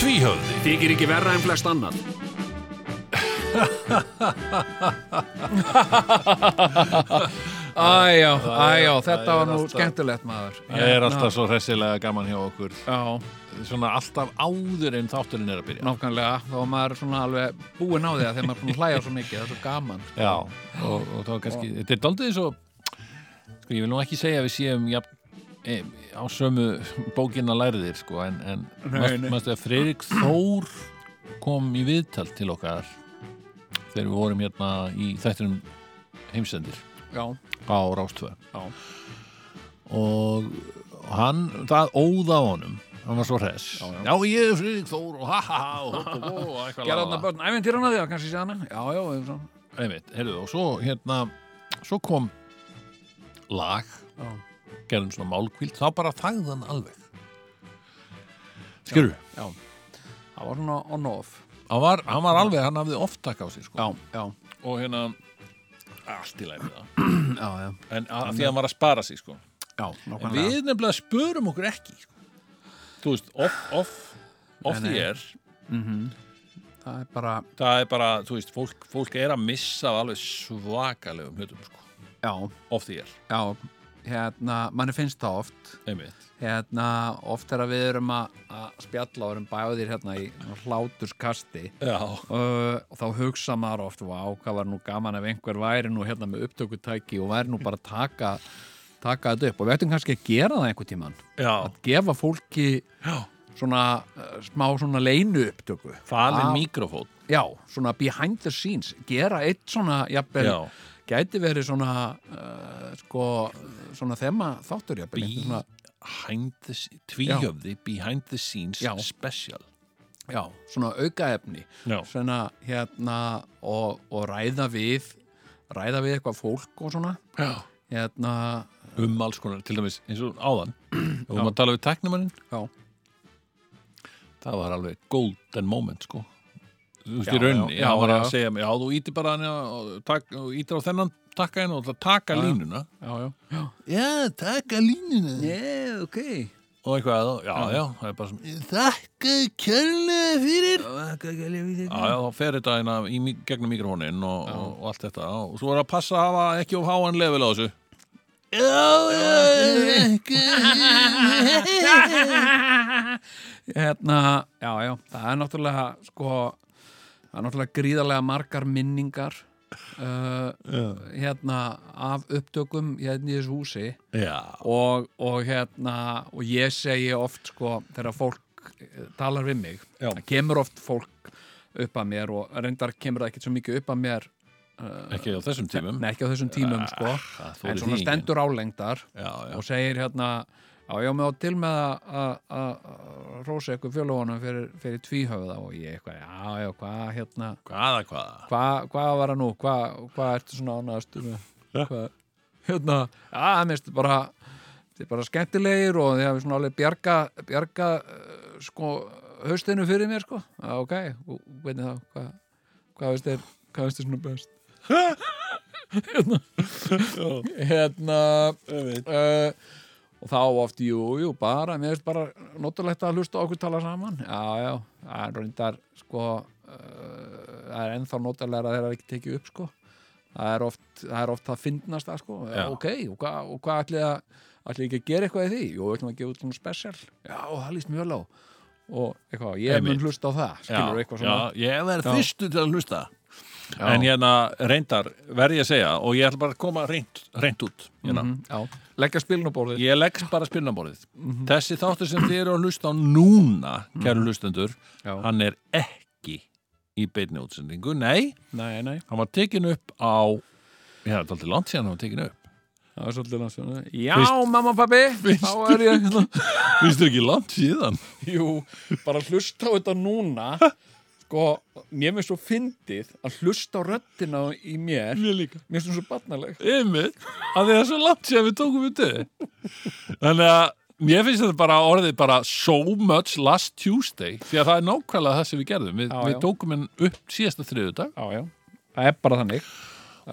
Tvíhöfði Þykir ekki verra en flest annan Æjá, æjá, alltaf- þetta það var er nú alltaf- skemmtilegt maður Hérna, Það er alltaf svo hressilega gaman hjá okkur Já, Svona alltaf áður en þátturinn er að byrja nákvæmlega, þá var maður svona alveg búinn á því að þegar maður er búinn að hlæja svo mikið, það er svo gaman Já, og, og þá kannski Þetta er daldið eins og Sko, ég vil nú ekki segja að við séum jafn, e, á sömu bókinna læriðir sko, en, en Nei, nei. maður að Freirik Þór kom í viðtal til okkar þegar við vorum hérna í þættinum heimsendir Já, á Rástvö já, og hann, það óða á honum hann var svo hress já, ég er Friðrik Þór og ha ha ha og hopp og bó og eitthvað gera la, la, þarna la. börn æventýrana því að kannski sé hana Já, já, eða svona Einmitt, heyrðu, og svo hérna svo kom lag Já. gerðum svona málkvíld, þá bara þagði hann alveg skilur Já, það var svona on-off hann var, hann var alveg, hann hafði oft takk á sig sko. já, og hérna allt í lagi með það já, já, en að, því að hann var að spara sig sko. já en nákvæmlega við nefnilega spörum okkur ekki sko. þú veist, off, off off Nei, því nei. er Það er bara, það er bara, þú veist, fólk, fólk er að missa af alveg svakalegum hlutum sko, já, of því er já, hérna, manni finnst það oft einmitt, hérna, oft er að við erum að, að spjalla og erum báðir hérna í hláturskasti já, uh, og þá hugsa maður oft vá, hvað var nú gaman ef einhver væri nú hérna með upptökutæki og væri nú bara að taka, taka þetta upp og við ættum kannski að gera það einhver tíman já, að gefa fólki já. svona uh, smá svona leinu upptöku falin Af- mikrofón já, svona behind the scenes gera eitt svona, jafnvel Já. gæti verið svona uh, sko, svona þema þáttur jafnvel, einhver svona, behind the scenes tvíhjöfði, behind the scenes Já. special já, svona aukaefni Já. svona hérna og, og ræða við ræða við eitthvað fólk og svona já. hérna, um alls konar, til dæmis eins og áðan og maður tala við teknumannin já, það var alveg golden moment sko þú veist Já, í raunni, já, hann var já, að já. segja mér já, þú ítir bara hann og, tak, og ítir á þennan takka henn og ætla að taka línuna já, já, já. já, taka línuna Yeah, ok og eitthvað, já, já, það er bara sem þakka kjörlega fyrir já, já, þá fer þetta hérna í mí- gegnum mikrofónin og, og, og allt þetta og svo er að passa að hafa ekki of háan level á þessu hérna, já, já, það er náttúrulega sko, það er náttúrulega gríðarlega margar minningar uh, hérna af upptökum hérna í þessu húsi já, og, og hérna og ég segi oft sko þegar fólk eh, talar við mig Já. það kemur oft fólk upp að mér og reyndar kemur það ekkert svo mikið upp að mér ekki á þessum tímum Nei, ekki á þessum tímum Ah, sko það þolir en svona því enginn. stendur álengdar Já, já. og segir hérna já, já, með á til með að- að að- að rósa ykkur fjölugunum fyrir, fyrir tvíhöfða og ég eitthvað, já, já, hvað hérna hvaða, hvaða hvað hva var það nú, hvað hva ertu svona ánægast með Hvað- hérna, já, mér finnst bara þið bara skemmtilegir og þið hafið svona alveg bjarga, bjarga eh, sko, haustinu fyrir mér sko, já, ok, og veitir það hvað hva veist þér, hvað veist þér svona best hérna hérna uh, og þá oft, jú, jú, bara mér finnst bara notalegt að hlusta á okkur tala saman já, já, það er reyndar sko, uh, það er ennþá notalegra þegar það er ekki tekið upp sko það er oft það, er oft það fyndnasta sko Já. ok, og hvað hva ætlið að ætlið ekki að gera eitthvað í því, jú, við ætlum að gefa út svona special já, það líst mjög lág og eitthvað, ég Einmitt. mun hlusta á það skilur eitthvað svona, já, ég verði fyrstu til að hlusta en hérna reyndar verði ég að segja og ég ætla bara að koma reynd, reynd út hérna. Mhm. já, leggja spilin á borðið ég legg bara spilnaborðið Mhm. þessi þáttur sem þið eru að hlusta á núna kæru hlustendur, Já. hann er ekki í beinni útsendingu, nei nei, nei, hann var tekin upp á ég hafði alltaf langt síðan hann var tekin upp það er svolítið langt síðan. já, mamma og pappi, þá er ég hérna. finnst þér ekki langt síðan jú, bara hlusta á þetta núna sko, mér finnst svo fyndið að hlusta á röddina í mér mér Mér líka finnst hún svo barnaleg Einmitt, af því það er svo langt sér við tókum við döð Þannig að mér finnst þetta bara orðið bara so much last Tuesday því að það er nákvæmlega það sem við gerðum við, Já, við já. tókum henn upp síðasta þriðudag já, já, það er bara þannig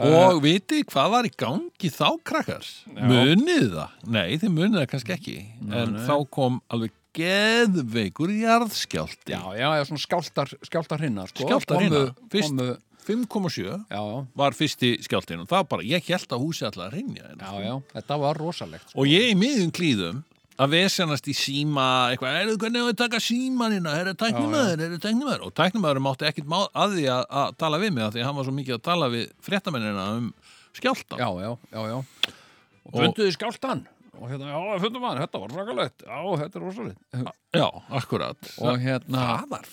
og vitið hvað var í gangi þá krakkar munið það, nei þið munið það kannski ekki en þá kom alveg geðveikur jarðskjálti já, já, já, svona skjáltar, skjáltar hinnar sko. Skjálftar Komu- hrinnar. Fyrst- komu- 5,7 já, já, var fyrsti skjáltin og það var bara, ég held að húsi allar að rinja já, já, þetta var rosalegt sko. og ég í miðum klíðum að vesenast í síma eitthvað, er hvernig á að taka hérna? símanina er það tæknumæður, er það tæknumæður og tæknumæður mátti ekkit má, að því að, að tala við mig af því að hann var svo mikið að tala við fréttamennina um skjálta já, já, já, já og funduðu skjáltan og hérna, já, fundum hann, þetta var rosalegt já, þetta er rosalegt Já, akkurat og hérna það var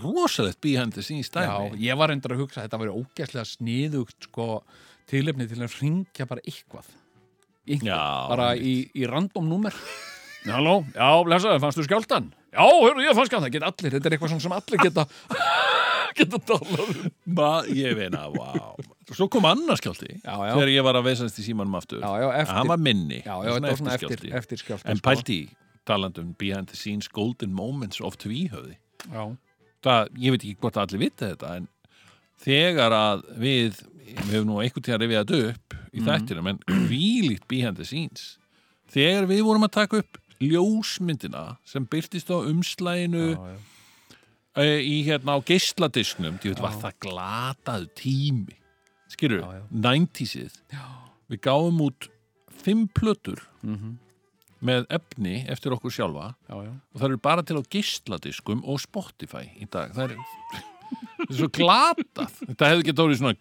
rosalegt behind the scenes Já, dæmi ég var reyndar að hugsa að þetta verið ógæslega sniðugt sko tilefni til að ringja bara eitthvað. Eitthvað, Já, bara í, í random númer. Halló, já, blessaði, fannst þú skjáltan? Já, hörru, ég fann skjáltan, það geta allir, þetta er eitthvað svona sem allir geta, geta talað um. Ba, ég veina, vá Svo kom annar skjálti Já, já. þegar ég var að vesenast í símanum aftur Já, já, eftir- Hann var minni Já, já, þetta var svona eftir, eftirskjálfti. eftir sko. skjáltan. En pælti í talandum behind the scenes golden moments of tvíhöfði Já, það, ég veit ekki hvort allir vita þetta en þegar að við við höfum nú einhvern tíðan rifið þetta upp í Mhm. þættinum, en hvílíkt behind the scenes þegar við vorum að taka upp ljósmyndina sem byrtist á umslæginu já, já. e, í hérna á geisladisnum ég veit, var það glataðu tími skilur, Já, já. 90-sið við gáum út fimm plötur Mhm. með efni eftir okkur sjálfa Já, já. og það eru bara til á geisladiskum og Spotify í dag það er, það er svo glatað þetta hefði getað orðið svona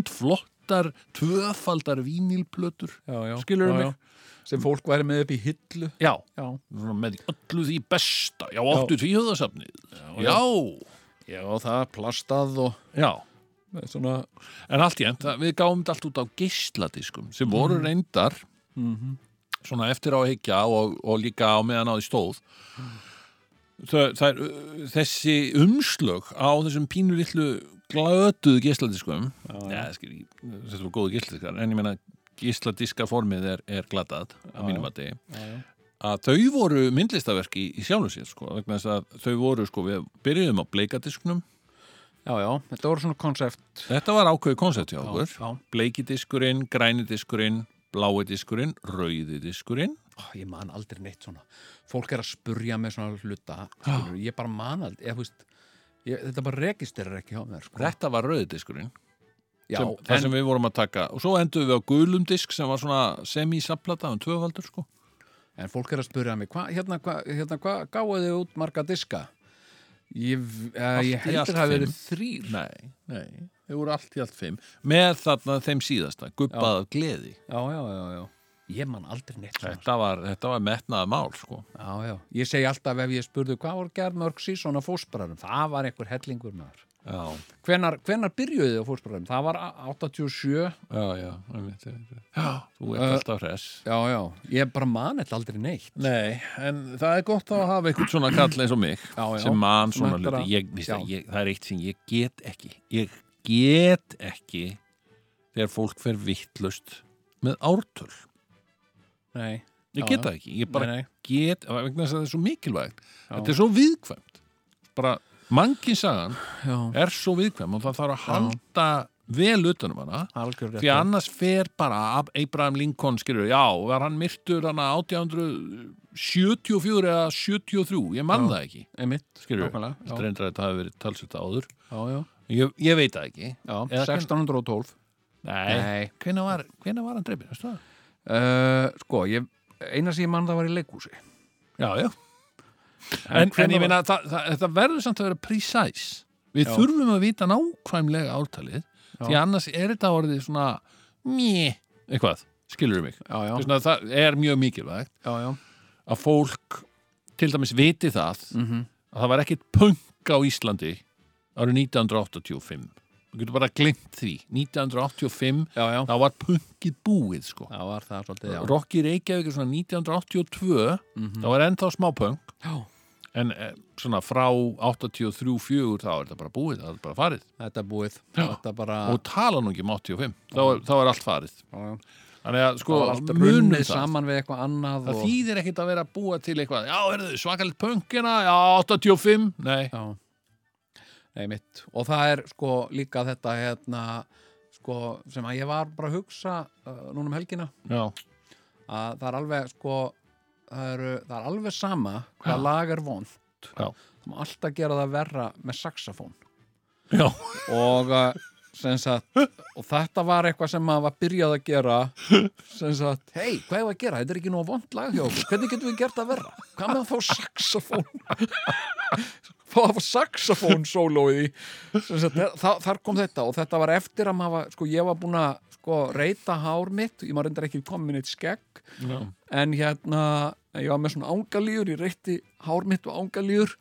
grandflottar tvöfaldar vínilplötur Já, já. Skilurðu Já, mig? já. Sem fólk væri með upp í hillu. já, Já. svona með öllu því besta já, áttu tvíhjóðasafnið já, já, Já, það plastað og já með svona... en allt í enn, við gáum þetta allt út á geisladiskum sem Mhm. voru reyndar svona eftir á að higgja og, og líka á meðan á því stóð það, það er, þessi umslög á þessum pínu lillu glötuðu geisladiskum ja, skil, ég- þetta var góðu geisladiskar en ég meina geisladiska formið er, er glatað að mínum að þið Já, já. að þau voru myndlistaverk í, í sjálfum sér sko, vegna þess að þau voru sko, við byrjuðum á bleikadisknum Já, já, þetta voru svona konsept. Þetta var ákveðu koncept hjá okkur. já. Bleikidiskurinn, grænidiskurinn, bláidiskurinn, rauðidiskurinn. Ó, Ah, ég man aldrei neitt svona fólk er að spurja með svona hluta skilur, ég bara man aldrei ég, veist, ég, þetta bara registerir ekki hjá mér sko. Þetta var rauðidiskurinn. já, sem, það en, sem við vorum að taka. Og svo enduðum við á gulum disk sem var svona semi-saplata um tvöfaldur sko. en fólk er að spurja mig hva, hérna hvað hérna, hva, gáðu þið út marga diska ég, Allt uh, í ég allt heldur það hafi fimm. verið þrýr já, Nei, nei. Þau voru allt í allt fimm. Með þarna þeim síðasta, gubbað af gleði. já, já, já ég man aldrei neitt svona Þetta var, þetta var metnaða mál sko. já, já. ég segi alltaf ef ég spurði hvað voru gerð mörg síðan á fósbararum það var einhver hellingur maður Já, hvenar, hvenar byrjuði þið á fósbararum það var 87 já, já. einmitt, einmitt. Já, þú ert alltaf hress. já, já, ég bara man þetta aldrei neitt Nei, en það er gott að hafa einhvern svona kall eins og mig Já, já. sem mann Sem svona hægt er hluti að- ég, víst Já. að ég, það er eitt sem ég get ekki ég get ekki þegar fólk fer vittlust með ártöl nei ég Já, get já. það ekki, ég bara Nei, nei. get vegna þess að það er svo mikilvægt þetta er svo viðkvæmt bara mannkinsagan Já, er svo viðkvæm og það þarf að halda vel utanum hana algjörlega því að annars fer bara Ab- Abraham Lincoln skilur, já, var hann myrtur hann 1874 eða 73, ég mann það ekki Einmitt, skilur, nákvæmlega, já. þetta reyndar að þetta hafi verið talsvita áður, Já, já, ég, ég veit það ekki já Eða 1612 nei, hvenær var, hvenær var hann dreipin, veistu það? uh, Sko, ég, eina sem ég mann það var í leikhúsi Já, já En, en, hvenær ég var- meina, það, það, þetta verður samt að vera precise Við Já. þurfum að vita nákvæmlega ártalið Því annars er þetta orðið svona Mjö, eitthvað, skilur mig Já, já, Þess vegna Það er mjög mikilvægt já, já, að fólk til dæmis viti það Mhm. að það var ekkit punk á Íslandi árið 1985 þú getur bara glimt því 1985, já, já. þá var punkið búið sko. Það var það svolítið, já Mhm. Rocky Reykjavík er svona 1982 þá var ennþá smá punk Já, en eh, svona frá 83-4 þá er þetta bara búið, það er bara farið þetta er búið þetta er bara og tala nú ekki um 85, þá er, þá er allt farið já, já. þannig að sko og allt munum runnið saman við eitthvað annað það og, þýðir ekkit að vera að búa til eitthvað já, herðu, svakalit pönkina, hérna. já, 85 nei, já. Nei, mitt. og það er sko líka þetta hérna, sko, sem að ég var bara að hugsa uh, núna um helgina já, að það er alveg sko það, eru, það er alveg sama hvað lag er vond Já. það má alltaf gera það verra með saxofón já, og uh, sem sagt og þetta var eitthvað sem maður var byrjað að gera sem sagt, hei, hvað er að gera? Þetta er ekki nú vond lag hjá okkur, hvernig getum við gert það verra? Hvað með að fá saxofón? fá að fá saxofón sólóið í Sem sagt, þa þar kom þetta og þetta var eftir að maður, var- sko, ég var búin að sko, reyta hár mitt, ég maður reyndar ekki komin eitt skegg já. en hérna ég var með svona ángalýur, ég reytti hár mitt og ángalýur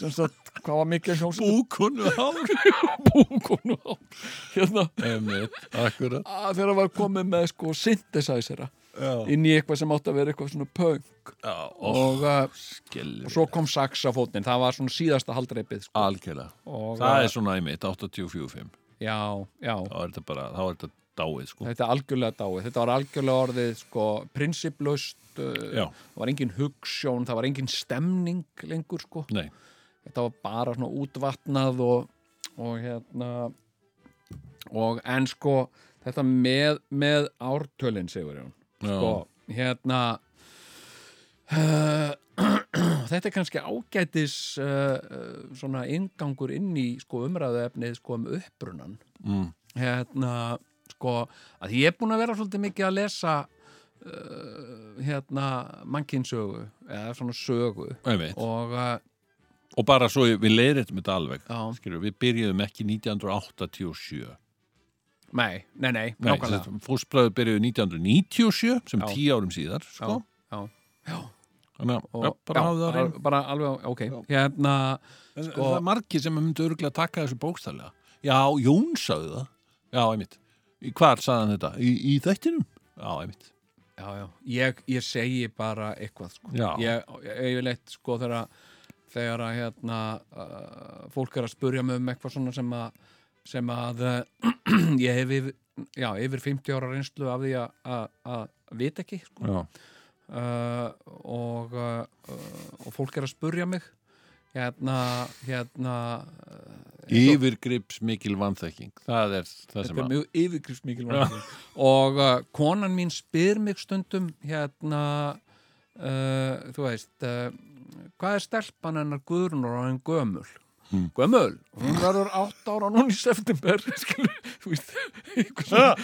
sem sagt, hvað var mikil hljómsveit búkunu hár búkun og hár hérna, einmitt, akkurat að þegar var komið með sko synthesizera já, inn í eitthvað sem átti að vera eitthvað svona punk já, og og, uh, skellir og svo kom saxafótnin, það var svona síðasta haldreipið sko. algjörlega, og, það uh, er svona einmitt 84-5, já, já, þá er þetta bara þá er þetta dáið, sko þetta er algjörlega dáið þetta var algjörlega orðið sko prinsiplaust, uh, já, það var engin hugssjón það var engin stemning lengur sko nei, þetta var bara svona útvatnað og, og hérna og en sko þetta með, með ártölin Sigurjón já, sko, hérna uh, þetta er kannski ágætis uh, uh, svona ingangur inn í sko umræðuefnið sko um upprunan mm, hérna sko að ég er búin að vera svolítið mikið að lesa uh, hérna mannkinsögu eða svona sögu einmitt og uh, og bara svo við leiðréttum þetta alveg já Skilur, við byrjuðum ekki 1987 Nei, nei, nei, Nei, nákvæmlega fósbræður byrjuðu 1997 sem Já. tíu árum síðar sko. Já, já. þannig að Og- já, bara já, hafðu það á hreinu. al- bara alveg, ok Já. Hérna, En- en sko- það er margir sem myndu örgulega taka þessu bókstælega já, Jón sagði það já, einmitt, í hvar sagði hann þetta í, í þættinum, já, einmitt já, já Ég, ég segi bara eitthvað sko. Já. Ég, ég vil eitt, sko, þegar að þegar að, hérna uh, fólk er að spurja mig um eitthvað svona sem að sem að uh, ég hef yfir, já, yfir 50 ára reynslu af því að- að að vita ekki, sko já, uh, og, uh, uh, og fólk er að spurja mig hérna, hérna uh, yfirgrips mikil vanþekking það er það sem Þetta er að mjög yfirgrifsmikil vandamál. og uh, konan mín spyr mig stundum hérna uh, þú veist uh, hvað er stelpan hennar Guðrunur og henn gömul? Hmm. Gömul? Hún verður átt ára núna í september skilu, þú veist eitthvað svona,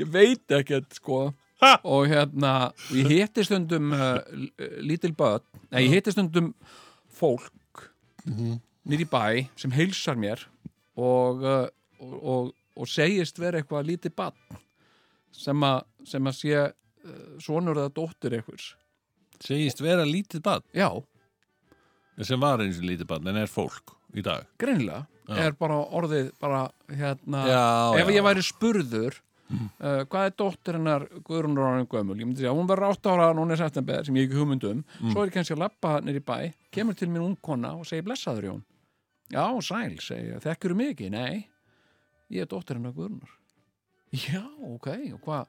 ég veit ekkert sko Ha. og hérna og ég hitti stundum uh, l- lítil börn, nei ég hitti stundum fólk Mhm. nýr í bæ sem heilsar mér og, uh, og, og, og segist vera eitthvað lítið barn sem að, sem að sé uh, sonur eða dóttir einhvers segist vera lítið bad já, sem var eins og lítið bad, en er fólk í dag greinilega Já. er bara orðið bara hérna já, Mm. ef ég væri spurður uh, hvað er dóttir hennar Guðrúnur Ránin Gömul ég myndi segja, hún verður átt ára núna í september sem ég hef ekki hugmynd um, Mm. svo er ég kannski að lappa nýr í bæ, kemur til mín ung kona og segir blessaður Jón, já sæl segja, þekkjur mig ekki, nei ég er dóttir hennar Guðrúnur já, ok, og hvað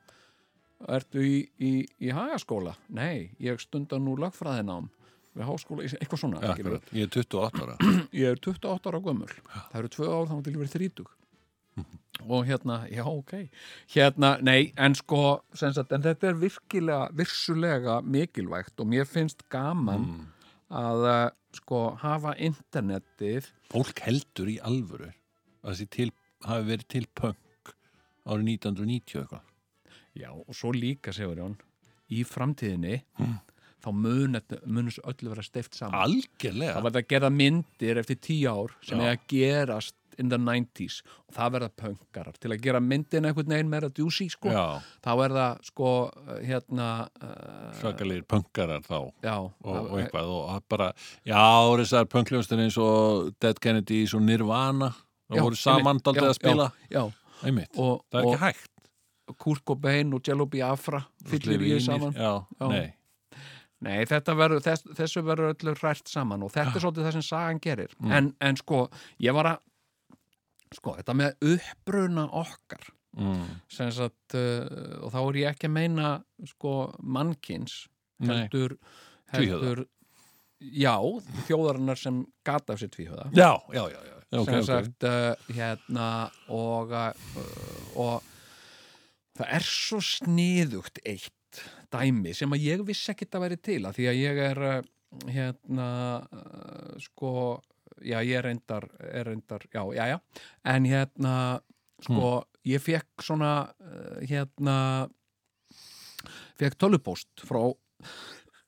ertu í, í, í hagaskóla nei, ég stunda nú lagfræðinám við háskóla, eitthvað svona Já, skilurðu akkurat. ég er 28 ára ég er 28 ára gömul það eru tvö ár þannig til ég verið 30 Mhm. og hérna, já ok hérna, nei, en sko sem sagt, en þetta er virkilega virsulega mikilvægt og mér finnst gaman Mm. að eh, sko hafa internetið fólk heldur í alvöru að þessi til, hafi verið til punk árið 1990 eitthvað já, og svo líka, segur Jón í framtíðinni Mm. þá mun, þetta- mun þessu öllu vera steift Ah, saman algjörlega það verða að gera myndir eftir tíu ár sem Já. er að gerast in the 90s og það verða pöngarar til að gera myndin einhvern veginn meira djúsi sko já, þá er það sko uh, hérna uh, svakalegir punkarar þá og, já, og það- eitthvað og það bara, já, þessar punkljóstin eins og Dead Kennedy eins og Nirvana það Já, voru saman einmitt, daldið já, að spila já, einmitt, og, það er ekki og hægt Kurt Cobain og Jello Biafra fyllir í Slefínir, saman já, Já. nei, Nei, þetta verður, þess, þessu verður öllu hrært saman og þetta Ah. er svolítið það sem sagan gerir. Mm. En, en sko, ég var að, sko, þetta með uppbruna okkar, mm. sem sagt, uh, og þá er ég ekki að meina, sko, mannkins, Nei. heldur, Tvíhöfða. heldur, já, þjóðarinnar sem gata af sér tvíhöða Já, já, já, já. já sem sagt uh, hérna og, uh, og það er svo sniðugt eitt dæmi sem að ég vissi ekkit að væri til að því að ég er uh, hérna uh, sko já ég er reyndar, er reyndar já já já en hérna sko ég fekk svona uh, hérna fekk tölupóst frá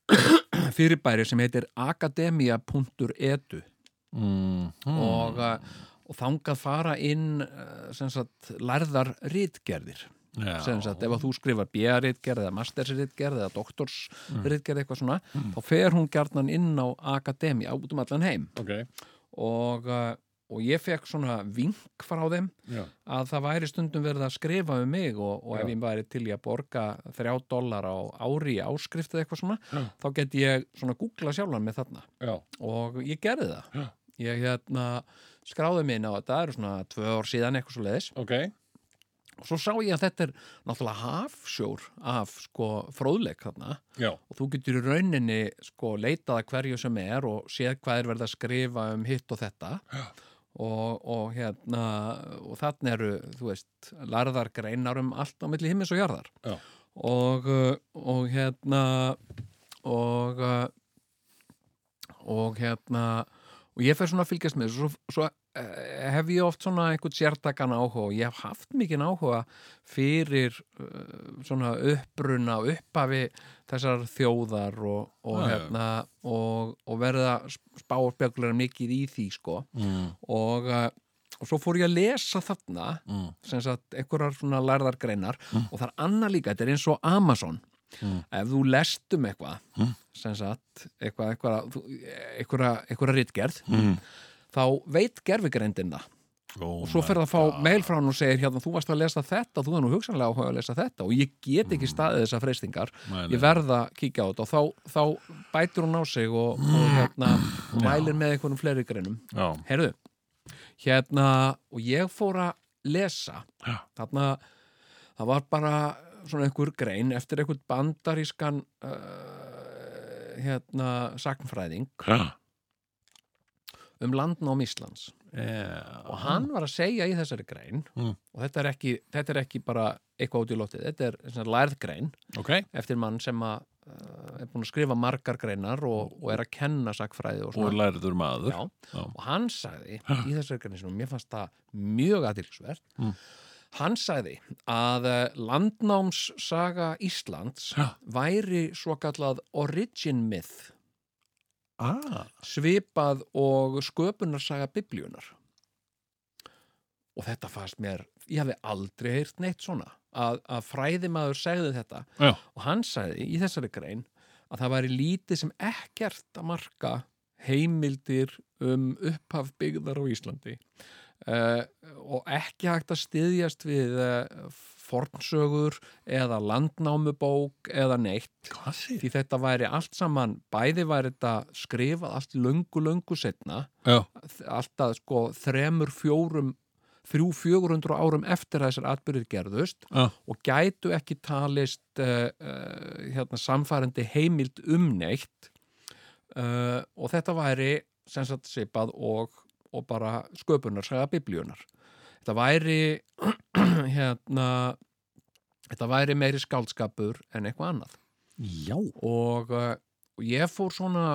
fyrirbæri sem heitir akademia.edu mm. mm. og, uh, og þangað fara inn uh, sem sagt, lærðar rítgerðir Já. sem sagt, ef að þú skrifar BA-rítgerð eða Masters-rítgerð eða Doktors-rítgerð eitthvað svona, Mm. þá fer hún gjarnan inn á akademia út um allan heim Ok, og, uh, og ég fekk svona vink frá þeim já, að það væri stundum verið að skrifa um mig og, og ef Já. ég væri til í að borga þrjá dólar á ári í áskrift eða eitthvað svona, Já. þá geti ég svona googla sjálfan með þarna já, og ég gerði það Já. ég hérna skráði mig inn á þetta, það eru svona tvö ár síðan eitthvað svo leiðis ok og svo sá ég að þetta er náttúrulega hafsjór af sko fróðleik þarna Já, og þú getur í rauninni sko leitað að hverju sem er og séð hvað er verið að skrifa um hitt og þetta Já. og, og hérna og þarna eru, þú veist, larðar greinar um allt á milli himmis og jarðar Já. og uh, og hérna og uh, og hérna og ég fer svona að fylgjast með þessu, svo, svo eh, hef ég oft svona einhvern sértakan áhuga og ég hef haft mikinn áhuga fyrir uh, svona uppbruna og upphafi þessar þjóðar og, og, Já, já. hérna, og, og verða spá og spekulega mikið í því sko mm. og, eh, og svo fór ég að lesa þarna Mm. sem sagt einhverjar svona lærðar greinar og það er annað líka, þetta er eins og Amazon Mm. ef þú lest um eitthvað Mm. sem sagt, eitthvað eitthvað, eitthvað, eitthvað rítgerð Mm. þá veit gerfigreindin það Oh og svo my fer það að fá God. mail frá hann og segir hérna, þú varst að lesa þetta, þú er nú hugsanlega áhuga að lesa þetta og ég get ekki Mm. staðið þessar freystingar Nei, ég nei. verð að kíkja á þetta og þá, þá bætir hún á sig og, og Mm. hérna, mælir með einhvernum fleiri greinum Já, Herðu, hérna og ég fór að lesa Já. þarna, það var bara svona einhver grein eftir einhvern bandarískan uh, hérna sagnfræðing já um landnám Íslands og hann var að segja í þessari grein Mm. og þetta er, ekki, þetta er ekki bara eitthvað út í lótið, þetta er svona lærð grein Ok, eftir mann sem að uh, er búin að skrifa margar greinar og, og er að kenna sakfræði og og svona lærður maður Já. Já. og hann sagði í þessu verkefni sem mér fannst það mjög aðtilsvert Mm. hann sagði að eh, landnámssaga Íslands Já. væri svo kallað origin myth Ah. svipað og sköpunarsaga biblíunar og þetta fannst mér ég hafi aldrei heyrt neitt svona að, að fræðimaður segði þetta Já. og hann sagði í þessari grein að það væri lítið sem ekkert að marka heimildir um upphaf byggðar á Íslandi uh, og ekki hægt að styðjast við uh, fornsögur eða landnámubók eða neitt Hvað sér? því þetta væri allt saman, bæði væri þetta skrifað allt löngu, löngu setna Já, alltaf sko þremur, fjórum þrjú, fjögurhundru árum eftir að þessar atbyrðir gerðust já, og gætu ekki talist uh, uh, hérna, samfærandi heimild um neitt uh, og þetta væri sem sagt sipað og, og bara sköpunar, sagða biblíunar þetta væri hérna þetta væri meiri skáldskapur en eitthvað annað já. og, uh, og ég fór svona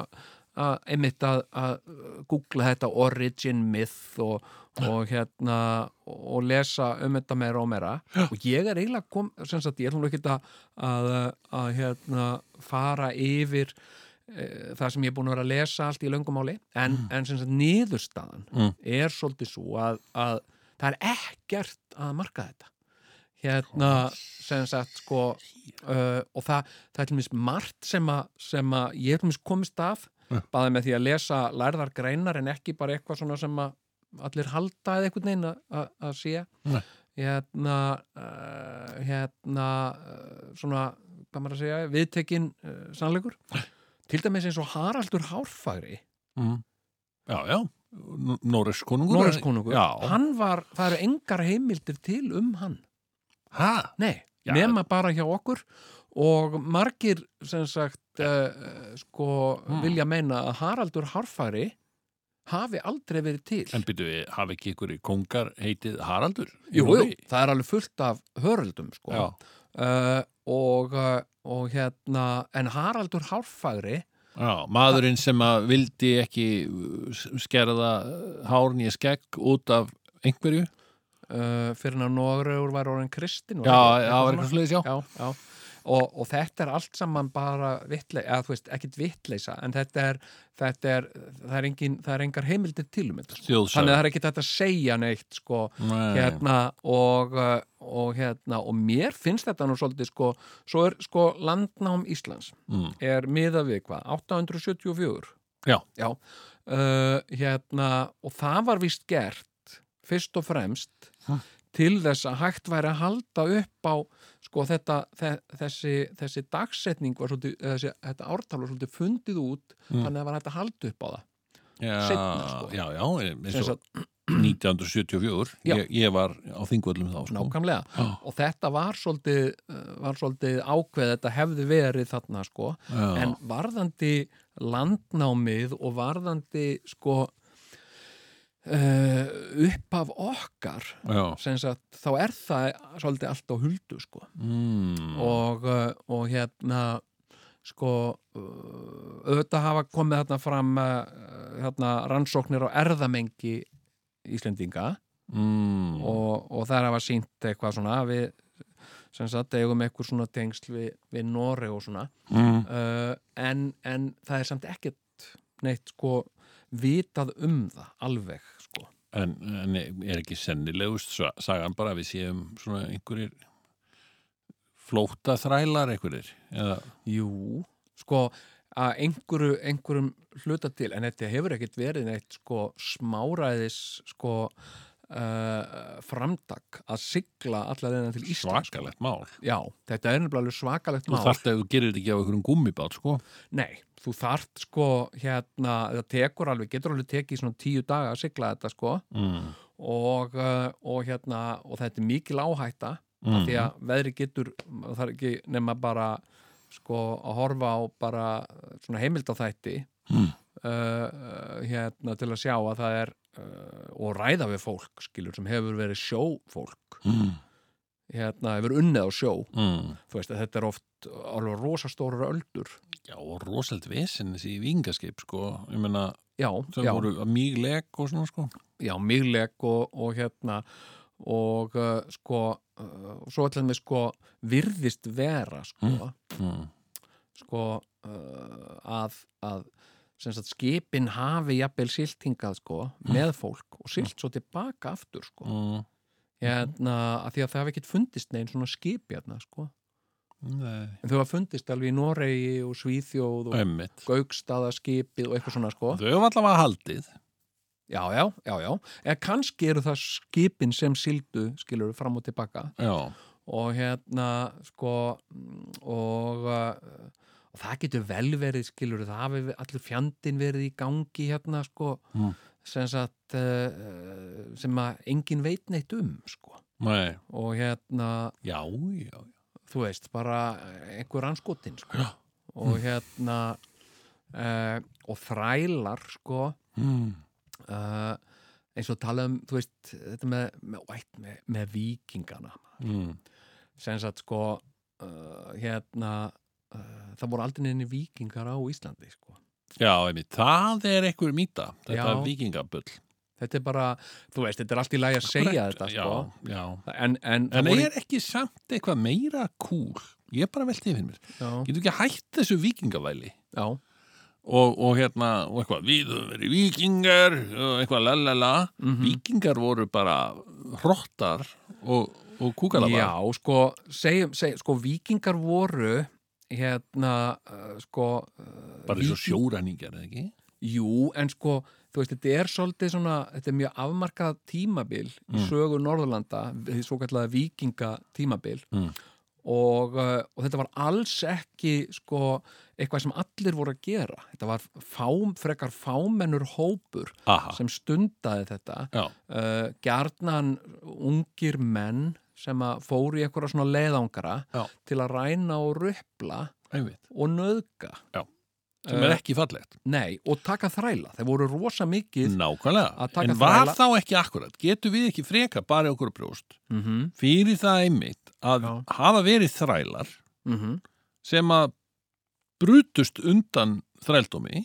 að, einmitt að, að uh, googla þetta origin myth og, og hérna og lesa um þetta meira og meira og ég er eiginlega kom, sem sagt, ég ætlum ekki að, að, að hérna, fara yfir eh, það sem ég er búin að vera að lesa allt í löngumáli en, en sem sagt niðurstaðan Mm. er svolítið svo að, að það er ekkert að marka þetta hérna sem sagt sko uh, og það, það er til mér margt sem að, sem að ég er til mér komist af Ja. bæði með því að lesa lærðar greinar en ekki bara eitthvað svona sem að allir halda eða einhvern veginn að- að að sé Nei. hérna uh, hérna uh, svona, hvað maður að segja viðtekin uh, sannleikur til dæmis eins og Haraldur Hárfagri mm. já, já, Norris konungur Norðskonungur, Já, hann var, það eru engar heimildir til um hann hæ? Nei, Já. nema bara hjá okkur og margir sem sagt uh, sko Hmm. vilja meina að Haraldur Hárfari hafi aldrei verið til En byrju, hafi ekki ykkur kongar heitið Haraldur? Jú, jú, það er alveg fullt af höröldum sko Já, uh, og, uh, og hérna en Haraldur Hárfagri já, maðurinn sem að vildi ekki uh, skerða hárn í skegg út af einhverju uh, fyrir hann að Nóður var orðin kristin Já, já, var eitthvað sliðis, já já, já. Og, og þetta er allt saman bara vitleisa, eða þú veist, ekkit vitleisa en þetta er, þetta er það er, engin, það er engar heimildir til um þetta sko. þannig að Þjóðsög það er ekki þetta að segja neitt sko, Nei. hérna og, uh, og hérna, og mér finnst þetta nú svolítið sko, svo er sko landnám Íslands Mm. er miða við hvað, 874 Já. uh, hérna, og það var vist gert fyrst og fremst Hm. til þess að hægt væri að halda upp á sko þetta, þe- þessi, þessi dagsetning var svolítið, eða þessi, þetta ártal var svolítið fundið út Mm. þannig að það var hægt að halda upp á það Já, seinna, sko. já, já, eins Sem og sagt, 1974 Já. ég, ég var á þingvöllum þá sko. nákvæmlega Já, og þetta var svolítið, uh, var svolítið ákveð þetta hefði verið þarna sko já. en varðandi landnámið og varðandi sko uh, uppaf okkar já. sem sagt, þá er það svolítið allt á huldu sko Mm. og, uh, og hérna sko uh, auðvitað hafa komið þarna fram uh, hérna, rannsóknir á erðamengi Íslendinga mm. og, og þær hafa sínt eitthvað svona við sem sagt eigum eitthvað svona tengsl við, við Nóri og svona mm. uh, en, en það er samt ekkert neitt sko vitað um það alveg sko. en, en er ekki sennilegust sa- sagan bara að við séum svona einhverjir flóta þrælar einhverjir eða, Jú, sko að einhverju, einhverjum hluta til en þetta hefur ekkert verið neitt sko smáræðis sko uh, framtak að sigla allar þeirna til Ísland svakalegt mál Já, þetta er nefnilega alveg svakalegt þú mál þarft að þú gerir þetta ekki á einhverjum gummibát sko. Nei, þú þart sko hérna, það tekur alveg, getur alveg tekið svona tíu daga að sigla þetta sko mm. og, uh, og hérna og þetta er mikil áhætta Mm. af Mhm. því að veðri getur, það er ekki nema bara sko að horfa á bara uh, svona heimildaþætti Mm. uh, uh, hérna til að sjá að það er uh, og ræða við fólk skilur sem hefur verið sjófólk mm. hérna hefur unnið á sjó Mm. þú veist að þetta er oft alveg rosastórar öldur já og rosald vesen þessi vingaskip sko. ég meina Já, sem já. voru mjög leg og svona sko. já, mýrleik og, og hérna og uh, sko uh, svo ætlaðum við sko virðist vera sko, mm. sko uh, að, að sem sagt skipin hafi jafnvel siltingað sko með fólk og silt svo tilbaka aftur sko Mm. hérna að því að það hafi ekkert fundist neginn svona skip hérna sko Nei. en þau hafa fundist alveg í Noregi og Svíþjóð og Einmitt. Gaukstaðaskipið og eitthvað svona sko þau hafa allavega haldið já, já, já, já, eða kannski eru það skipin sem sildu skilur fram og tilbaka já, og hérna sko mm, og, uh, og það getur vel verið skilur það hafi ve- allur fjandin verið í gangi hérna sko Mm. sem, sagt, uh, sem að engin veit neitt um sko nei, og hérna já, já þú veist bara einhver anskotin sko og hérna uh, og þrælar sko mm. uh, eins og tala um þú veist þetta með, með, ætt, með, með vikingana Mm. sem sagt sko uh, hérna uh, það voru aldrei nefnir vikingar á Íslandi sko. Já, einmitt, það er einhver mýta, þetta Já. vikingabull. þetta er bara, þú veist, þetta er allt í lagi að segja þetta já, sko. já. en, en, það En voru, er ekki samt eitthvað meira kúl? Ég er bara veltið fyrir mér. já, Getur ekki hætt þessu vikingavæli? já, Og, og hérna, og eitthvað, við höfum verið vikingar, og eitthvað lalala. Mhm. Vikingar voru bara hrottar og, og kúkalabar. já sko, segjum, segjum, sko vikingar voru hérna uh, sko uh, Bara eins og víking- sjóræningar, eða ekki? Jú, en sko, þú veist, þetta er svolítið svona, þetta er mjög afmarkað tímabil í sögu Norðurlanda, því svo kallega vikinga tímabil Mm. og, eh, og þetta var alls ekki sko, eitthvað sem allir voru að gera þetta var fám, frekar fámennur hópur Aha, sem stundaði þetta já, uh, gjarnan ungir menn sem að fóru í eitthvað svona leiðangara Já. til að ræna og röpla einmitt og nöðga Já. sem er Eh, ekki fallegt Nei, og taka þræla, þeir voru rosa mikið Nákvæmlega, að taka en var þræla- þá ekki akkurat getur við ekki freka bara okkur brjóst mm -hmm. fyrir það einmitt að Já. hafa verið þrælar mhm. sem að brutust undan þrældómi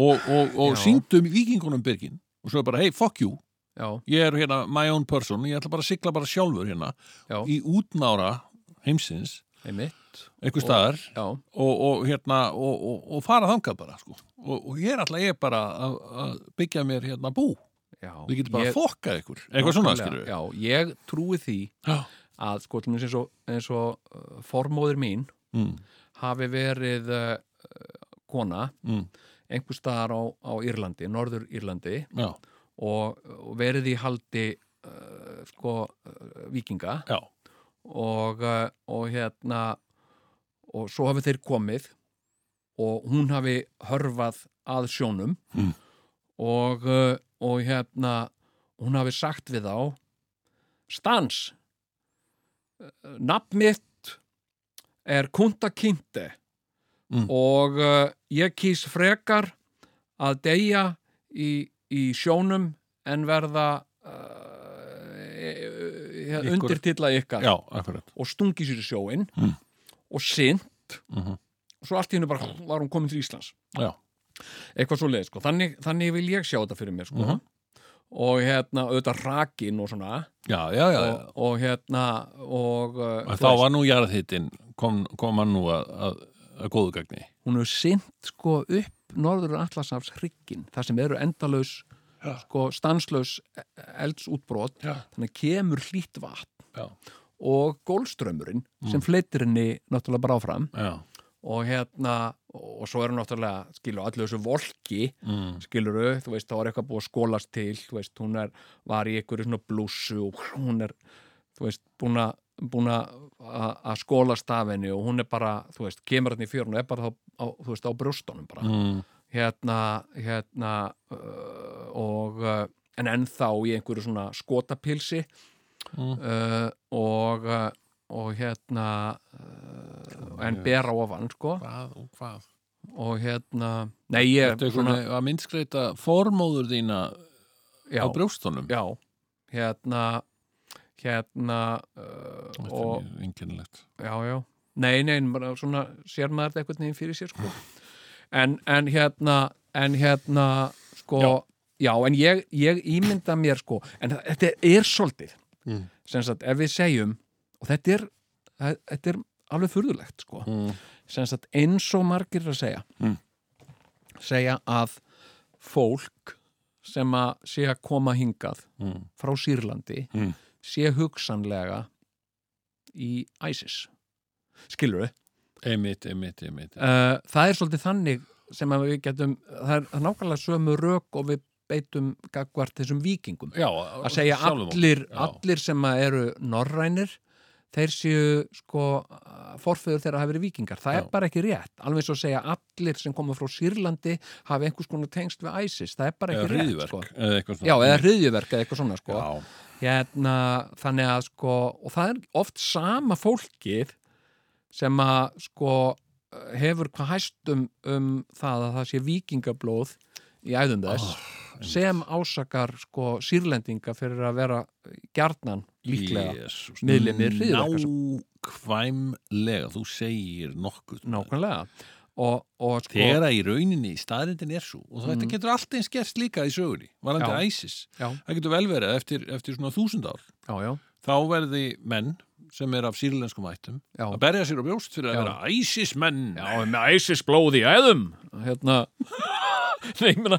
og, og, og um Já. síndum vikingunum byrgin og svo bara, hey, fuck you Já, ég er hérna my own person, ég ætla bara að sigla bara sjálfur hérna já, í útnára heimsins, einmitt einhver staðar Já, og, og hérna og, og, og fara þangað bara, sko og, og ég er alltaf ég bara að, að byggja mér hérna bú, já við getum bara Ég- að fokka ykkur, eitthvað svona skilur nákvæmlega, við Já, ég trúi því Já. að sko, til dæmis eins og, eins og uh, formóðir mín Mm, hafi verið uh, kona mm, einhvers staðar á, á Írlandi, Norður Írlandi já, og, og verið í haldi uh, sko uh, vikinga já, og, uh, og hérna og svo hafi þeir komið og hún hafi hörfað að sjónum Mm. og, uh, og hérna hún hafi sagt við þá stans nafn mitt er Kunta Kinte Mm. og uh, ég kýs frekar að deyja í, í sjónum en verða eh, uh, Ykkur. undirtilla ykkar já, akkurat og stungi sér í sjóin Mm. og sinn mm og svo allt í hennu bara var hún komin til Íslands Já. eitthvað svo leið sko. þannig, þannig vil ég sjá þetta fyrir mér sko. Mhm. og hérna auðvitað rakin og svona Já, já, já, já. og, og hérna og uh, En þú þá veist, var nú jarðhittin, kom, kom hann nú að, að, að góðu gagni. hún hefur sint sko upp norður Atlasafs hryggin þar sem eru endalaus Já. sko stanslaus e- eldsútbrot Já. þannig kemur hlýtt vatn Já. og gólströmmurinn Mm. sem fleitir henni náttúrulega bara áfram Já. og hérna og svo eru náttúrulega, skilur, allir þessu volki Mm. skiluru, þú veist, þá var eitthvað búið að skólast til, þú veist, hún er, var í einhverju svona blússu og hún er þú veist, búin að búin að að skólast af henni og hún er bara, þú veist, kemur hann í fjörun og er bara þá, á, þú veist, á brjóstunum bara Mm. hérna, hérna uh, og uh, en ennþá í einhverju svona skotapilsi Mm. uh, og uh, og hérna uh, en bera ofan, sko Hvað og hvað? og hérna, nei ég Þetta er svona að myndskreita formóður þína já, á brjóstunum. já, hérna hérna uh, Þetta og, er einkennilegt. já, já nei, nei, bara svona sér maður þetta einhvern veginn fyrir sér sko. en, en hérna en hérna, sko já, Já. en ég, ég ímynda mér sko, en þa- þetta er svolítið Mm. sem sagt, ef við segjum og þetta er, þa- þetta er alveg furðulegt sko, Mm. sem sagt eins og margir eru að segja Mm. segja að fólk sem að sé að koma hingað Mm. frá Sýrlandi Mm. sé hugsanlega í ISIS skilur við Einmitt, einmitt, einmitt. það er svolítið þannig sem að við getum það er nákvæmlega sömu rök og við beitum gagvart þessum vikingum Já, að segja sjálfum okkur. allir, Já. allir sem að eru norrænir þeir séu sko uh, forfeður þeirra hafi verið vikingar það Já. er bara ekki rétt, alveg svo að segja allir sem koma frá Sýrlandi hafi einhvers konar tengst við ISIS, það er bara Eða ekki rétt hriðiverk. sko. Eða eitthvað svona. Já, eða hriðjuverk eða eitthvað svona sko Já, hérna, þannig að sko og það er oft sama fólkið sem að sko hefur hvað hæstum um það að það sé vikingablóð í æðum þess Ah, sem ásakar sko sírlendinga fyrir að vera gjarnan líklega Jesús. miðlimir hryðjuverka- Nákvæmlega, þú segir nokkuð. nákvæmlega og, og sko Þegar að í rauninni staðrindin er svo og þetta getur allt eins gerst líka í sögunni Já. varandi ISIS. já, Það getur vel verið að eftir, eftir svona þúsund ár já, já, þá verði menn sem er af sírlenskum ættum já. að berja sér á brjóst fyrir að Já. vera æsismenn Já, með ISIS blóð í æðum Hérna Nei, ég meina,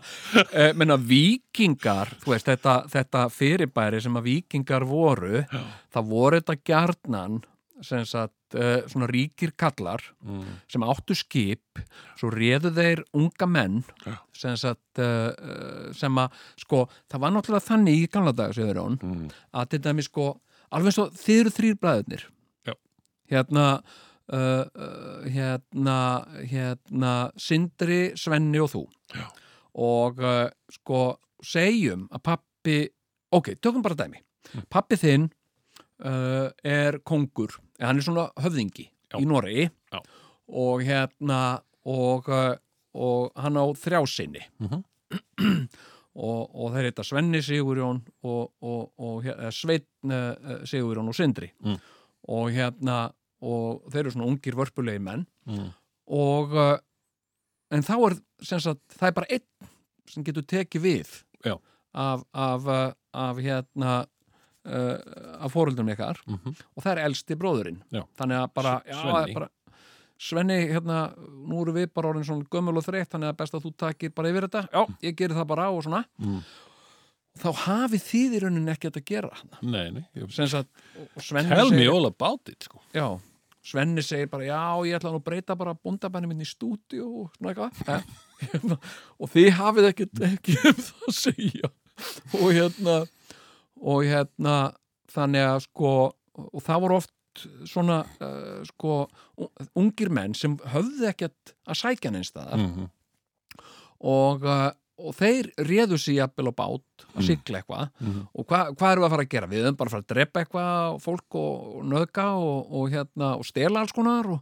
e, meina vikingar þú veist, þetta, þetta fyrirbæri sem að vikingar voru Já. það voru þetta gjarnan sem sagt, e, svona ríkir kallar mm. sem áttu skip svo réðu þeir unga menn Já. sem sagt e, e, sem að, sko, það var náttúrulega þannig í gamla dags, Jörgjón, Mm. að þetta er mér sko alveg eins og þið eru þrýr bræðurnir Já. hérna uh, uh, hérna hérna Sindri, Svenni og þú Já. og uh, sko segjum að pappi ok, tökum bara dæmi Mm. pappi þinn uh, er kongur, en hann er svona höfðingi Já. í Noregi Já. og hérna og, uh, og hann á þrjá sinni Mhm. og, og þeir heita Svenni Sigurjón og, og, og hér- eða Sveinn uh, Sigurjón og Sindri Mm. og hérna og þeir eru svona ungir vörpulegi menn Mm. og uh, en þá er sem sagt, það er bara einn sem getur tekið við Já. af, af, uh, af hérna uh, af fóruldum ykkar Mhm. og það er elsti bróðurinn Já. þannig að bara, S- já, Svenni. bara Svenni, hérna, nú eru við bara orðin svona gömul og þreytt, þannig að best að þú takir bara yfir þetta, já, ég gerir það bara á og svona Mm. þá hafið þið í rauninni ekkert að gera hann Nei, nei ég- sem sagt, og Svenni Tell me segir, all about it sko. já, Svenni segir bara, já, ég ætla nú að breyta bara búndabænum minn í stúdíu og svona eitthvað Eh, hérna, og þið hafið ekkert ekki um það að segja og hérna og hérna, þannig að sko og það voru oft svona uh, sko, ungir menn sem höfðu ekkert að sækja neins staðar mm og, uh, og þeir réðu sér jafnvel á bát að sigla eitthvað Mhm. og hva, hvað erum við að fara að gera? Við erum bara að fara að drepa eitthvað og fólk og, og nöðka og, og, hérna, og stela alls konar og,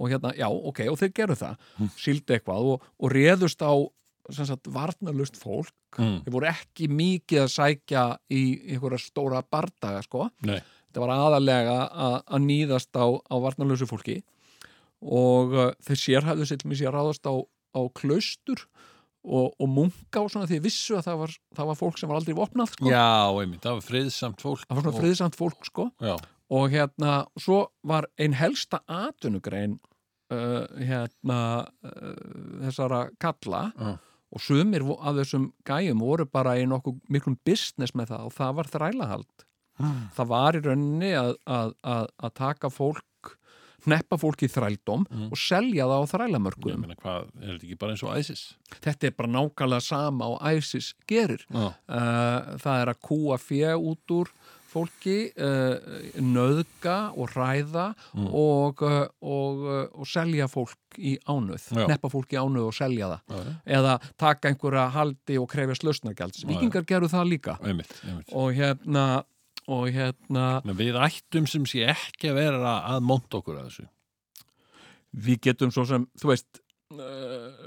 og hérna, já, ok, og þeir gerðu það síldu eitthvað og, og réðust á sem sagt, varnalust fólk Mm. þeir voru ekki mikið að sækja í einhverja stóra bardaga, sko Nei. þetta var aðalega að, að nýðast á, á varnalösu fólki og uh, þeir sérhæfðu sér til mér sér ráðast á, á klaustur og, og munka og svona því þeir vissu að það var, það var fólk sem var aldrei vopnað sko. Já, einmitt, það var friðsamt fólk það var svona og- friðsamt fólk sko. Já, og hérna, svo var ein helsta atvinnugrein uh, hérna uh, þessara kalla Já. og sumir vo- af þessum gæjum voru bara í nokkuð miklum business með það og það var þrælahald það var í rauninni að, að, að, að taka fólk neppa fólk í þrældóm Mm. og selja það á ég þrælamörkum meina hvað, er þetta ekki bara eins og ISIS? þetta er bara nákvæmlega sama og ISIS gerir Já, uh, það er að kúa fjö út úr fólki uh, nöðga og ræða Mm. og, uh, og, uh, og selja fólk í ánöð Já. neppa fólk í ánöð og selja það já, já. eða taka einhverja haldi og krefja slösnargjalds Já, já. vikingar gerðu það líka einmitt, einmitt og hérna og hérna Men Við ættum sem sé ekki að vera að monta okkur að þessu við getum svo sem, þú veist uh,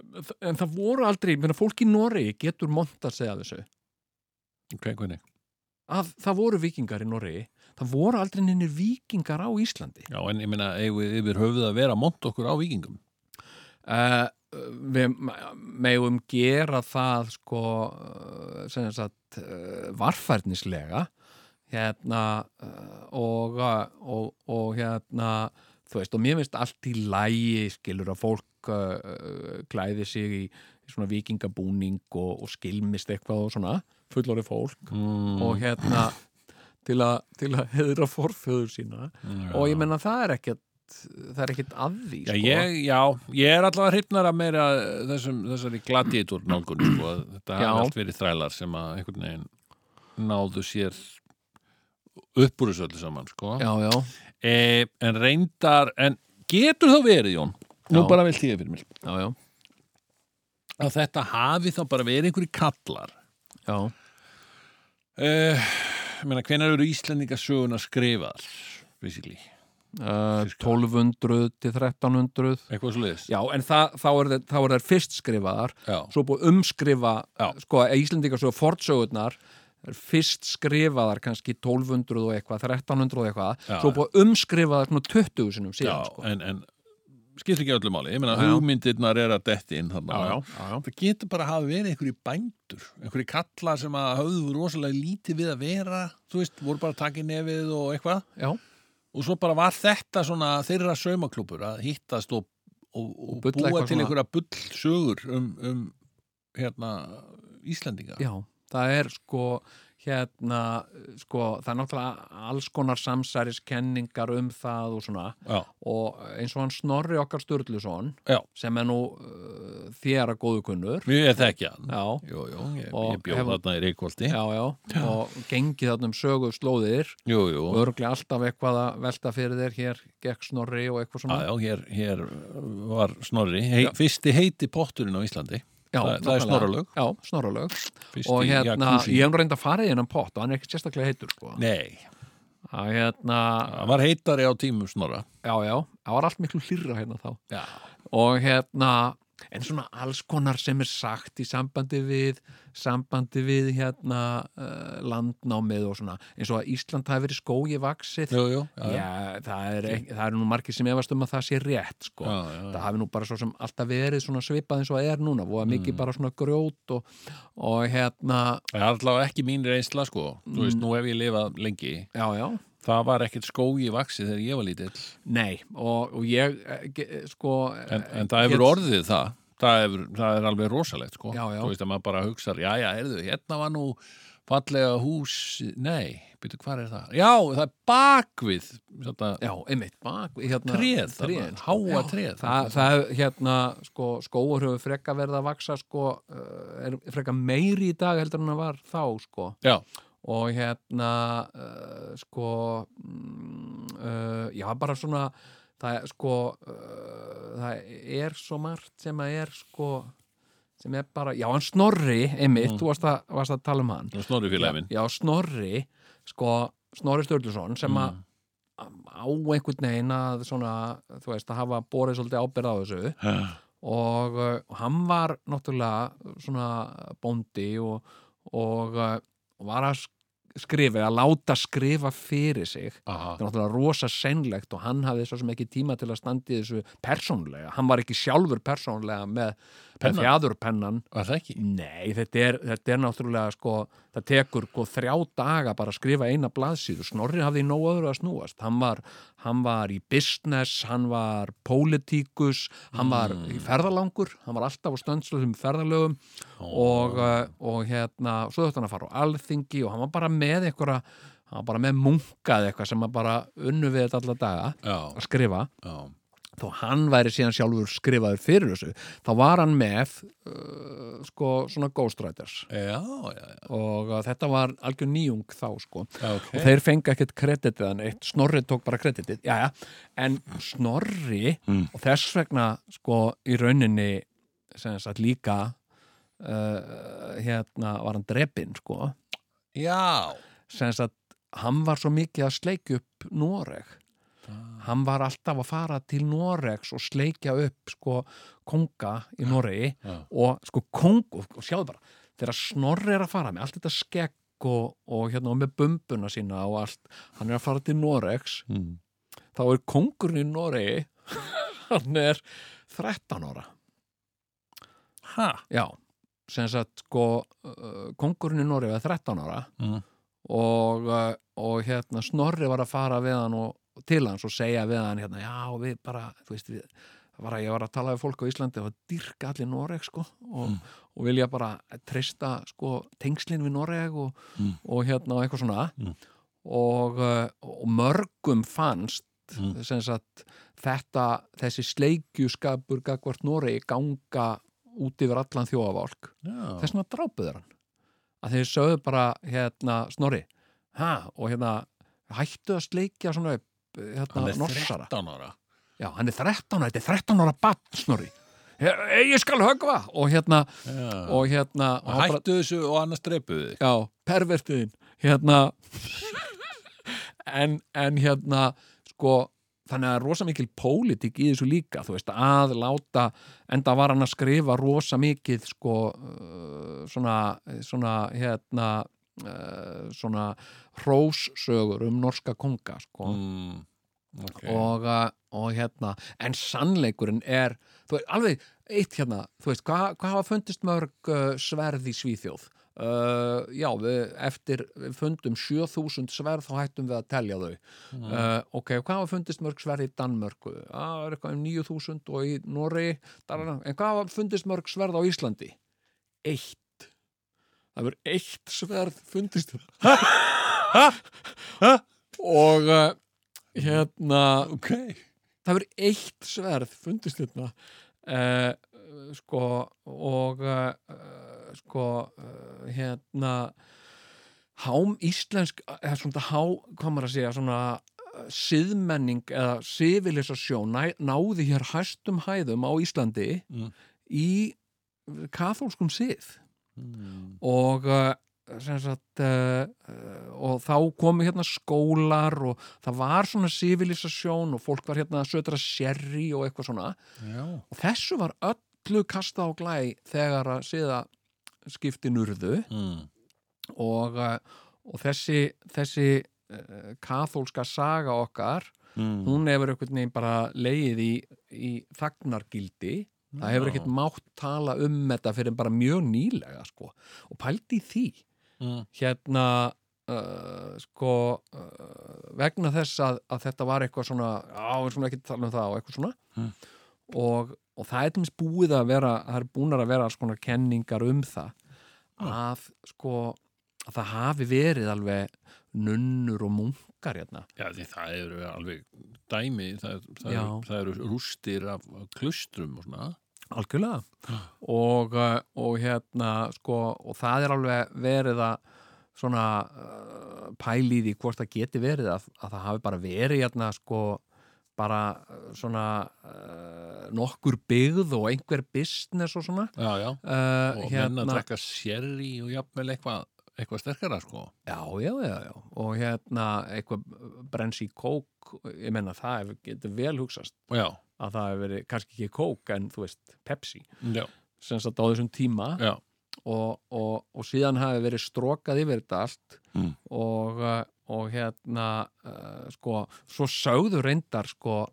en það voru aldrei menna, fólk í Noregi getur monta sig að þessu Ok, hvernig? að það voru vikingar í Noregi það voru aldrei nynni vikingar á Íslandi Já, en ég meina, eigum við yfir höfuð að vera að monta okkur á vikingum uh, við me- megum gera það sko uh, sem sagt uh, varfærnislega hérna uh, og, uh, og, og hérna þú veist og mér finnst allt í lægi skilur að fólk uh, uh, klæði sig í, í svona vikingabúning og, og skilmist eitthvað og svona fullorði fólk mm, og hérna til að, til að heðra forföður sína já. og ég menna það er ekkert það er ekkert að því Já, sko. ég, já, ég er allavega hrifnar að meira þessum, þessari gladiðtúr nálgun sko, að þetta Já. hafa allt verið þrælar sem að einhvern veginn náðu sér uppur þessu öllu saman sko. já, já e, en reyndar en getur þá verið Jón nú Já. bara vel tíða fyrir mér já, já, að þetta hafi þá bara verið einhverju kallar já. eh, ég meina, hvenær eru Íslendinga söguna skrifaðar basically, Uh, Fiskar. 1200 til 1300 eitthvað svo leiðis já, en það, þá er þær- þá er þær fyrst skrifaðar Já. svo búið að umskrifa Já. sko, Íslendingar svo fortsögurnar þær fyrst skrifaðar kannski 1200 og eitthvað, 1300 og eitthvað Já, svo búið að umskrifa þær svona 20 sinum Já, síðan sko. en, en skiptir ekki öllu máli ég meina, Já, já. hugmyndirnar er að detti inn þarna já, já. Það getur bara að hafa verið einhverju bændur, einhverju kallar sem að höfðu rosalega lítið við að vera, þú veist, voru bara að taka í nefið og eitthvað. já. Og svo bara var þetta svona þeirra saumaklúpur að hittast og, og, og bulla búa til eitthvað svona. einhverja bullsögur um, um hérna, Íslendinga. Já, það er sko hérna, sko, það er náttúrulega alls konar samsæriskenningar um það og svona já, og eins og hann Snorri okkar Sturluson já, sem er nú uh, þér að góðu kunnur ég þekki hann já, Jú, jú, ég, Og ég bjóð hefur- þarna í Reykjóldi já, já, og gengið þarna um sögu slóðir Jú, jú, og örglega alltaf eitthvað að velta fyrir þér hér gekk Snorri og eitthvað já, svona já, hér, hér var Snorri hei, Fyrsti heiti potturinn á Íslandi Já, það- það er nákvæmlega. Snorralög. Já, snorralög Fyrsti og hérna, jacuzzi. ég hef nú reynda að fara í hennan pott og hann er ekki sérstaklega heitur sko. Nei, að hérna, hann var heitari á tímum Snorra já, já, það var allt miklu hlýrra hérna þá Já, og hérna, en svona alls konar sem er sagt í sambandi við sambandi við hérna uh, landnámið og svona eins og að Ísland hafi verið skói vaksið jú, jú, já, já, Já, það er, ekki- það er nú margir sem efast um að það sé rétt sko. já, já, það hafi nú bara svo sem alltaf verið svona svipað eins og það er núna, voða mikið Mm. bara svona grjót og, og hérna Það er allavega ekki mín reynsla sko Þú veist, nú hef ég lifað lengi já, já, Það var ekkert skói vaksið þegar ég var lítill nei og, og ég, eh, ge- eh, sko En, en það hefur orðið það Það, hefur, það er alveg rosalegt sko Já, já. Þú veist að maður bara hugsar, já, já, heyrðu, hérna var nú fallega hús Nei, byrju, hvað er það? Já, það er bakvið þetta, já, einmitt, bak, hérna Tréð þarna, trén, sko. háa Já, tréð. það, það, er, hérna, sko, skóur hefur freka verið að vaksa, sko eh, er freka meiri í dag heldur en það var þá, sko Já, og hérna uh, sko mm, uh, já bara svona það er sko uh, það er svo margt sem að er sko sem er bara, já hann Snorri einmitt, þú varst að, varst að tala um hann það snorri félagi minn já Snorri sko Snorri Sturluson sem að á einhvern veginn að svona, þú veist, að hafa borið svolítið ábyrð á þessu og uh, hann var náttúrulega svona bóndi og, og uh, var að sk- skrifa, að láta skrifa fyrir sig Aha, það er náttúrulega rosa sennlegt og hann hafði svo sem ekki tíma til að standa í þessu persónlega, hann var ekki sjálfur persónlega með, með Pennan? fjadurpennan var það ekki? Nei, þetta er, þetta er náttúrulega sko, það tekur sko, þrjá daga bara að skrifa eina blaðsíðu, Snorri hafði í nóg öðru að snúast, hann var, hann var í business, hann var pólitíkus, hann var í ferðalangur, hann var alltaf á stöndsluðum ferðalögum og, eh, og hérna, svo þetta hann að fara á alþingi og hann var bara með einhverja, hann var bara með munkað eitthvað sem að bara unnu við þetta alla daga Já, að skrifa já, þó hann væri síðan sjálfur skrifaður fyrir þessu, þá var hann með uh, sko svona ghostwriters já, já, já, og uh, þetta var algjör nýjung þá sko ok og þeir fengi ekkert kreditið hann eitt, Snorri tók bara kreditið, jæja, en Snorri og þess vegna sko í rauninni sem sagt líka uh, hérna var hann drepinn sko, Já, sem sagt hann var svo mikið að sleikja upp Noreg hann var alltaf að fara til Noregs og sleikja upp sko konga í Noregi já. og sko kong og, og sjáðu bara, þegar Snorri er að fara með allt þetta skegg og, og hérna og með bumbuna sína og allt hann er að fara til Noregs Mm. þá er kongurinn í Noregi hann er 13 ára Ha, já, sem sagt sko uh, kongurinn í Noregi er 13 ára mm. og, uh, og hérna Snorri var að fara við hann og og til hans og segja við hann hérna, já við bara, þú veist við það var að ég var að tala við fólk á Íslandi og dyrka allir Noreg sko og, Mm. og vilja bara treysta sko tengslin við Noreg og, Mm. og hérna og eitthvað svona Mm. og, uh, og mörgum fannst Mm. sem sagt þetta, þessi sleikjuskapur gagvart Noreg ganga út yfir allan þjóðaválk já. þess vegna drápuður hann að þeir sögðu bara hérna snorri ha, og hérna hættu að sleikja svona upp, Hann hérna er norsara 13 ára já, hann er 13, ára, þetta er 13 ára bann snorri He, ég skal högva og hérna, Já. og hérna og hann bara- Hættu þessu og annars dreipuðu þig. já, pervertiðin hérna en, en hérna sko, þannig að rosa mikil pólitík í þessu líka, þú veist, að láta enda var hann að skrifa rosa mikið sko uh, svona, svona hérna uh, svona hróssögur um norska konga sko Mm. Okay. og, uh, og hérna en sannleikurinn er þú veist, alveg eitt hérna þú veist, hvað hva hafa fundist mörg uh, sverð í Svíþjóð? Uh, já, við eftir við fundum 7000 sverð þá hættum við að telja þau uh, ok, hvað hafa fundist mörg sverð í Danmörku? Já, það er eitthvað um 9000 og í Noregi, darana. en hvað hafa fundist mörg sverð á Íslandi? Eitt það verður eitt sverð fundist og uh, hérna Ok. það verður eitt sverð fundist hérna uh, sko og uh, sko uh, hérna hám íslensk eða svona há, hvað maður að segja svona eh, siðmenning eða sivilisasjón næ, náði hér hæstum hæðum á Íslandi Mm. í kathólskum sið og uh, sem sagt uh, uh, og þá komu hérna skólar og það var svona sivilisasjón og fólk var hérna að sötra sherry og eitthvað svona Já. og þessu var öllu kasta á glæ þegar að siða skiptin urðu Mm. og, uh, og þessi, þessi uh, kathólska saga okkar Mm. hún hefur einhvern veginn bara leið í, í þagnargildi það hefur ekkert mátt tala um þetta fyrir bara mjög nýlega sko. og pældi í því Mm. hérna uh, sko uh, vegna þess að, að þetta var eitthvað svona á, við svona ekki tala um það og eitthvað svona Mm. og, og það er til dæmis búið að vera það er búnar að vera alls konar kenningar um það Já. að sko að það hafi verið alveg nunnur og munkar hérna Já, því það eru alveg dæmi, það, það, Já. eru, það eru rústir af af klaustrum og svona. Algjörlega og, uh, og hérna sko og það er alveg verið að svona uh, pæli í því hvort það geti verið að, að það hafi bara verið hérna sko bara uh, svona uh, nokkur byggð og einhver business og svona Já, já. uh, Og menn að drekka sérri og jafnvel eitthvað eitthvað sterkara, sko. já, já, já, já og hérna eitthvað brenns í kók ég menna það hefur- getur vel hugsast Já, að það hefur verið kannski ekki kók en þú veist Pepsi já, sem satt á þessum tíma já. og, og, og síðan hafi verið strokað yfir þetta allt Mm. og, uh, og hérna uh, sko, svo sögðu reyndar sko,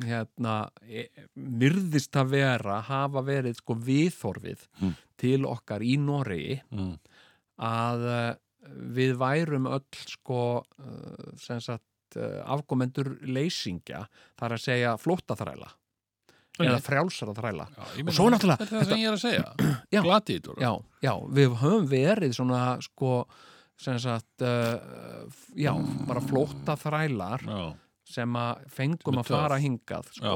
hérna e- virðist að vera hafa verið sko viðþorfið Mm. til okkar í Noregi Mm. að uh, við værum öll sko uh, sem sagt uh, afkomendur leysingja þar að segja flóttaþræla eða frjálsara þræla Já, ég meina, svo náttúrulega- Þetta er það sem ég er að segja. Já. Glatið, já, já, við höfum verið svona sko sem sagt uh, f- já, bara flótta þrælar Já, sem að Sem fengum er að fara töff. hingað sko.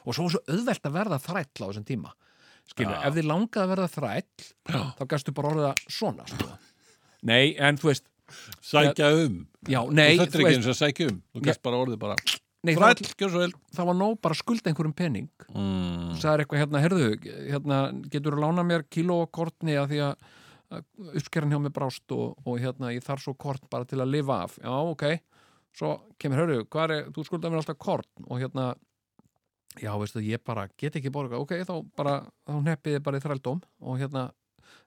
og svo var svo auðvelt að verða þræll á þessum tíma skilur, Já. ef þið langaði að verða þræll já. þá gæstu bara orða svona sko. nei, en þú veist Sækja um. já, nei, þetta er þú ekki veist, eins og að sækja um. Þú gæst bara orðið bara, nei það, þræll, gjör svo vel. það var nóg bara að skulda einhverjum pening Mm. sagði eitthvað hérna, herðu, hérna, getur þú lána mér kíló og kortni að því að að uppskeran hjá mér brást og, og hérna, ég þarf svo kort bara til að lifa af. Já, ok. Svo kemur, herðu, hvað er, þú skuldar mér alltaf kortn og hérna, já, veistu, ég bara get ekki borga, ok, þá bara, þá neppiði bara í þrældóm og hérna,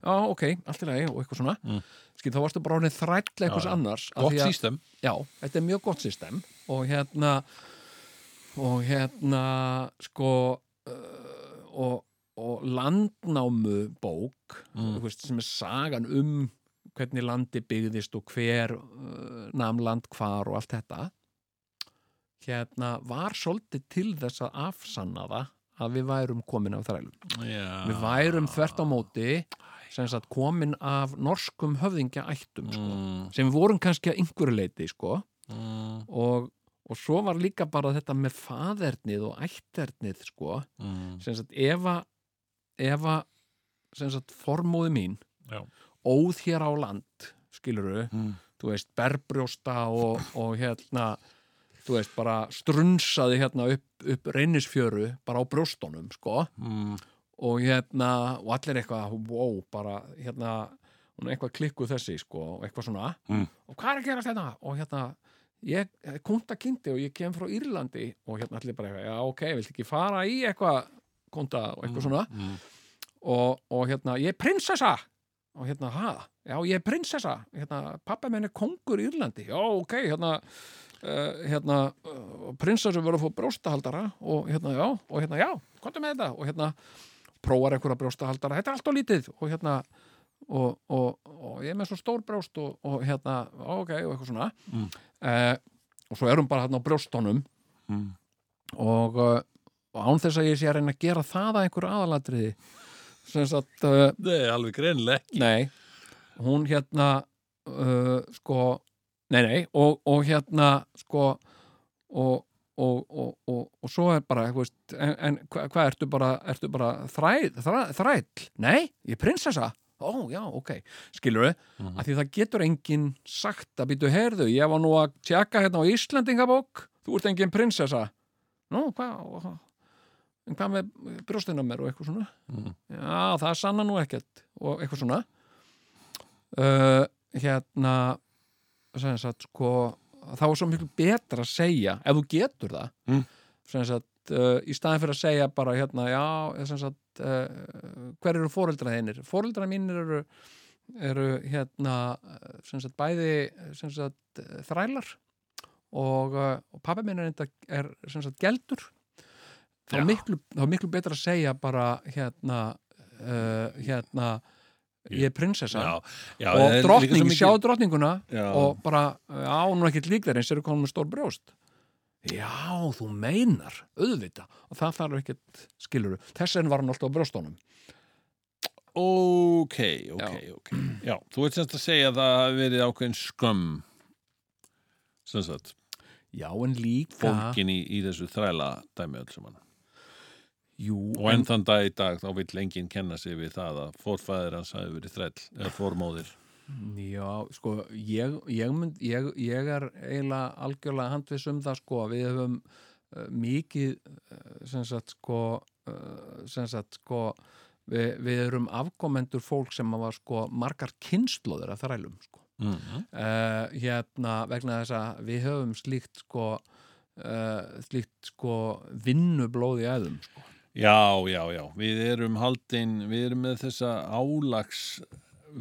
já, ok, allt í lagi og eitthvað svona. Mm. Skil, þá varstu bara orðin þræll eitthvað Já, já. annars. af því Gott að- sístem. Já, þetta er mjög gott system og hérna og hérna sko uh, og, og landnámu bók Mm. veist, sem er sagan um hvernig landi byggðist og hver uh, nam land hvar og allt þetta hérna var svolítið til þess að afsanna það að við værum komin af þrælum Ah. við værum þvert á móti sem sagt komin af norskum höfðingja ættum sko Mm. sem við vorum kannski að einhverju leiti sko. Mm. og, og svo var líka bara þetta með faðernið og ætternið sko. Mm. sem sagt ef að ef að sem sagt formóði mín Já. óð hér á land skiluru, Mm. þú veist berbrjósta og, og hérna þú veist bara strunsaði hérna upp, upp reynisfjöru bara á brjóstunum sko Mm. og hérna, og allir eitthvað wow, bara hérna hún er eitthvað klikkuð þessi, sko, og eitthvað svona Mm. og hvað er að gera þetta? og hérna, ég, konta kynnti og ég kem frá Írlandi og hérna allir bara eitthvað, já ok, viltu ekki fara í eitthvað konta og eitthvað svona Mm. og, og hérna, ég er prinsessa og hérna, ha, já, ég er prinsessa hérna, pappa minn er kongur í Írlandi já, ok, hérna Uh, hérna, uh, prinsessu verður að fá brjóstahaldara og hérna, já, og hérna, já komdu með þetta, og hérna prófar einhverja brjóstahaldara, þetta er allt og lítið og hérna, og, og, og ég er með svo stór brjóst og, og hérna ok, og eitthvað svona Mm. uh, og svo erum bara hérna á brjóstónum Mm. og, uh, og án þess að ég sé að reyna að gera það að einhverju aðalatriði sem sagt, uh, Nei, alveg greinlega. nei hún hérna uh, sko, nei nei og, og hérna sko og, og, og, og, og svo er bara, þú veist, en, en hva- hvað ertu bara, ertu bara þræð, þræð, þræll? Nei, ég er prinsessa Ó, já, ok, skilur við Mhm. að því það getur enginn sagt að býtu heyrðu, ég var nú að tjekka hérna á Íslandingabók, þú ert enginn prinsessa Nú, hvað en hvað með brjóstina mér og eitthvað svona Mhm. já, það sanna nú ekkert og eitthvað svona uh, hérna sem sagt, sko þá er svo miklu betra að segja ef þú getur það Mm. sem sagt, uh, í staðin fyrir að segja bara hérna, já, sem sagt uh, hver eru fóreldra þeinir? Fóreldra mínir eru, eru hérna, eh, sem sagt, bæði sem sagt, eh, þrælar og, eh, og pappi minn er, enda- er sem sagt, geldur Já. þá er miklu, þá er miklu betra að segja bara hérna uh, hérna ég er prinsessa já, já, það er og líka svo drottning, mikið- sjá drottninguna Já. og bara, já, hún er ekkert líklar eins eru konum með stór brjóst já, þú meinar, auðvita og það þarf ekkert skiluru þess vegna var hann alltaf á brjóstónum ok, ok, ok já, þú ert semst að segja að það hafi verið ákveðin skömm sem sagt, já, en líka fólkin í, í þessu þræla dæmi öll saman jú, og enn þann dag í dag þá vill enginn kenna sig við það að fórfæðir hans hafi verið þræll eða fórmóðir Já, sko, ég, ég, mynd, ég, ég er eiginlega algjörlega handviss um það, sko, að við höfum uh, mikið, uh, sem sagt, sko, uh, sem sagt, sko, við, við erum afkomendur fólk sem var, sko, margar kynnslóður af þrælum, sko. mm Uh, hérna, vegna þess að við höfum slíkt, sko, uh, slíkt, sko, vinnublóð í æðum, sko. Já, já, já, við erum haldin, við erum með þessa álags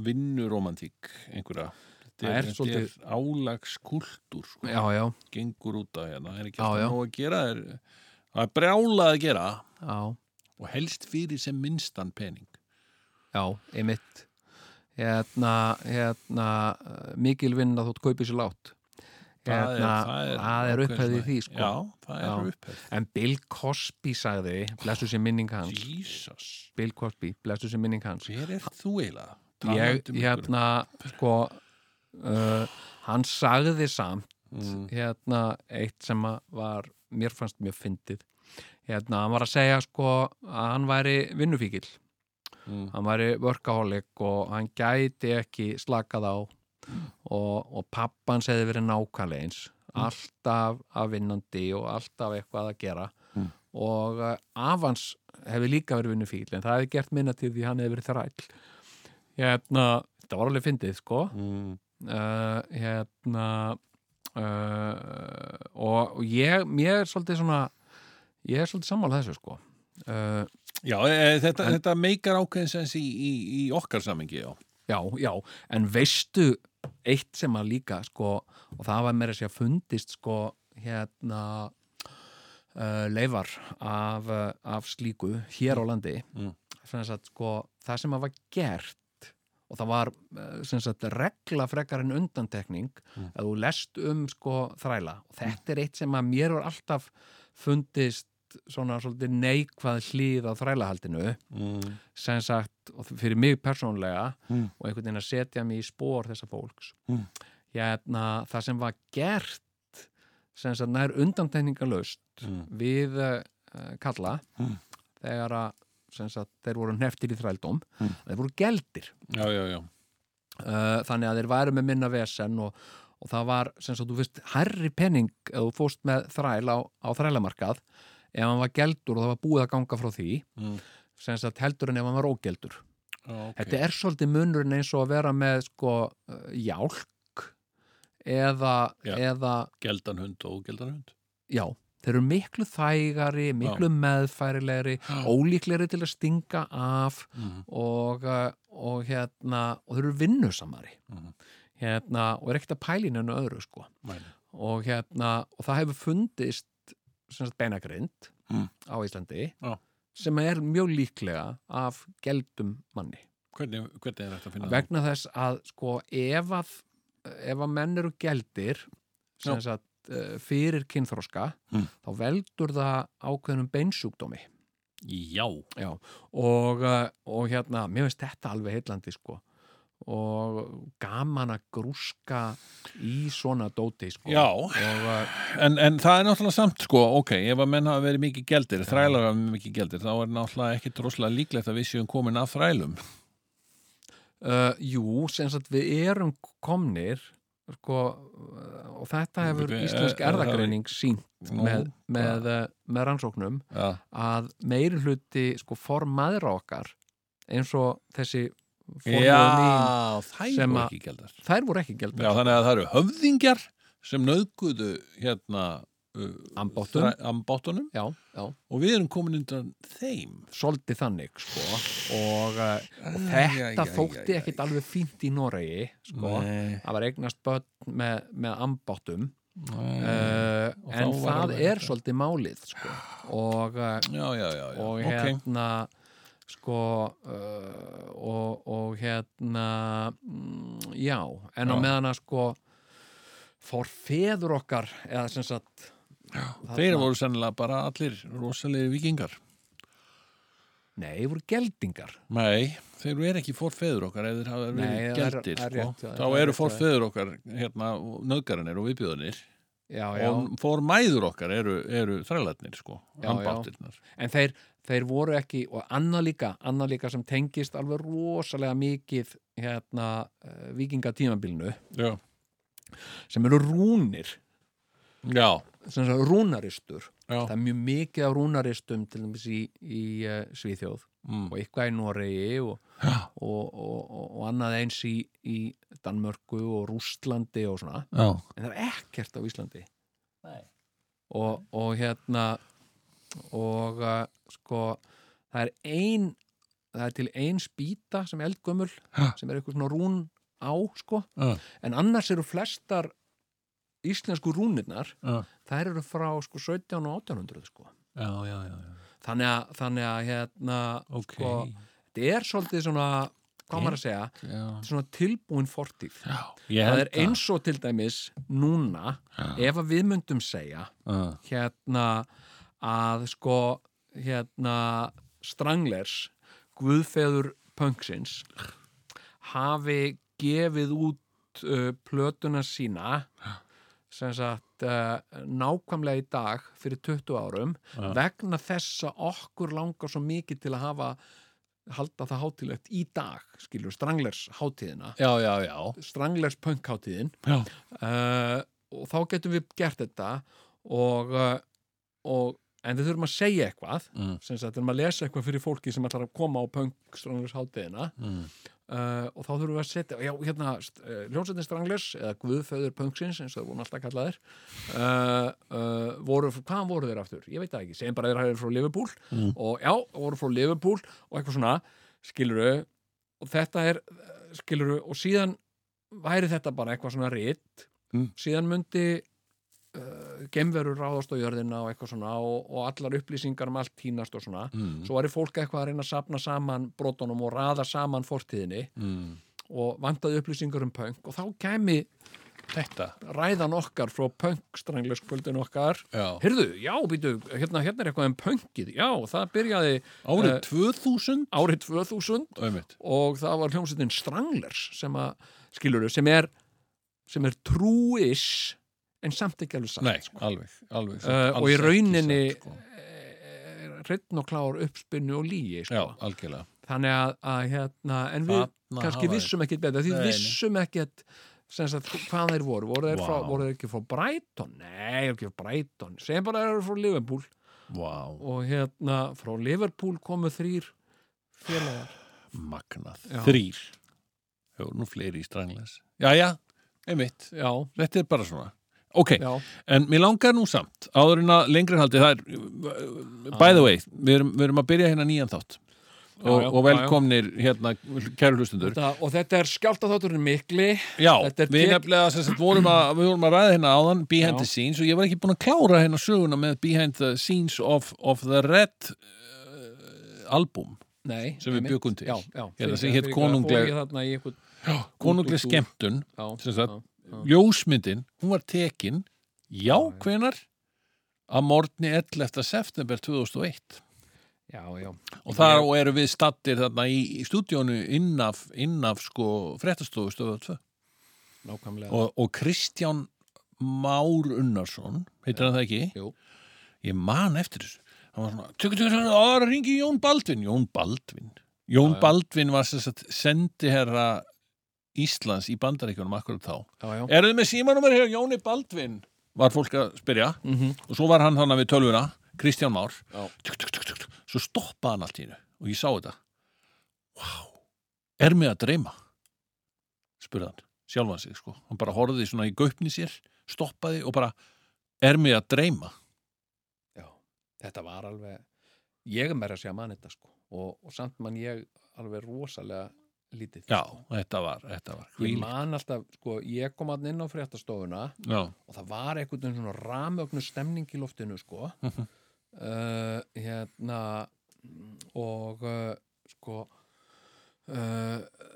vinnuromantík einhverja. Þetta Það er þetta svolítið- er álagskultúr, sko, Já, já, gengur út af hérna, það er ekki Já, já. alltaf nóg að gera, það er- það er brjálað að gera já. og helst fyrir sem minnstan pening. Já, einmitt hérna, hérna eh, mikil vinna þótt kaupið sér látt Það er- hérna, það er það er ákveðin upphæði svona- því sko. Já, það er Já. upphæð. en Bill Cosby sagði blessu sér minning hans Jesus, Bill Cosby, blessu sér minning hans hver er þú eiginlega? ég, Talandi um ykkur. hérna, sko uh, hann sagði samt Mm. hérna, eitt sem að var mér fannst mjög fyndið hérna, hann var að segja sko að hann væri vinnufíkil Mm. hann væri workaholic og hann gæti ekki slakað á og, og pappan segði verið nákvæmlega eins alltaf að vinnandi og alltaf eitthvað að gera Mm. og eh, af hans hefði líka verið vinnufíl en það hefði gert minna til því hann hefði verið þræll hérna, þetta var alveg fyndið sko Mm. uh, hérna uh, og, og ég mér er svolítið svona ég er svolítið sammála þessu sko uh, Já, e, e, þetta, En- þetta meikar ákveðinsens í, í, í okkar samengi, já. Já, já, en veistu eitt sem að líka, sko, og það var meira að segja fundist, sko, hérna uh, leifar af, uh, af slíku hér á landi Mm. sem sagt, sko, það sem að var gert og það var eh, sem sagt, regla frekar en undantekning Mm. að þú lest um sko, þræla og þetta er eitt sem að mér var alltaf fundist svona svolítið neikvað hlýð á þrælahaldinu Mm. sem sagt, og fyrir mig persónlega Mm. og einhvern veginn að setja mig í spór þessa fólks Mm. hérna, það sem var gert sem sagt, nær undantekningalöst Mm. við uh, kalla Mm. þegar að sem sagt, þeir voru neftir í þrældóm Mm. þeir voru geldir Já, já, já. uh, þannig að þeir væru með minna vesen og, og það var, sem sagt, þú veist herri penning ef þú fóst með þræl á, á þrælamarkað ef hann var geldur og það var búið að ganga frá því Mm. sem sagt heldur en ef hann var ógeldur Já, ok. Þetta er svolítið munurinn eins og að vera með sko uh, jálk eða, Já. eða geldan hund og ógeldan hund já, þeir eru miklu þægari, miklu meðfærilegri, ólíklegri til að stinga af mm. og, uh, og hérna og þeir eru vinnusamari Mhm. hérna, og er ekkert að pælinu en öðru sko Mæli. og hérna og það hefur fundist sem sagt, beinagrind Mm. á Íslandi Já. sem er mjög líklega af geldum manni hvernig, hvernig er þetta að finna vegna þess að sko ef að, ef að menn eru geldir sem Já. sagt, eh, fyrir kynþróska Mm. þá veldur það ákveðnum beinsjúkdómi það? já, Já, og, eh, og hérna, mér finnst þetta alveg heillandi sko og gaman að grúska í svona dóti sko. Já. og uh, En, en það er náttúrulega samt sko, ok, ef að menn hafa verið mikið gældir, þrælar hafa verið mikið gældir, þá er náttúrulega ekki droslega líklegt að við séum komin að þrælum. Uh, jú, sem sagt við erum komnir sko, uh, og þetta hefur Bíddu, íslensk er- er það- erðagreining sínt eh, Nú, með, með, uh, með rannsóknum Já, að meiri hluti sko formaðra okkar eins og þessi formöður mín, Já þær sem voru að- ekki gældar. þær voru ekki gældar Já, þannig að það eru höfðingjar sem nöðguðu hérna uh, ambóttum, þræ- ambáttunum já, já, og við erum komin undan þeim. soldi þannig sko og, uh, og Æ, þetta æ, æ, æ, æ. þótti ekkit alveg fínt í Noregi sko, Nei, það var eignast börn með, með ambóttum nei. uh, Mm. Og en þá var það alveg er þetta. svolítið málið sko. og, uh, já, já, já, já. og ok. hérna sko uh, og, og hérna mm, já, en á Já. meðan að sko forfeður okkar eða sem sagt þarna- Þeir voru sennilega bara allir rosalegir vikingar. nei, voru geldingar Nei, þeir eru ekki forfeður okkar ef þeir hafa Nei, verið það er- gældir það er sko. rétt, þá já, það er eru rétt, forfeður okkar hérna, nöðgarinir og viðbjöðunir já, já. og formæður okkar eru, eru þrælarnir sko, Já, já. ambáttirnar en þeir, þeir voru ekki og annað líka, annað líka sem tengist alveg rosalega mikið hérna uh, vikingatímabilinu já. sem eru rúnir já, sem sagt, rúnaristur já, það er mjög mikið af rúnaristum til dæmis í, í uh, Svíþjóð mm. og eitthvað í Noregi og, Já. og, og, og, og annað eins í, í Danmörku og Rústlandi og svona já. en það er ekkert á Íslandi Nei. og, og hérna og uh, sko það er ein það er til ein spýta sem er eldgömmul Ha. sem er eitthvað svona rún á sko Já. en annars eru flestar íslensku rúnirnar Já. þær eru frá sko 17 og 1800 sko já, já, já, já. þannig að, þannig að hérna ok sko, þetta er svolítið svona hvað maður að segja, já. svona tilbúin fortíð Já. Ég það held er eins og til dæmis núna Já. ef að við myndum segja Já. hérna að sko hérna Stranglers Guðfeður Punksins hafi gefið út uh, plötuna sína sem sagt uh, nákvæmlega í dag fyrir 20 árum Já. vegna þess að okkur langar svo mikið til að hafa halda það hátilegt í dag, skilur Stranglers hátíðina, já, já, já Stranglers punk hátíðin Já. uh, og þá getum við gert þetta og, uh, og en við þurfum að segja eitthvað Mm. sem sagt, þurfum að lesa eitthvað fyrir fólki sem ætlar að koma á pöngstranglersháttiðina Mm. uh, og þá þurfum við að setja já, hérna, uh, ljónsveitin stranglers eða guðföður pöngsins, eins og það voru alltaf kallaðir uh, uh, voru, hvaðan voru þeir aftur? Ég veit það ekki, segjum bara að þeir hafi frá Liverpool Mm. og já, voru frá Liverpool og eitthvað svona, skiluru og þetta er, skiluru og síðan væri þetta bara eitthvað svona ritt, Mm. síðan myndi uh, gemverur ráðast á jörðina og eitthvað svona og, og allar upplýsingar um allt tínast og svona Mm. svo væri fólk eitthvað að reyna að sapna saman brotunum og raða saman fortíðinni Mm. og vantaði upplýsingar um punk og þá kemi Þetta ræðan okkar frá punk-stranglöskvöldin okkar já. Heyrðu, já, býtu, hérna, hérna er eitthvað um punkið Já, það byrjaði Árið Eh, 2000 árið 2000 Einmitt. og það var hljómsveitin Stranglers sem að, skilurðu, sem er sem er trúis en samt ekki alveg satt sko. Nei, alveg, alveg satt, Eh, alls og í ekki rauninni- eh, satt, sko. hreitn og klár uppspinnu og líi Já, sko. algjörlega þannig að, að hérna, en við Þarna kannski hafa þeir- vissum ekkit betur því Nei, nei. vissum ekkit sem sagt, hvað þeir voru, voru þeir, frá, Vá. voru þeir ekki frá Brighton nei, ekki frá Brighton segjum bara að þeir eru frá Liverpool Vá, og hérna, frá Liverpool komu þrýr félagar magnað, Já. þrýr Jó, nú fleiri í strangles Jæja, einmitt, já, þetta er bara svona Ok, já, en mér langar nú samt áður en að lengri haldi, það er by the way, við erum, við erum að byrja hérna nýjan þátt Ah. Já, og, já, og já, já. velkomnir hérna, kæru hlustundur þetta, og þetta er skjáltaþátturinn mikli Já, Þetta er við tek- nefnilega sem sagt, vorum að, við vorum að ræða hérna áðan Behind Já. the Scenes og ég var ekki búin að klára hérna söguna með Behind the Scenes of, of the Red uh, album nei, Sem við einmitt. bjöggum til. já, já, Hérna, sem Fyrir- hét fyrir- konungleg- fór ég þarna í einhvern- Konungleg Dú, dú, dú. skemmtun já, Sem sagt, já, ljósmyndin, hún var tekin já, Já, já. hvenar að morgni 11. september 2001 já, já Og þar og eru við stattir þarna í, í stúdíónu innaf, innaf sko fréttastofu stöðu 2 nákvæmlega og, og Kristján Már Unnarsson, heitir hann það ekki? Jú. Ég man eftir þessu. Hann var svona, tökur, tökur, tökur, að ringi Jón Baldvin. Jón Baldvin. Jón Já, já. Baldvin var sem sagt sendiherra Íslands í bandaríkjunum akkurat þá. já, já. Eruðu með símanúmer hér, Jóni Baldvin? Var fólk að spyrja. Mm Og svo var hann þannig við tölvuna, Kristján Már. Já. Tuk, tuk, tuk, tuk, tuk. Svo stoppaði hann allt í hennu og ég sá þetta. Vá, er mig að dreyma? Spurði hann, sjálfan sig sko. Hann bara horfði svona í gaupni sér, stoppaði og bara, er mig að dreyma? já, þetta var alveg ég er meira að segja mann þetta sko og, og samt mann ég alveg rosalega lítið Já, þetta var, þetta var. Ég hvílík- man alltaf, sko, ég kom hann inn á fréttastofuna Já, og það var einhvern veginn svona ramögnu stemning í loftinu, sko. uh, hérna, og, uh, sko, uh,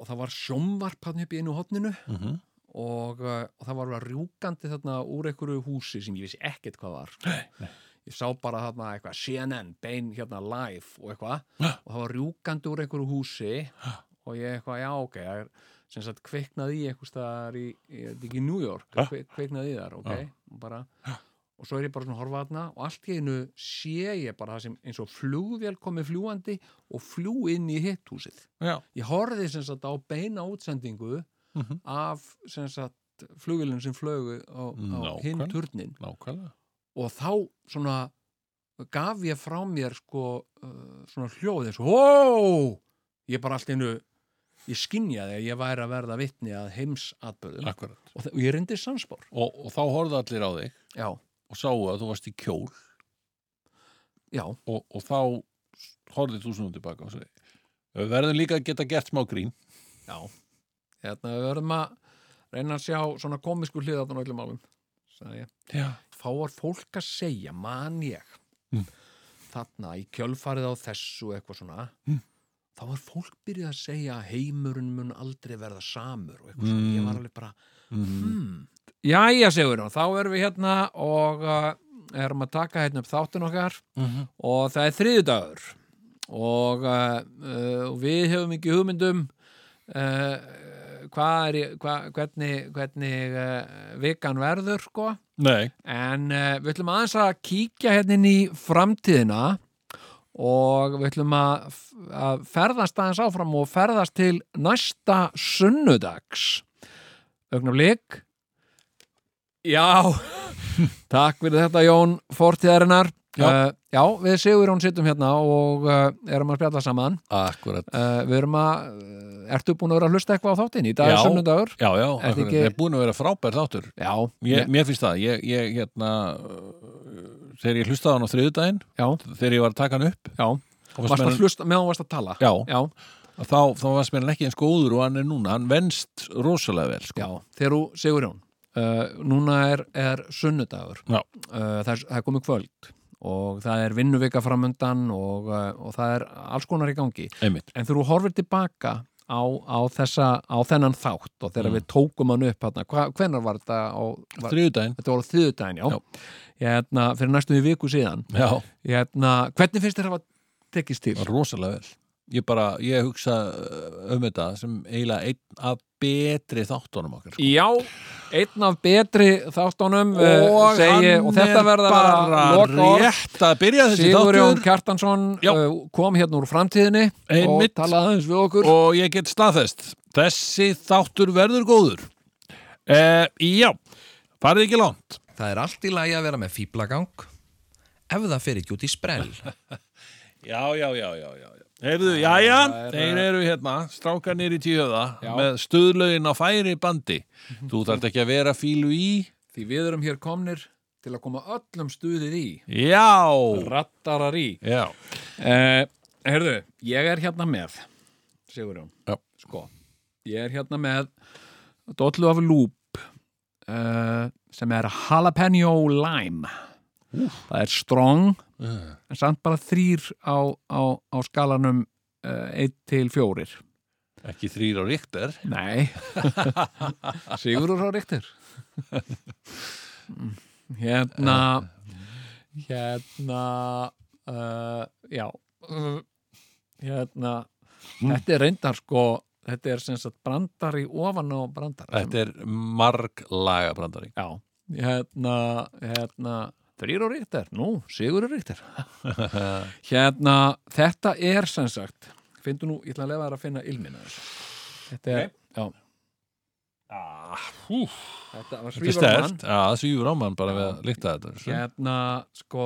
og það var sjómvarp hann upp í einu hotninu mm og, uh, og það var bara rjúkandi þarna úr einhverju húsi sem ég vissi ekkert hvað var sko. ég sá bara þarna eitthvað CNN, bein hérna live og eitthvað Ha. og það var rjúkandi úr einhverju húsi og ég eitthvað, já ok það er sem sagt kveiknaði í einhvers staðar í, í, þetta er ekki í New York Ha. kve, kveiknaði í þar, ok Já. og, bara, og svo er ég bara svona að horfa þarna og allt í einu sé ég bara það sem eins og flugvél komi fljúandi og fljú inn í hitt húsið já. ég horfði sem sagt á beina útsendingu Mhm. af sem sagt flugvélum sem flögu á, á Nákvæm. hinn turnin Nákvæmlega. og þá svona gaf ég frá mér sko uh, svona hljóð eins og ó ég bara allt í einu ég skinjaði að ég væri að verða vitni að heimsatbörðum Akkurat. og, þa- og ég reyndi sannspor Og, og þá horfði allir á þig já, og sáu að þú varst í kjól já, og, og þá horfðið þú svona tilbaka og sagði, við verðum líka að geta gert smá grín. já hérna við verðum að reyna að sjá svona komisku hliða á öllum álum sagði ég Já. þá var fólk að segja, man ég Mm. þarna í kjölfarið á þessu eitthvað svona Mm. þá var fólk byrjað að segja að heimurinn mun aldrei verða samur og eitthvað svona, ég Mm. var alveg bara Mm. hmm. Jæja, segur hún, þá erum við hérna og uh, erum að taka hérna upp þáttin okkar Mm. og það er þriðudagur og uh, uh, og við hefum ekki hugmyndum uh, hvað er, í- hvað, hvernig, hvernig uh, vikan verður sko Nei. En uh, við ætlum aðeins að kíkja hérna inn í framtíðina og við ætlum að, f- að ferðast aðeins áfram og ferðast til næsta sunnudags. Ögnablik. Já, takk fyrir þetta Jón Fortíðarinnar. Eh, Já. já, við Sigur Jón sittum hérna og uh, erum að spjalla saman. Akkurat. Uh, við erum að, uh, ertu búin að vera að hlusta eitthvað á þáttinn í dag Já. er sunnudagur? Já, já, Er þið akkurat. ekki- Það er búin að vera frábær þáttur. Já, Ég, Mér finnst það, ég, ég hérna, uh, þegar ég hlustaði á hann á þriðudaginn, já, þegar ég var að taka hann upp, já. þá fannst Varst mér að hann- hlusta meðan þú varst að tala? Já, Já, þá, þá varst mér hann ekki eins góður og hann er núna, hann venst rosalega vel, sko. Já, þegar þú segur hún uh, Núna er, er sunnudagur Já. uh, það, er, það er komið kvöld og það er vinnuvika framundan og, uh, og það er alls konar í gangi Einmitt. en þegar þú horfir tilbaka á, á, þessa, á þennan þátt og þegar Mm. við tókum hann upp hana, hva, hvenar var þetta á, var, Þriðudaginn, þetta var á þriðudaginn, já, Já. Hérna, fyrir næstu í viku síðan já, hérna, hvernig finnst þér að hafa tekist til? var rosalega vel. Ég bara, ég hugsa uh, um þetta sem eiginlega einn af betri þáttunum okkar, sko. Já, einn af betri þáttunum uh, Og segi, hann og þetta er verða að vera bara lokaorð. rétt að byrja þessi Sigur Jón þáttur Kjartansson Já. uh, kom hérna úr framtíðinni Einmitt. og talaði aðeins við okkur og ég get staðfest þessi þáttur verður góður eh, já farið ekki langt Það er allt í lagi að vera með fýblagang ef það fer ekki út í sprell. já, já, já, já, já. heyrðu, já, já, þeir eru hérna strákanir í tíuða Já. með stuðlaugin á færi bandi þú þarft ekki að vera fílu í því við erum hér komnir til að koma öllum stuðið í já, rattarar í já, uh, Herðu, ég er hérna með Sigur Jón Já. sko, ég er hérna með Dollu af Loop uh, sem er Jalapeno Lime það er strong en samt bara þrýr á, á, á skalanum uh, 1 til 4 ekki þrýr á ríkter Nei Sigurður á Ríktir Hérna Hérna uh, já uh, hérna þetta er reyndar sko þetta er sem sagt brandari ofan á brandari Þetta er marglaga brandari já, hérna, hérna þrýr og ríktar, nú, sigur og ríktar hérna þetta er sem sagt finndu nú, ég ætla að lefa þær að finna ilmina þetta er, já ah, hú, þetta var Þetta er svífur á mann stert, það svífur á mann bara við að líkta þetta þessu. hérna, sko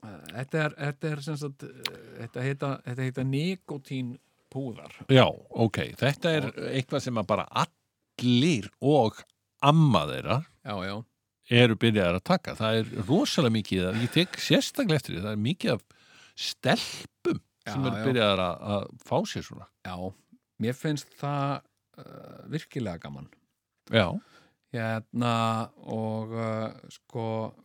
eh, þetta er, þetta er sem sagt eh, þetta heita, þetta heita nikotín púðar Já, ok, þetta er eitthvað sem að bara allir og amma þeirra já, já eru byrjaðar að taka það er rosalega mikið, af- ég tek sérstaklega eftir því, það er mikið af stelpum sem Já, eru já. byrjaðar að, að fá sér svona Já, mér finnst það uh, virkilega gaman Já, hérna og uh, sko,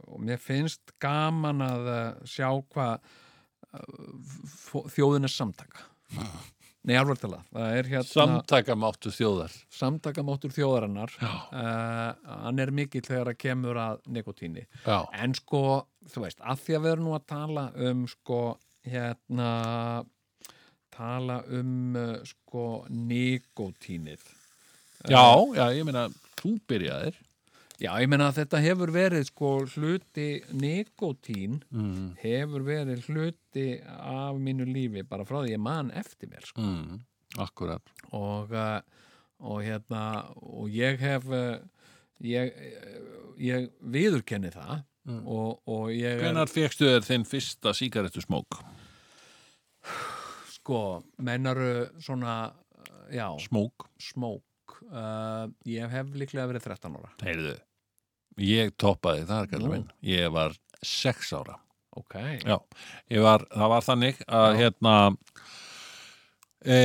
og mér finnst gaman að uh, sjá hvað eh, uh, þjóðinni samtaka Nei, alveg tala, það er hérna samtakamáttu þjóðar samtakamáttur þjóðarinnar uh, Já, hann er mikill þegar að kemur að nikotíni já, en sko, þú veist, að því að við erum nú að tala um sko, hérna tala um uh, sko nikotínið já, já ég meina þú byrjaðir já, ég meina að þetta hefur verið sko hluti nikotín mm. hefur verið hluti af mínu lífi bara frá því ég man eftir mér sko. Mm. Akkurat og, uh, og hérna og ég hef uh, ég, eh, ég viðurkenni það Mm. og, og ég er- Hvenær fegstu þér þinn fyrsta sígarettu smók? sko, mennaru svona, uh, já, Smók? smók uh, ég hef líklega verið 13 ára Heyrðu, ég toppaði þar, Nú. kallar minn Ég var sex ára ok, Já, ég var, það var þannig að Já. hérna e,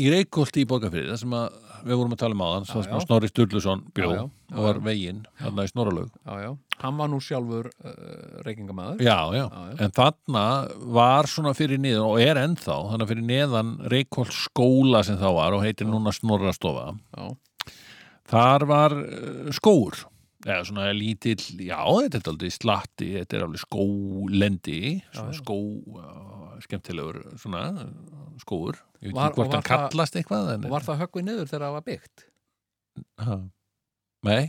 í Reykjólti í Borgarfyrði það sem að við vorum að tala um áðan Já, það sem að já. Snorri Sturluson bjó Já, já, já, og var já. veginn, þarna í Snorralaug já, já hann var nú sjálfur uh, reykingamæður já, já, Já, en þarna var svona fyrir niðan og er ennþá þannig að fyrir neðan Reykjólt skóla sem þá var og heitir núna Snorrastofa já, þar var eh, skóur eða svona lítill, já, þetta er aldrei slatti, þetta er alveg skólendi svona Já, já. skó eh, skemmtilegur, svona eh, skóur, ég veit ekki Var- og hvort hann var það- kallast eitthvað en, og var það höggvið niður þegar það var byggt Ha. nei,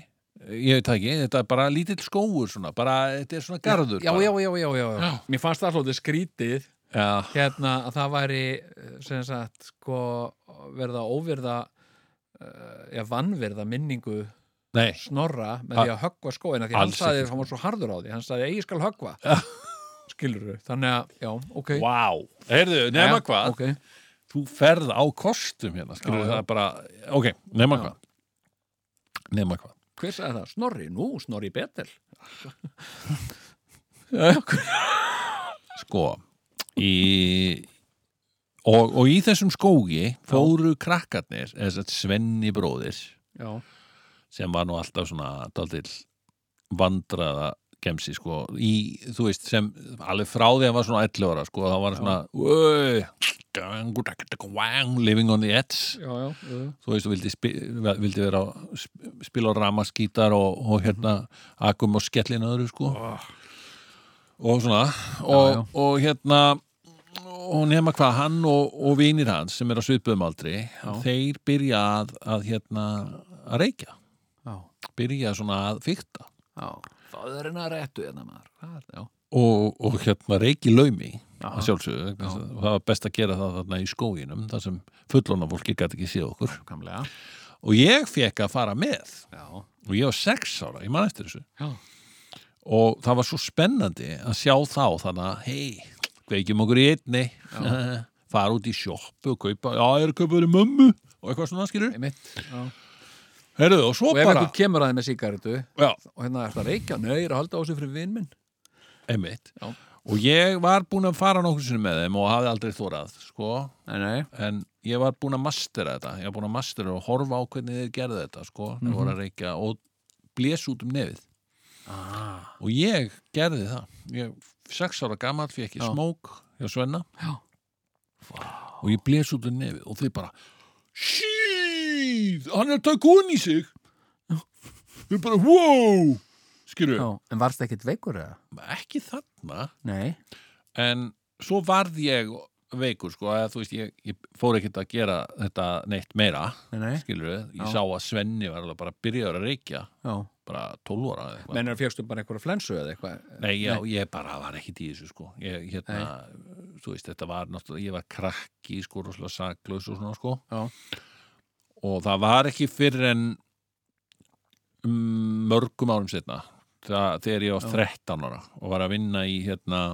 ég veit það ekki þetta er bara lítill skóur svona bara, þetta er svona garður já, já, bara. já, já, já, já, Já. mér fannst það svolítið skrítið já, hérna að það væri eh, sem sagt, sko verða óvirða uh, já, vannvirða minningu nei snorra með A- því að höggva skóina því hann Alls sagði, ekki. sko. hann var svo harður á því hann sagði, "Ei, ég skal höggva skilur þannig að, já, ok Vá, heyrðu, nema Jæja, hvað ok. þú ferð á kostum hérna, skilur Já, já. það bara ok, nema Já. hvað nema hvað Hver sagði það? Snorri, nú, Snorri Betel sko í, og, og í þessum skógi fóru krakkarnir eða satt Svenni bróðir Já, sem var nú alltaf svona daldill vandraða gemsi sko í, þú veist, sem alveg frá því að hann var svona 11 ára sko, þá var hann svona "Oi, gangu, takk, takk, wang, living on the edge já, já, já, þú veist, þú vildi, spi, vildi vera á, sp- spila á ramaskítar og, og hérna akum og skellin öðru sko og svona og, Ah. já. og hérna og nema hvað hann og, og vinir hans sem er á svipuðum aldri þeir byrja að, að hérna að reykja, já, byrja svona að fykta já. Það er hennar réttu hérna maður Það er- Já, og, og hérna reyki laumi Aha. að sjálfsögðu, vegna þess að það var best að gera það þarna í skóginum, þar sem fullona fólki gæti ekki séð okkur kamlega og ég fekk að fara með Já, og ég var sex ára, ég man eftir þessu já, og það var svo spennandi að sjá þá þannig að hei, kveikjum okkur í einni fara út í sjoppu og kaupa já, ég er að kaupa þér í mömmu og eitthvað svona skilur einmitt já. Heyrðu, og svo Og ef bara einhver kemur að þeim með sígaretu já, og hérna er það reykja, nei, ég er að halda á þessu fyrir vin minn einmitt Já. og ég var búin að fara nokkur sinni með þeim og hafði aldrei þórað sko, Nei, nei, en ég var búin að mastera þetta ég var búin að mastera og horfa á hvernig þeir gerðu þetta sko, Mhm. mm voru að reykja og blés út um nefið ah, og ég gerði það ég, sex ára gamall fekk ég Já. smók hjá Svenna Já. og ég bles út um nefið og þau bara shit, hann er að taka hún í sig þau bara wow skilur, En varst ekkit veikur eða? ekki þarna Nei en svo varð ég veikur sko að þú veist ég, ég fór ekkert að gera þetta neitt meira Nei, nei. skilur við, ég Já. sá að Svenni var alveg bara byrjaður að reykja, Já. bara 12 ára eða eitthvað. Mennur fjöxtu bara einhverja flensu eða eitthvað? Nei, já, ég bara var ekki í þessu sko ég, hérna, þú veist, þetta var náttúrulega, ég var krakki sko, rosalega saklaus og svona sko Já. og það var ekki fyrir en um, mörgum árum setna það, þegar ég var 13 ára og var að vinna í hérna,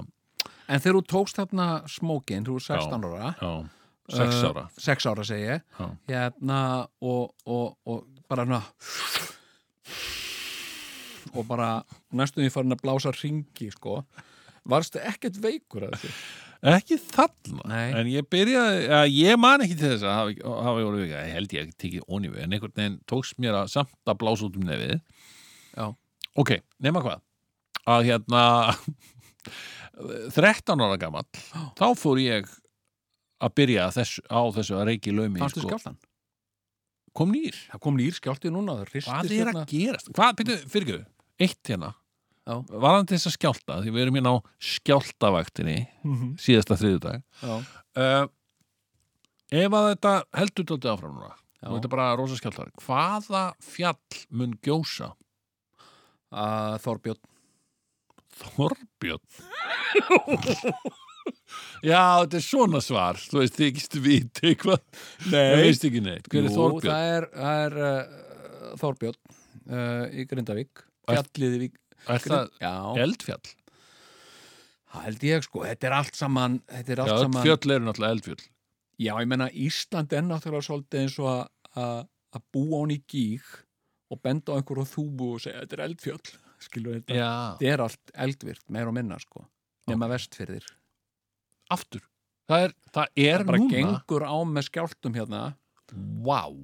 En þegar þú tókst þarna smókin, þú er 16 ára, já, 6 Eh, ára 6 ára segi ég, Já. hérna og, og, og bara svona og bara næstum því farin að blása ringi, sko. Varstu ekkert veikur að þessu? Ekki þarna, Nei. en ég byrjaði að ég man ekki til þess að hafa, hafa ég orðið vika, ég held ég ekki tekið ónýfi en einhvern veginn tókst mér að samt að blása út um nefið Já. Ok, nema hvað að hérna 13 ára gamall þá fór ég að byrja þess, á þessu að reiki laumi sko. Fannstu skjáltan? kom nýr Það kom nýr skjálti núna, það ristist Hvað er að hérna? gerast? Hvað, byrju, fyrirgjöðu, eitt hérna Já. varðandi þess að skjálta, því við erum hérna á skjáltavaktinni síðasta þriðudag Já, uh, ef að þetta heldur tótti áfram núna Já. og þetta er bara rosa skjáltar hvaða fjall mun gjósa að Ah, Þorbjörn Þorbjörn já, þetta er svona svar þú veist, þið ekki viti hvað nei, þú veist ekki neitt hver er Þorbjörn? það er, það er uh, Þorbjörn uh, í Grindavík Er- Fjallið í Vík er það Já, eldfjall? það held ég sko, þetta er allt saman Þetta er já, allt öll saman fjöll eru náttúrulega eldfjöll Já, ég menna Ísland er náttúrulega svolítið eins og að- að að búa hún í gíg og benda á einhverju þúbu og segja þetta er eldfjöll skilur þetta, já, þetta er allt eldvirkt meir og minna sko, nema vestfyrðir aftur það er, það er það bara núna gengur á með skjáltum hérna wow,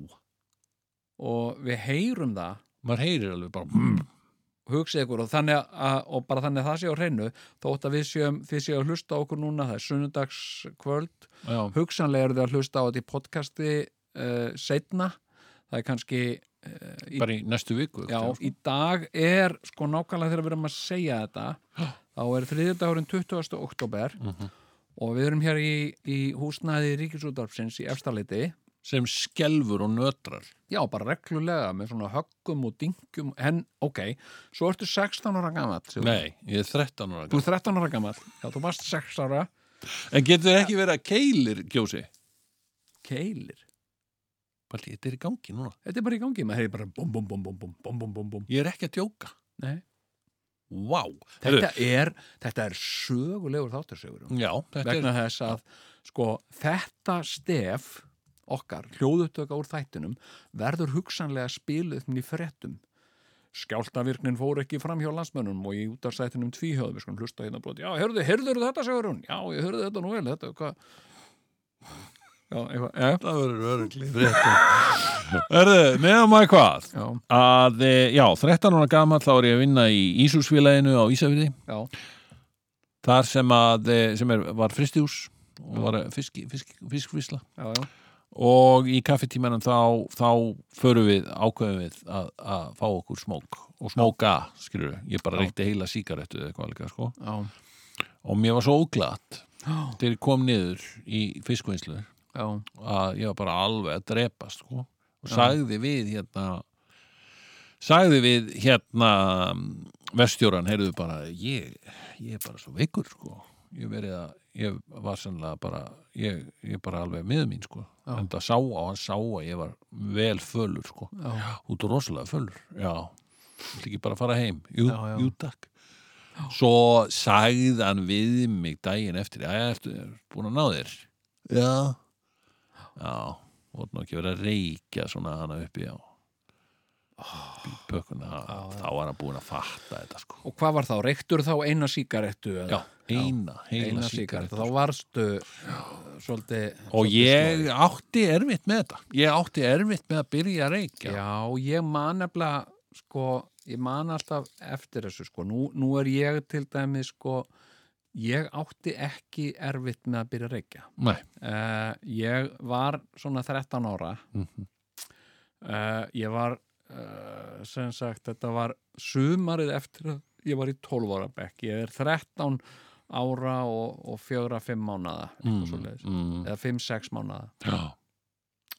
og við heyrum það maður heyrir alveg bara mm. hugsið ykkur og, þannig að, og bara þannig að það sé á hreinu þótt að við séum, þið séu að hlusta á okkur núna það er sunnudags kvöld já, hugsanlega eru þið að hlusta á þetta í podcasti uh, setna það er kannski uh, í bara í næstu viku Já, í dag er sko nákvæmlega þegar við erum að segja þetta þá er þriðjudagurinn 20. oktober og við erum hér í, í húsnaði Ríkisútarpsins í Efstaleiti sem skelfur og nötrar Já, bara reglulega með svona höggum og dingjum en ok, svo ertu 16 ára gamall Sigurður. nei, ég er 13 ára Þú er 13 ára gamall, já, þú varst 6 ára En getur ekki verið að keilir kjósi? Keilir, Palli, þetta er í gangi núna. þetta er bara í gangi maður heyri bara bum bum bum bum bum bum bum bum bum Ég er ekki að djóka. Nei, Vá. þetta er, þetta er sögulegur þáttarsögur Já, þetta vegna þess að sko, þetta stef okkar, hljóðutöka úr þættinum verður hugsanlega spiluð í fréttum skjáltavirknin fór ekki fram hjá landsmönnum og í útastættinum tvíhjóðum, við skulum hlusta hérna blóti já, hörðu, hörður þetta, segur hún já, ég hörðu þetta nú vel, þetta, hvað já, eitthvað, já, er... Það verður öruglega rétt. Erðu, nefnum að hvað? já, Að, eh, já, 13 ára gamall þá er ég að vinna í Ísúsfélaginu á Ísafirði. já, Þar sem, að, eh, sem er, var fristihús og var fisk, fisk, fiskfísla. já, já. Og í kaffetímanum þá, þá förum við, ákveðum við að, að fá okkur smók. Og smóka, skilur við. Ég bara Já. reykti heila sígarettu eða eitthvað líka, sko. já. Og mér var svo óglatt já. þegar ég kom niður í fiskvinnslu já. að ég var bara alveg að drepast sko. og sagði við hérna sagði við hérna mm, veststjóran, heyrðu bara ég, ég er bara svo veikur sko. ég verið að, ég var sannlega bara, ég, ég bara alveg miður mín sko. en það sá á, hann sá að ég var vel fölur sko. Já. út og rosalega fölur já, vill ekki bara fara heim jú, Já, já. jú takk Svo sagði hann við mig daginn eftir, já, ertu búin að ná þér? Já. Já, voru nú ekki verið að reykja svona hana uppi á pökkuna, þá var hann búin að fatta þetta sko. og hvað var þá, reyktur þá eina sígarettu eða? Já, eina, heila eina sígarettu. sígarettu, þá varstu uh, svolítið Og svolítið ég átti erfitt með þetta. Ég átti erfitt með að byrja að reykja. Já, ég man nefnilega sko, ég man alltaf eftir þessu sko, nú, nú er ég til dæmi sko, ég átti ekki erfitt með að byrja að reykja Nei, uh, ég var svona 13 ára mm Mhm. ég var uh, sem sagt, þetta var sumarið eftir að ég var í 12 ára bekk ég er 13 ára og, og fjögra, fimm mánada mm. mm, eða fimm, sex mánada já,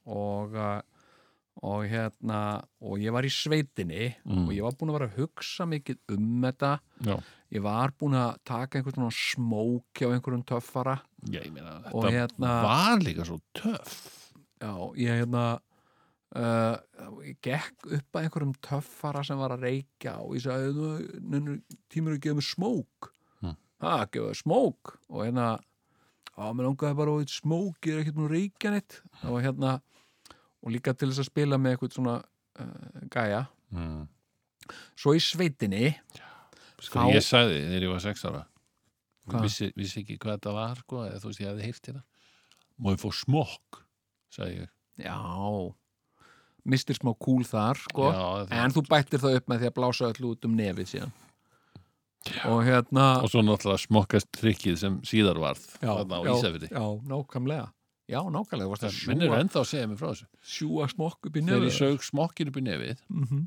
og, uh, og hérna og ég var í sveitinni Mm. og ég var búin að vera að hugsa mikið um þetta já, ég var búin að taka einhvern svona smóki á einhverjum töffara já, ég meina Og þetta hérna- var líka svo töff já, ég hérna uh, ég gekk upp að einhverjum töffara sem var að reykja og ég sagði, "Þú, nennu- tímur að gefa mér smók Mm. ha, gefa þér smók og hérna á, mér langaði bara á eitt smók ég er ekkert búin að reykja neitt og hérna, og líka til þess að spila með eitthvað svona uh, gæja mm. svo í sveitinni sko, Þá- ég sagði þegar ég var sex ára Hvað? Ég vissi, vissi ekki hvað þetta var sko, eða þú veist, ég hefði heyrt hérna má ég fó smokk, sagði ég Já Mistir smá kúl þar sko. já, En það, þú bættir það upp með því að blása öll út um nefið síðan Og hérna og svo náttúrulega smokkast trikkið sem síðar varð já, þarna á já, Ísafirði Já, nákvæmlega Já, nákvæmlega, þú varst að minn er sjúga, ennþá að segja mér frá þessu sjúga smokk upp í þegar nefið ég sög smokkinn upp í nefið Mhm.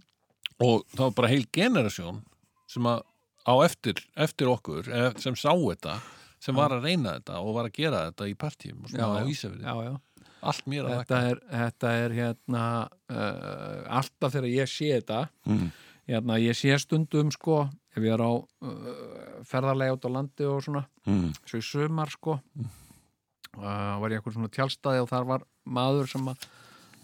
og það var bara heil generasjón sem að á eftir, eftir okkur eh, sem sá þetta sem var að reyna þetta og var að gera þetta í partíum og svona Já, á já. Ísafirði, Já, já allt mér að þetta er, þetta er hérna uh, alltaf þegar ég sé þetta Mm. hérna ég sé stundum sko ef ég er á uh, ferðarlega út á landi og svona Mm. svo í sumar sko uh, var ég eitthvað svona tjálstaði og þar var maður sem að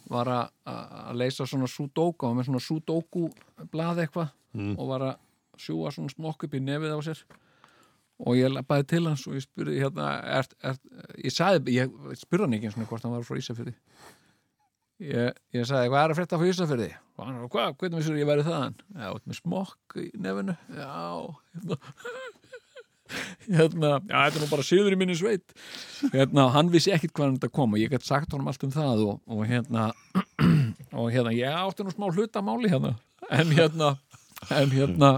var að- að að leysa svona sudoku og með svona sudoku blað eitthvað Mm. og var að sjúa svona smokk upp í nefið á sér og ég labbaði til hans og ég spurði hérna er, er, ég sagði, ég spurði hann ekki einu sinni hvort hann var frá Ísafyrði ég, ég sagði, hvað er að frétta frá Ísafyrði og hann var, hvað, hvernig vissur ég væri þaðan já, út með smokk í nefinu já, hérna hérna, já, þetta er nú bara síður í minni sveit hérna, og hann vissi ekkit hvað hann þetta kom og ég gætt sagt honum allt um það og, og hérna og hérna, ég átti nú smá hlutamáli hérna en hérna en hérna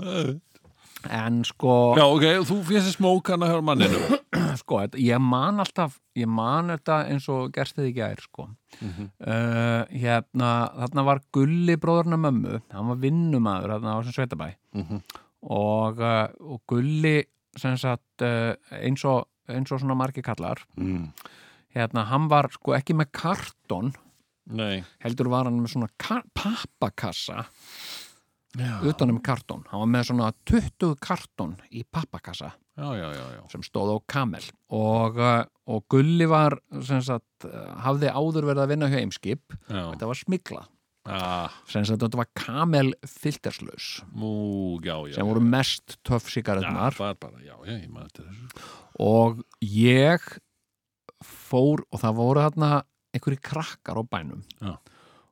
en sko, Já, ok, og þú fyrst smókana hjá manninu sko þetta- ég man alltaf, ég man þetta eins og gerst þið ekki ær sko uh, hérna, þarna var Gulli bróðurna mömmu, hann var vinnumæður þarna á þessum sveitabæ og, uh, og Gulli sem sagt uh, eins og eins og svona margi kallar mm. hérna, hann var sko ekki með kartón Nei heldur var hann með svona ka- pappakassa Já, utan um kartón, hann var með svona 20 kartón í pappakassa já, já, já, já. sem stóð á kamel og, uh, og Gulli var sem sagt, uh, hafði áður verið að vinna hjá Eimskip, já. þetta var smikla Ah, sem sagt, þetta var kamel filterslaus Mú, já, já sem voru mest töff sigaretnar Já, var bara, já, já, ég maður til þessu og ég fór og það voru þarna einhverju krakkar á bænum Já.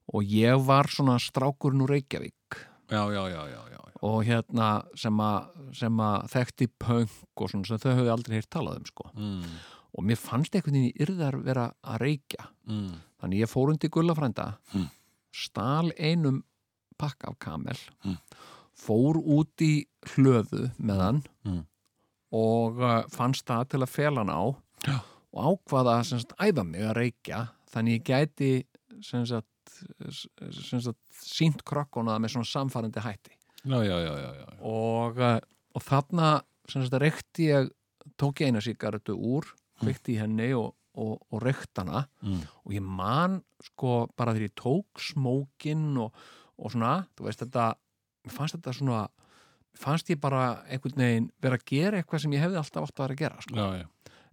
og ég var svona strákurinn úr Reykjavík Já, já, já, já, já, já. og hérna sem að, sem að þekkti punk og svona sem þau höfðu aldrei heyrt talað um sko Mm. og mér fannst einhvern veginn í yrðar vera að reykja Mm. þannig ég fór undir gullafrænda Mm. stal einum pakka af kamel Mm. fór út í hlöðu með hann Mm. og uh, fannst það til að fela hann á Já. og ákvaða að sem sagt, æfa mig að reykja þannig ég gæti sem sagt, sem sagt, sínt krokkona með svona samfærandi hætti Já, já, já, já, já. og, uh, og þarna sem sagt, reykti ég tók ég eina sigaretu úr kveikti í henni og, og, og reykt hana Mm. og ég man sko bara þegar ég tók smókin og, og svona, þú veist þetta mér fannst þetta svona mér fannst ég bara einhvern veginn vera að gera eitthvað sem ég hefði alltaf átt að vera að gera sko. Já, já.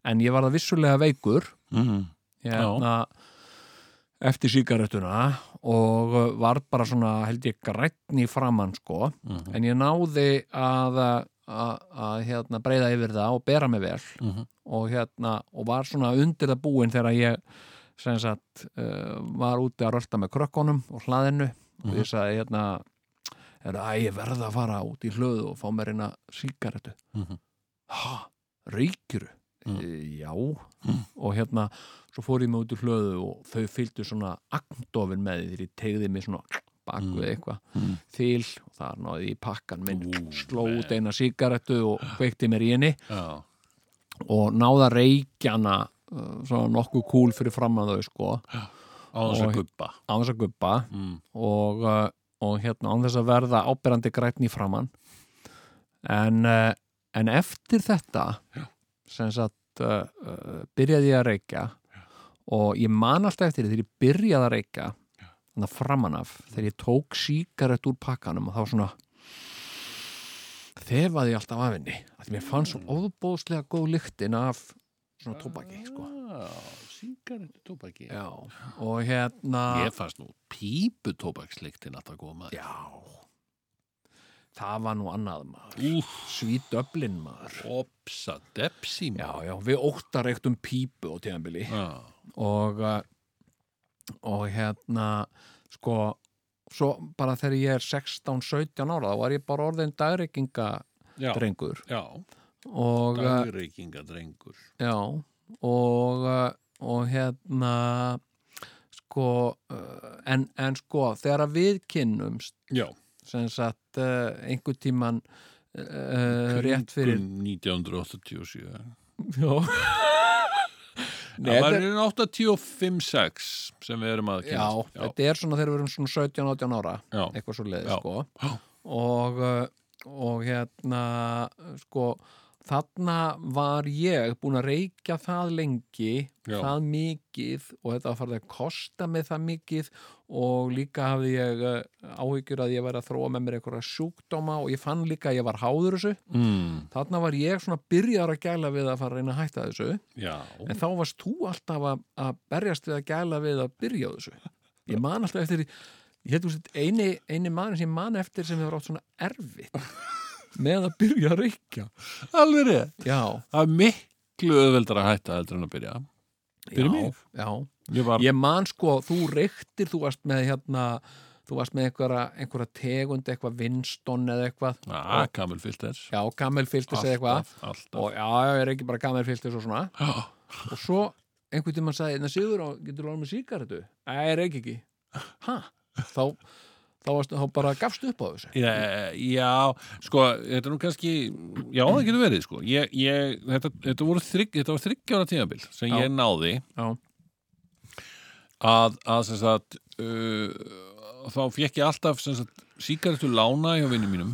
en ég var það vissulega veikur Mm. hérna, eftir sígarettuna og uh, var bara svona held ég grætn í framann sko Mm. en ég náði að að, að hérna, breyða yfir það og bera mig vel Mm. og hérna og var svona undir það búin þegar ég sem sagt uh, var úti að rölda með krökkunum og hlaðinu og Mhm. ég sagði hérna er að ég verða að fara út í hlöðu og fá mér eina sígarettu Mhm. ha, reykjuru Mm. e, já og hérna, svo fór ég mig út í hlöðu og þau fylgdu svona agndofin með því þegar ég tegði mig svona bak Mm. við eitthvað Mm. þil og þar náði ég í pakkan minn Ú, sló út nei. eina sígarettu og kveikti mér í henni Já, og náða reykjana uh, svona nokkuð kúl fyrir fram að þau sko, á þess Og- að guppa. á þess að guppa Mm. og, uh, og hérna án þess að verða áberandi grætni framann en, uh, en eftir þetta sem sagt uh, uh, byrjaði ég að reykja og ég man alltaf eftir því þegar ég byrjaði að reykja þannig að framan af þegar ég tók síkarett úr pakkanum og þá svona þefaði ég alltaf af henni að mér fannst svo óbóðslega góð lyktin af svona tóbaki sko. Já, sígarettu tóbaki Já, og hérna Ég fannst nú pípu tóbaksliktin alltaf góð maður Já Það var nú annað maður Úf, Svítöflin maður opsa, depsi Já, maður já, við óttareiktum pípu á tíðanbili Já, og uh, og hérna sko, svo bara þegar ég er 16-17 ára, þá var ég bara orðin dagreikingadrengur já, já og, uh, dagreikinga drengur já og, uh, og hérna sko uh, en, en sko, þegar að við kynnumst Já, sem sagt uh, einhver tíman uh, rétt fyrir Kringum 1987 Já. Nei, Það þetta- var 85-6 sem við erum að Já, kynast þetta er svona þegar við erum svona 17-18 ára Já. eitthvað svo leiði Já. sko Já. og, uh, og hérna sko þarna var ég búin að reykja það lengi Já. það mikið og þetta var farið að kosta mig það mikið og líka hafði ég uh, áhyggjur að ég væri að þróa með mér einhverja sjúkdóma og ég fann líka að ég var háður þessu mm, þarna var ég svona byrjar að gæla við að fara að reyna að hætta þessu já. en þá varst þú alltaf að, að berjast við að gæla við að byrja á þessu ég man alltaf eftir ég held þú sett eini, eini maður sem ég man eftir sem hefur átt svona erfitt með að byrja að reykja Alveg rétt já, Það er miklu öðveldar að hætta heldur en að byrja. Fyrir já, mig? já. Ég var, ég man sko, þú reyktir þú varst með hérna þú varst með einhverja, einhverja tegund eitthvað vinston eða eitthvað að Kamil Filter. já, gammelfiltis eða eitthvað Ah. Alltaf, alltaf. og já, já, ég reykir bara gammelfiltis og svona Já, og svo einhvern tímann sagði en það sigur á, getur lóðum með síkaretu Nei, ég reik ekki ha? þá, þá, varstu, þá bara gafstu upp á þessu Ég- já, sko, þetta er nú kannski, já, það getur verið, sko. Ég, ég, þetta, þetta, voru þrygg, þetta var þryggjára tímabil sem Já. ég náði já, að, að sem sagt, uh, þá fekk ég alltaf, sem sagt, síkaretu lána hjá vinnum mínum,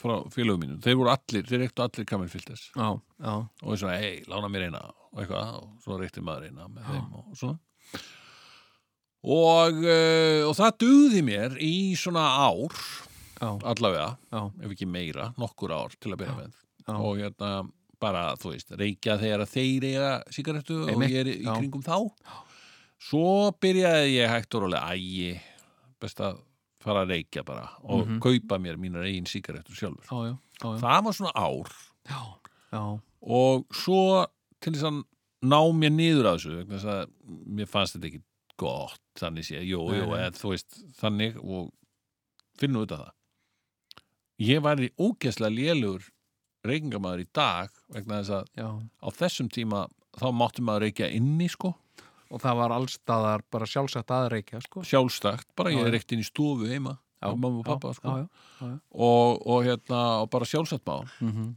frá félögum mínum. Þeir voru allir, þeir reyktu allir Kamil Filters. já, já, og ég svona, hei, lána mér eina og eitthvað, og svo reykti maður eina með þeim og svona og, eh, og það duði mér í svona ár já, allavega, já, ef ekki meira nokkur ár til að byrja með Já. og hérna, bara, þú veist, reykja þegar að þeir eiga sigarettu og Einmitt, ég er í já. kringum þá svo byrjaði ég hægt og rólega, ægi best að fara að reykja bara og kaupa mér mínar eigin sigarettur sjálfur Mhm. já, já, já, já, það var svona ár já, já. og svo til þess að ná mér niður að þessu vegna þess að mér fannst þetta ekki gott þannig sé, jú, Nei, jú, nei. eða þú veist þannig og finnum þetta það ég var í ógeðslega lélugur reykingamæður í dag vegna þess að já. á þessum tíma þá máttum maður reykja inni sko, og það var allstaðar bara sjálfsagt að reykja sko. sjálfstakt bara Já, ég já. reykti inn í stofu heima Já, og mamma og já, pappa sko já, já, Og, og hérna, og bara sjálfstætt mál Mhm.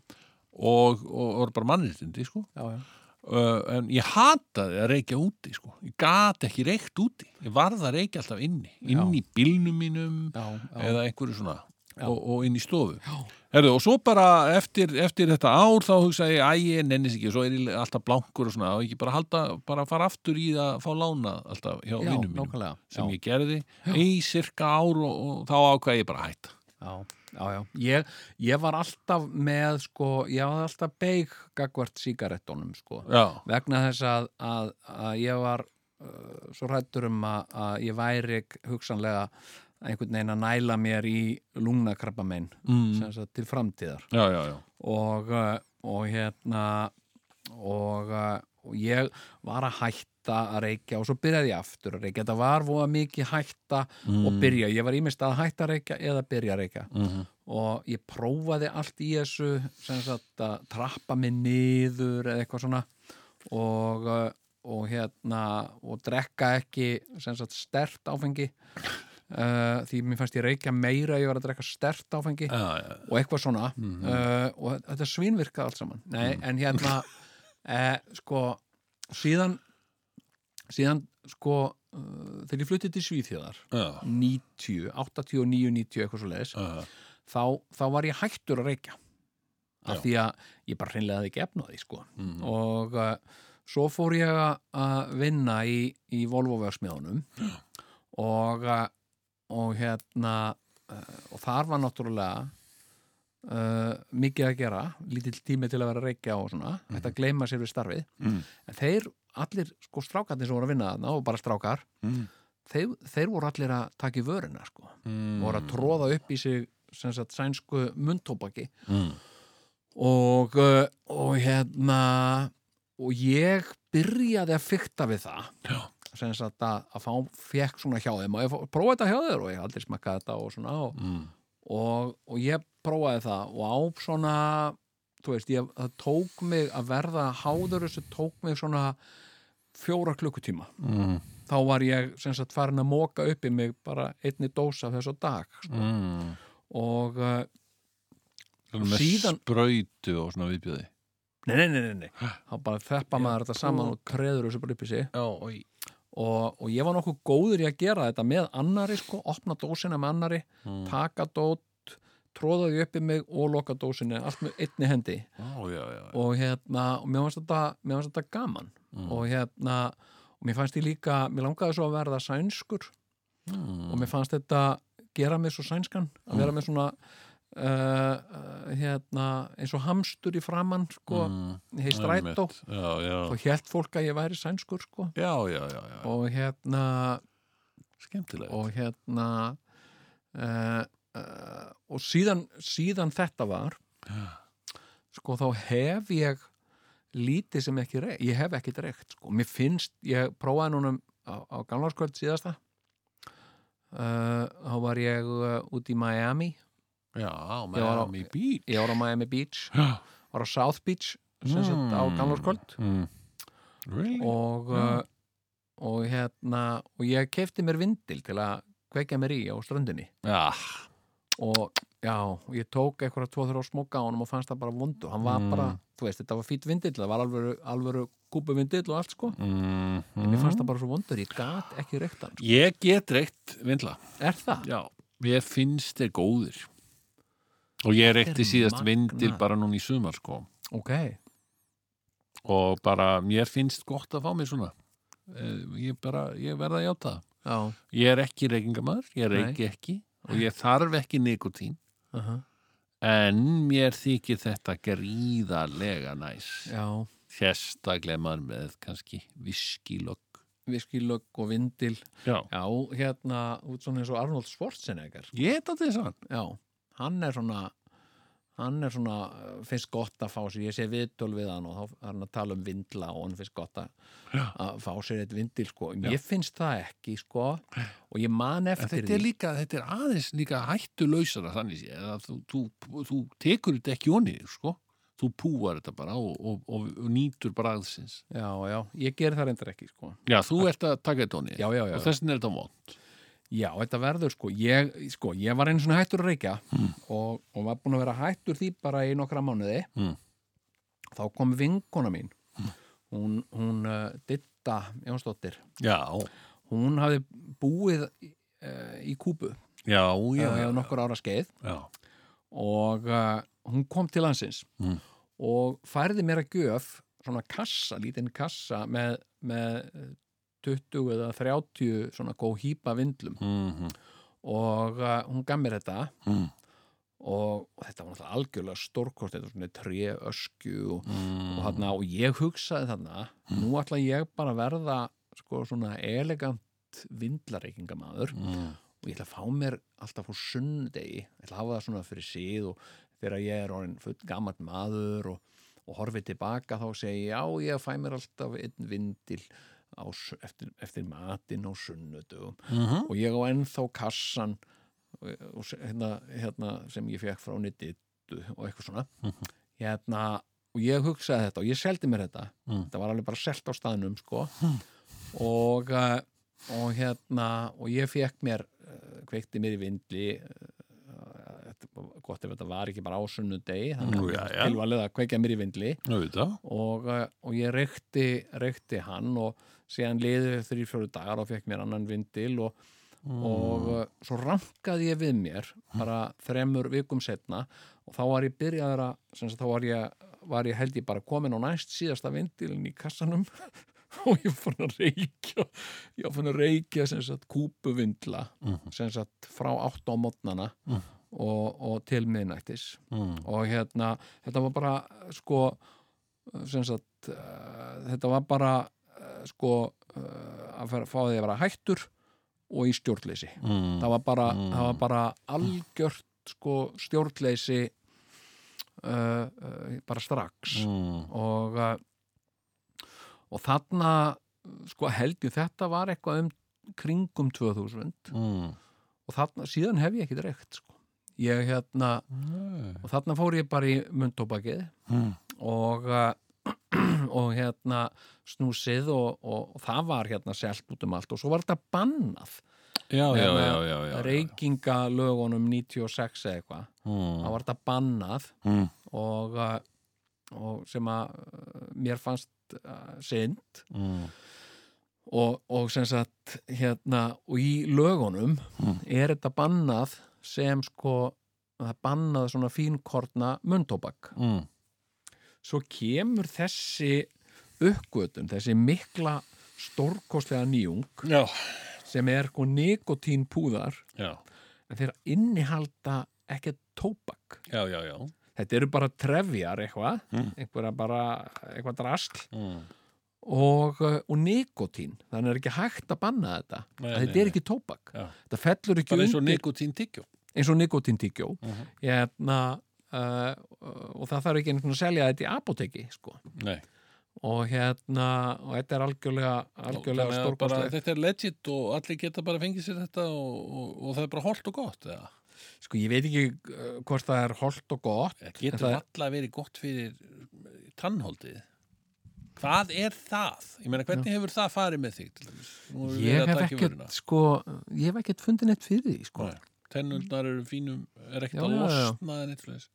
og, og, og bara mannréttindi sko já, já. uh, en ég hataði að reykja úti sko. ég gat ekki reykt úti ég varð að reykja alltaf inni inn í bílnum mínum Já, já. eða einhverju svona og, og inn í stofu Herðu, og svo bara eftir, eftir þetta ár þá hugsaði ég, æ, ég nennis ekki og svo er ég alltaf blankur og svona og ekki bara, halda, bara fara aftur í það að fá lána alltaf hjá já vinnum mínum nákvæmlega sem já, ég gerði í cirka ár og, og þá ákvað ég bara að hætta já, já, já. Ég, ég var alltaf með sko, ég var alltaf beig gagvart sígarettunum sko. já, vegna þess að, að, að ég var uh, svo hrættur um að, að ég væri hugsanlega einhvern veginn að næla mér í lungnakrabba minn mm. sagt, til framtíðar já, já, já og, uh, og hérna og, uh, og ég var að hætta að reykja og svo byrjaði ég aftur að reykja þetta var voða mikið hætta og byrja, ég var ímest að hætta að reykja eða byrja að reykja mm -hmm. og ég prófaði allt í þessu sem sagt að trappa mig niður eða eitthvað svona og, uh, og hérna og drekka ekki sem sagt stert áfengi uh, því mér fannst ég reykja meira ef ég var að drekka stert áfengi já, já, Mhm. og eitthvað svona Mm, uh, og þetta svínvirkaði allt saman Nei, en hérna eh, sko síðan síðan sko uh, þegar ég fluttið til Svíþjóðar já, 90, 89, 90 eitthvað svo leiðis já, þá, þá var ég hættur að reykja af því að ég bara hreinlega hafði ekki efnaði sko. Mhm. Mm. og uh, svo fór ég að- að vinna í, í Volvo-vegsmíðunum og, uh, og hérna uh, og þar var náttúrulega uh, mikið að gera lítill tími til að vera að reykja og svona þetta gleyma sér við starfið Mm. en þeir, allir sko strákarnir sem voru að vinna þarna og bara strákar Mm. þeir, þeir voru allir að taka í vörina sko Mm. voru að tróða upp í sig sem sagt sænsku mundtóbaki Mm. og, uh, og hérna og ég byrjaði að fykta við það Já. sem sagt að, að fá fekk svona hjá þeim og ég fó- prófaði þetta hjá þeir og ég hef aldrei smakkaði þetta og svona og, Mm. og, og ég prófaði það og á svona þú veist, ég, það tók mig að verða háður þessu tók mig svona fjóra klukkutíma Mm. þá var ég sem sagt farin að móka upp í mig bara einni dósa þess á dag sko. Mm. og uh, Svona með Síðan- sprautu og svona viðbjöði nei, nei, nei, nei, nei. þá bara þeppa maður þetta saman og treður þessu bara upp í sig Já, og í og, og ég var nokkuð góður í að gera þetta með annari sko, opna dósina með annari Mm. taka dót, tróða því upp í mig og loka dósinu, allt með einni hendi Já, já, já og hérna, og mér fannst þetta, mér fannst þetta gaman Mm. og hérna, og mér fannst ég líka mér langaði svo að verða sænskur Mm. og mér fannst þetta gera mig svo sænskan að vera með svona uh, hérna, eins og hamstur í framann sko, Mm. í strætó Einmitt. Já, já þá hélt fólk að ég væri sænskur sko. Já, já, já, já og hérna Skemmtilega og hérna uh, uh, og síðan, síðan þetta var sko þá hef ég lítið sem ekki reykt, ég hef ekki reykt sko, mér finnst, ég prófaði núna á, á gamlarskvöld síðasta uh, þá var ég uh, út í Miami Já, Ég var á- Miami Beach ég var á Miami Beach, Já. var á South Beach sem sagt á Mm. gamlarskvöld Mm. Really? og, uh, og hérna og ég kefti mér vindil til að kveikja mér í á ströndinni Já, og já, og ég tók eitthvað tvo þrjá smóka á honum og fannst það bara vondu hann var Mm. bara, þú veist, þetta var fýtt vindill það var alvöru, alvöru kúpu vindill og allt sko mm. en mér fannst það bara svo vondur, ég gat ekki reykt hann sko. Mm-hmm. Ég get reykt vindla er það? Já, ég finnst þeir góðir Og ég reykti er síðast magnað. vindil bara núna í sumar sko ok, Og bara, mér finnst gott að fá mér svona Eh, Ég bara, ég verða að játa það já Ég er ekki reykingamæður, ég Nei. reyki ekki og ég þarf ekki nikotín uh Uh-huh. en mér þykir þetta gríðarlega næs já, sérstaklega maður með kannski viskilokk viskilögg og vindil Já, já, hérna, út svona eins og Arnold Schwarzenegger ég er þetta þessan já, hann er svona hann er svona, uh, finnst gott að fá sér ég sé viðtöl við hann og þá er hann að tala um vindla og hann finnst gott að, að fá sér eitt vindil sko, ég finnst það ekki sko, og ég man eftir Þetta er því líka, þetta er aðeins líka hættu lausara þannig sé eða þú, þú, þú tekur þetta ekki onni sko, þú púar þetta bara og, og, og, og nýtur bragðsins já, já, ég ger það reyndar ekki sko Já, þú ert að taka þetta onni já, já, já, og þessin er þetta vond já, þetta verður sko ég, sko, ég var einu svona hættur að reykja Hmm. og, og var búin að vera hættur því bara í nokkra mánuði Mm. þá kom vinkona mín Hmm. hún, hún uh, Ditta Jónsdóttir Já, hún hafði búið uh, í Kúbu já, já, uh, já, nokkur ára skeið já. og uh, hún kom til landsins Mm. og færði mér að gjöf svona kassa, lítinn kassa með, með 20 eða 30 svona góð hýpa vindlum Mm -hmm. og uh, hún gaf mér þetta Mm. og, og þetta var náttúrulega algjörlega stórkost þetta var svona tré öskju og, Mm. og, þarna, og ég hugsaði þarna nú ætla ég bara að verða sko, svona elegant vindlareikingamaður Mm. og ég ætla að fá mér alltaf á sunnudegi ég ætla að hafa það svona fyrir síð og þegar ég er orðin full gammalt maður og, og horfið tilbaka þá segi ég já ég fæ mér alltaf einn vindil á, su- eftir, eftir matinn á sunnudegum Mhm. og ég á ennþá kassan og, og se- hérna, hérna sem ég fekk frá nýttitu og eitthvað svona hérna og ég hugsaði þetta og ég seldi mér þetta Mm. þetta var alveg bara selt á staðnum sko Hm. og, eh, og hérna og ég fekk mér eh, kveikti mér í vindli eh, þetta var gott ef þetta var ekki bara á sunnudegi Nú, þannig já, að já. tilvalið að kveikja mér í vindli Auðvitað. og, eh, og ég reykti, reykti hann og síðan liðið þrjir fjóru dagar og fekk mér annan vindil og, og eh, svo rankaði ég við mér bara þremur vikum setna og þá var ég byrjaður að sem sagt, þá var ég, var ég held ég bara komin á næst síðasta vindilin í kassanum og ég var fann að reykja ég var fann að reykja sem sagt kúpuvindla Mhm, sem sagt frá 8 á mótnana og, og til miðnættis Mm. og hérna, þetta var bara sko sem sagt, uh, þetta var bara uh, sko uh, að fara- fá því að vera hættur og í stjórnleysi Mm. það, var bara, Mm. það var bara algjört sko stjórnleysi uh, uh, bara strax Mm. og uh, og þarna sko held ég þetta var eitthvað um kringum 2000 Mm. og þarna, síðan hef ég ekki dreikt sko. ég hérna og þarna fór ég bara í mundtóbakið Mm. og uh, og hérna snúsið og, og, og það var hérna selt út um allt og svo var þetta bannað Já, já, Hérna, já, já, já. reykingalögunum 96 eða eitthvað Mm. það var þetta bannað Mm. og, uh, og sem að uh, mér fannst uh, synd Mm. og, og sem sagt hérna, og í lögunum Mm. er þetta bannað sem sko það er bannað svona fínkortna mundtóbak Mm. svo kemur þessi uppgötum, þessi mikla stórkostlega nýjung Já, sem er sko nikotínpúðar já, en þeir innihalda ekki tóbak já, já, já. þetta eru bara trefjar eitthvað Mm. einhverja bara, eitthvað drasl Mm. og, uh, og nikotín þannig er ekki hægt að banna þetta Nei, þetta nei, er nei. ekki tóbak Já. þetta fellur ekki Bara eins og undir nikotín tyggjó. eins og nikotintygjó Mhm. hérna, uh, og það þarf ekki einhvern veginn að selja þetta í apoteki sko. Nei. og hérna og þetta er algjörlega, algjörlega Þannig að bara, stórkostlegt þetta er legit og allir geta bara fengið sér þetta og, og, og það er bara holdt og gott eða? sko ég veit ekki uh, hvort það er holdt og gott Það En getur það- alltaf verið gott fyrir eh, tannholdið Hvað er það? Ég meina, hvernig hefur það farið með þig? til dæmis? Nú erum við ég að hef taka í ekkert vörina. sko, ég hef ekkert fundið neitt fyrir því sko. Nei. Tennurnar eru fínum, er ekkert Já, að já, já. losna en eitt fyrir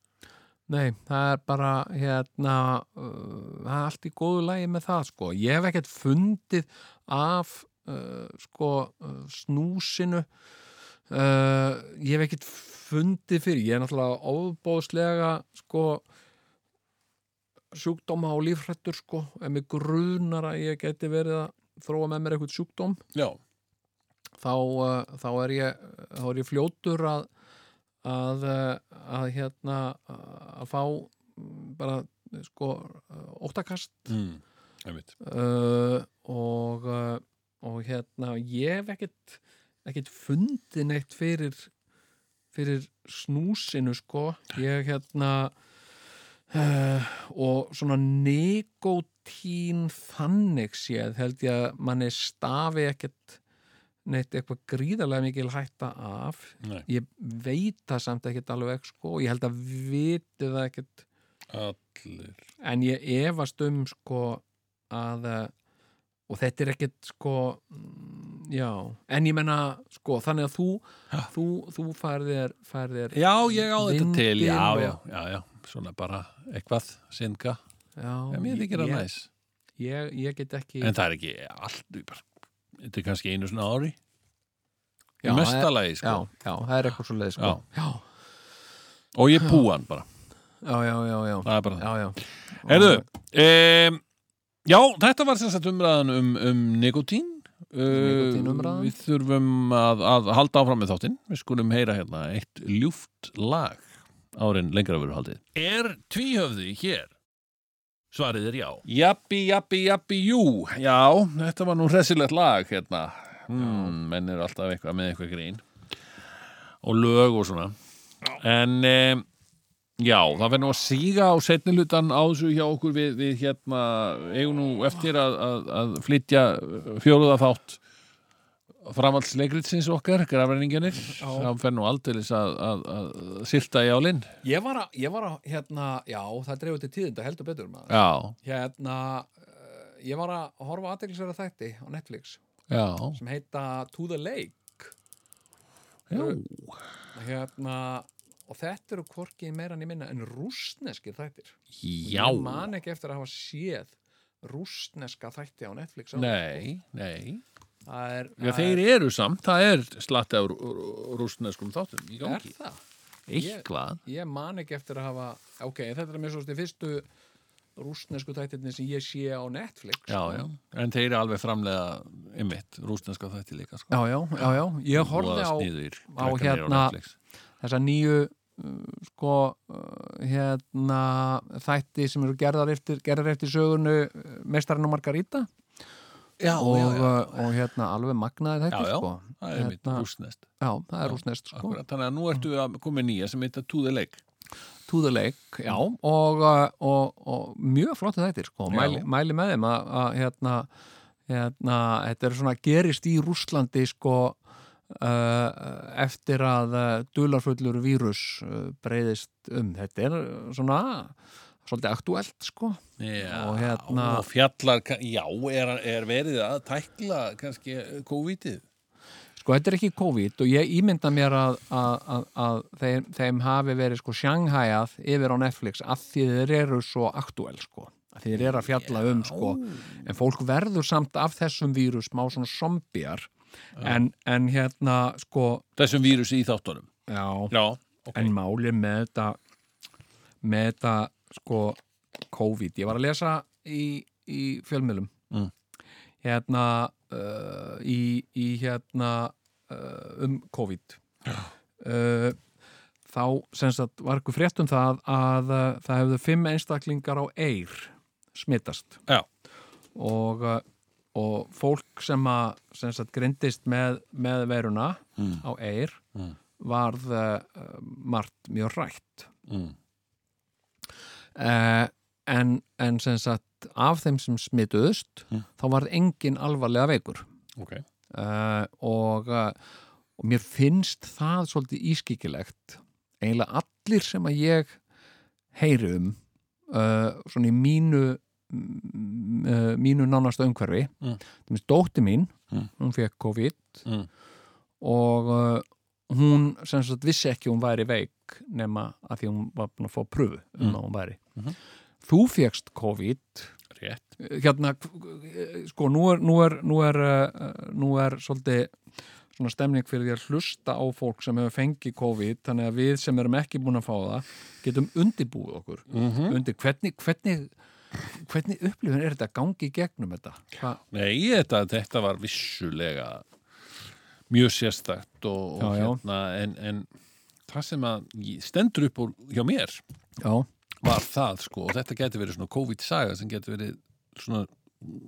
Nei, það er bara hérna, uh, það er allt í góðu lægi með það sko. Ég hef ekkert fundið af uh, sko, uh, snúsinu uh, ég hef ekkert fundið fyrir, ég er náttúrulega ofbóðslega sko sjúkdóma og lífrættur sko, ef mig grunar að ég geti verið að þróa með mér eitthvað sjúkdóm Já, þá, uh, þá, er ég, þá er ég fljótur að að, uh, að hérna uh, að fá mm, bara uh, sko uh, óttakast mm. einmitt uh, og uh, og hérna ég hef ekkert ekkert fundið neitt fyrir fyrir snúsinu sko ég hérna uh, og svona nikotín þannig séð held ég að manni stafi ekkert neitt eitthvað gríðarlega mikil hætta af Nei. ég veit það samt ekkert alveg sko, og ég held að vitu það ekkert Allir en ég efast um sko að eh, og þetta er ekkert sko mm, já, en ég menna sko, þannig að þú þú, þú færðir, færðir Já, ég á þetta Vindinn til, já, og- já, já, já Svona bara eitthvað, synga Já, mér þykir það ég, næs ég, ég get ekki En það er ekki allt bara, Þetta er kannski einu svona ári Já, Í mesta það- lagi, sko já, já, það er eitthvað svo leið sko já, Og ég búa hann bara, já, já, já, já, það er bara það já, já. Herðu, um, já, þetta var sem sagt umræðan um, um nikotín. Uh, Nikotínumræðan. við þurfum að, að halda áfram með þáttinn. Við skulum heyra hérna eitt ljúft lag árin lengra verður haldið. Er tvíhöfði hér? Svarið er já. Jappi, jappi, jappi, jú. Já, þetta var nú hressilegt lag hérna. Hmm, menn eru alltaf eitthvað með eitthvað grín. Og lög og svona. En... Um, Já, það verður nú að síga á setni hlutan á þessu hjá okkur við, við hérna, eigum nú eftir að, að, að flytja fjóruða þátt framhaldsleikritsins okkar, grafreininginir það fer nú aldeilis að, að, að sylta í álinn ég var að, ég var að, hérna já, það dreifur til tíðinda heldur betur maður Já, Hérna, eh, ég var að horfa aðdeglisverða þætti á Netflix já, sem heita To the Lake. já Hérna, og þetta eru hvorki meira en ég minna en rústneskir þættir. Já, Ég man ekki eftir að hafa séð rústneska þætti á Netflix. áður. nei, nei Það er, Já, það þeir eru samt, það er slatti af rú- rú- rússneskum þáttum í er, gangi er það. eitthvað ég man ekki eftir að hafa ok, þetta er mér svo stið fyrstu rústnesku tættirni sem ég sé á Netflix sko. já, já, en þeir eru alveg framlega ymmit, rúsneska þætti líka sko. já, já, já, já. ég horfði á sniður, á hérna- þessa nýju uh, sko uh, hérna þætti sem eru gerðar eftir, gerðar eftir sögunu mestarinn og Margarita já, og, já, já, uh, og hérna alveg Já, magnaði þetta já. sko það er ymmit, Hérna- rúsnest já, það er rústnest sko Akkurat, þannig að nú ertu að koma með nýja sem heitir To the Lake to the lake, já og, uh, og, og mjög flotti þættir sko, Mm. Já. mæli, mæli með þeim að, að hérna, hérna þetta er svona gerist í Rússlandi sko uh, eftir að uh, dularfullur vírus uh, breyðist um þetta er uh, svona svolítið aktúelt sko Já, Og hérna- og fjallar, ka- já, er, er verið að tækla kannski eh, COVID-ið Sko, þetta er ekki COVID og ég ímynda mér að, að, að, að þeim, þeim hafi verið sko sjanghæjað yfir á Netflix að því þeir eru svo aktuel sko, að þeir eru að fjalla um sko, en fólk verður samt af þessum vírus má svona zombjar en, en hérna sko, þessum vírusi í þáttunum já, Já, ok en málið með þetta með þetta sko COVID, ég var að lesa í, í fjölmiðlum Mm. hérna uh, í, í hérna uh, um COVID uh, þá sem sagt var ykkur frétt um það að uh, það hefðu fimm einstaklingar á eir smittast Já. og, uh, og fólk sem að sem sagt grindist með, með veruna Mm. á eir Mm. varð uh, margt mjög rætt mm. uh, en, en sem sagt af þeim sem smituðust Mm. þá varð engin alvarlega veikur Ok, uh, og, uh, og mér finnst það svolítið ískikilegt eiginlega allir sem að ég heyri um uh, svona í mínu m- uh, mínu nánasta umhverfi Mm. til minnst dótti mín Mm. hún fekk COVID Mm. og uh, hún sem sagt vissi ekki að hún væri veik nema að því hún var búin að fá pröfu um Mm. að hún væri Mhm. þú fegst COVID rétt hérna sko nú er, nú er, nú er, uh, nú er svolítið svona stemning fyrir því að hlusta á fólk sem hefur fengið COVID þannig að við sem erum ekki búin að fá það getum undirbúið okkur mm undir hvernig, hvernig, hvernig upplifun er þetta að gangi í gegnum þetta Hva, Nei, þetta, þetta var vissulega mjög sérstakt og, og Já, já. hérna en, en það sem að ég- stendur upp úr hjá mér já, var það sko og þetta geti verið svona COVID-saga sem geti verið svona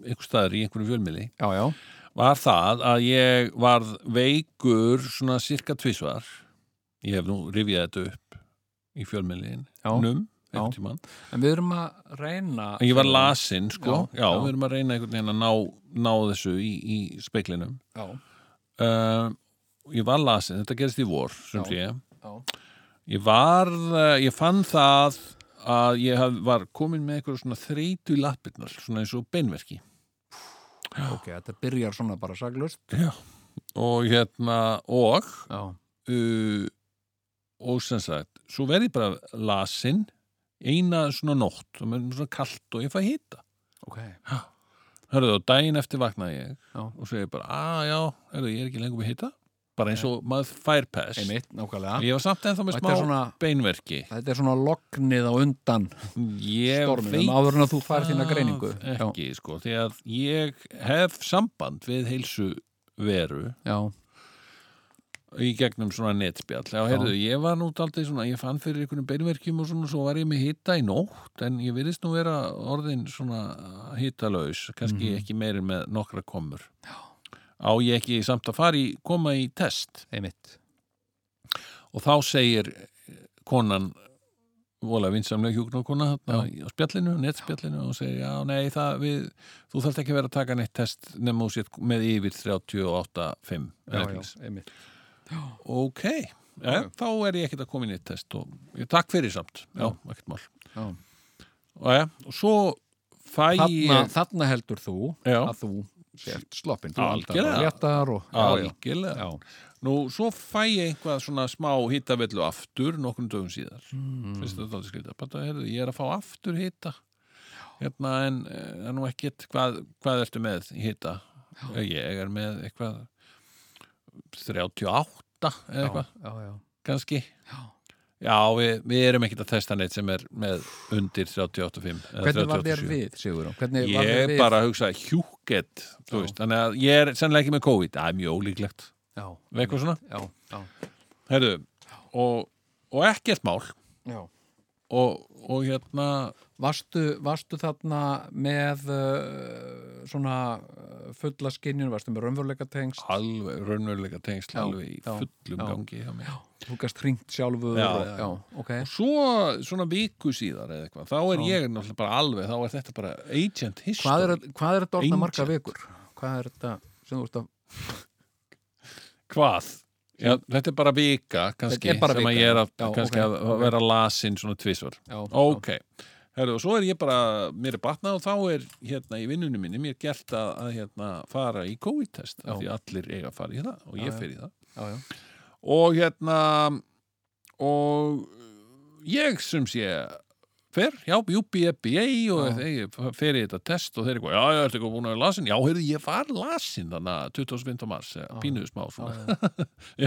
einhver staðar í einhverjum fjölmiðli já, já, var það að ég varð veikur svona cirka tvisvar ég hef nú rifjað þetta upp í fjölmiðlin já. num, Já. einhvern tímann en við erum að reyna en ég var lasinn sko, Já, já, já. við erum að reyna einhvern veginn að ná, ná þessu í, í speiklinum já, uh, ég var lasinn, þetta gerist í vor sem sé já, ég var, uh, ég fann það að ég haf, var komin með eitthvað svona þreytu lappirnar, svona eins og beinverki ok, þetta byrjar svona bara saglust já. og hérna og já, uh, og sem sagt svo verð ég bara lasinn eina svona nótt og mér er svona kalt og ég fæ hýta ok, Hörðu, og daginn eftir vaknaði ég Já. og svo ég bara, að já, hörðu, ég er ekki lengur með hýta bara eins og maður fær pest einmitt, nákvæmlega ég var samt ennþá Og með þetta smá er svona beinverki Þetta er svona lognið á undan ég storminum veit áður en að þú fær þína greiningu. það Ah, ekki, sko, því að ég hef samband við heilsu veru Já, í gegnum svona netspjall já, heyrðu, ég var nú aldrei svona, ég fann fyrir einhvernum beinverkjum og svona, svo var ég með hita í nótt en ég virðist nú vera orðin svona hitalaus, kannski Mhm. ekki meiri með nokkra komur já. á ég ekki samt að fara í koma í test einmitt. og þá segir eh, konan vola vinsamlega hjúknarkona þarna á spjallinu, netspjallinu og segir já, nei, það við þú þarft ekki að vera að taka neitt test nema þú sétt með yfir 38.5 Já, já, reglis. einmitt. ok, ja, Já. þá er ég ekkert að koma í neitt test og ég, takk fyrir samt, já, ekkert mál Já. og, ja, og svo fæ Þarna, ég þarna heldur þú Já. að þú sért sloppin. Þú Algjörlega. bara léttar og... algjörlega, Já, nú svo fæ ég einhvað svona smá hittavillu aftur nokkrum dögum síðar Mm. finnst þetta alltaf skrítið, bara heyrðu, ég er að fá aftur hita hérna en eh, það er nú ekkert, hvað, hvað ertu með í hita? Eh, Ég er með eitthvað 38 eða eitthvað, já, já. kannski Já, við, við erum ekkert að testa neitt sem er með undir 38.5 eða Hvernig var þér 38.7. við, Sigurðum? Hvernig var þér Ég við? bara hugsa hjúkett, þú veist, þannig að ég er sennilega ekki með COVID, það er mjög ólíklegt Já, með eitthvað svona, já, já, herðu og, og ekkert mál já. og, og hérna Varstu, varstu þarna með uh, svona uh, fulla skinnjun, varstu með raunveruleika tengst, alveg raunveruleika tengsl Já, alveg í já, fullum já. gangi hjá mér. þú gæst hringt sjálfur Já, og, já. já, ok og svo svona viku síðar eða eitthvað, þá er ég náttúrulega bara alveg þá er þetta bara agent history hvað er, hvað er þetta orðna marga Ancient. vikur? Hvað er þetta sem þú veist að Hvað? Já, þetta er bara vika kannski Þetta er bara sem vika, að ég er að, já, kannski ok, að ok. vera lasin svona tvisvar já, Ok, herru, og svo er ég bara mér er batnað og þá er hérna í vinnunum minni mér gert að, að hérna fara í COVID-test, af Já. því allir eiga að fara í það og Já, ég já. fer í það já, já, og hérna og uh, ég sem sé fer, já, UBFBA og Já. þegar ég fer í þetta test og þeir eru eitthvað, já, já, ertu eitthvað búin að vera lasin já, heyrðu, ég var lasin þannig að 25. mars, pínuðu smá svona já,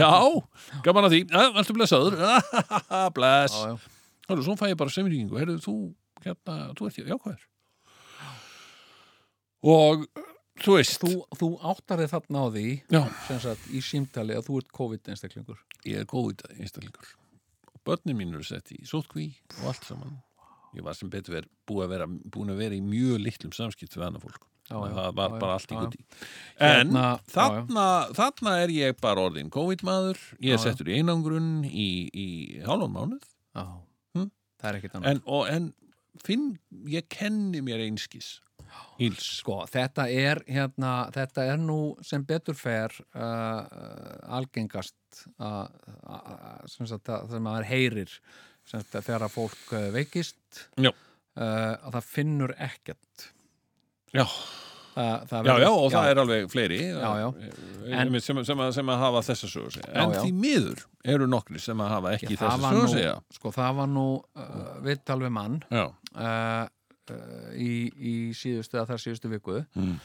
já, Já, gaman að því ja, Ertu blessaður? Bless já, já. Hörru, svo fæ ég bara semringingu Herru, þú, hérna, þú ert jákvæður Og, þú veist Þú, þú áttar þig þarna á því Já, sem sagt í símtali að þú ert COVID-einstaklingur ég er góð í þetta einstaklingur Og börnin mín eru sett í sótkví og allt saman Ég var sem betur verið búin að vera, búin að vera í mjög litlum samskipt við annað fólk Já, Þannig já, að það var já, já, bara allt í já, já. gutti en Hérna, já, já. þarna, þarna er ég bara orðin COVID-maður ég Já, er já. settur í einangrun í, í hálfum mánuð Já, Hm? það er ekkert annað en, og, en finn, ég kenni mér einskis Íls Sko, þetta er hérna, þetta er nú sem betur fer uh, uh, algengast að- að- að- sem sagt að það maður heyrir sem sagt að þegar að fólk uh, veikist Já. uh, að það finnur ekkert já, það, það já, verður- já, og það er alveg fleiri Já, já. En, sem, sem, að, sem að hafa þessa sögur segja. en já. því miður eru nokkri sem að hafa ekki Ég, það þessa var sögur nú- segja Sko, það var nú uh, viðtal við mann já, uh, uh, í, í síðustu að þar síðustu viku Mm.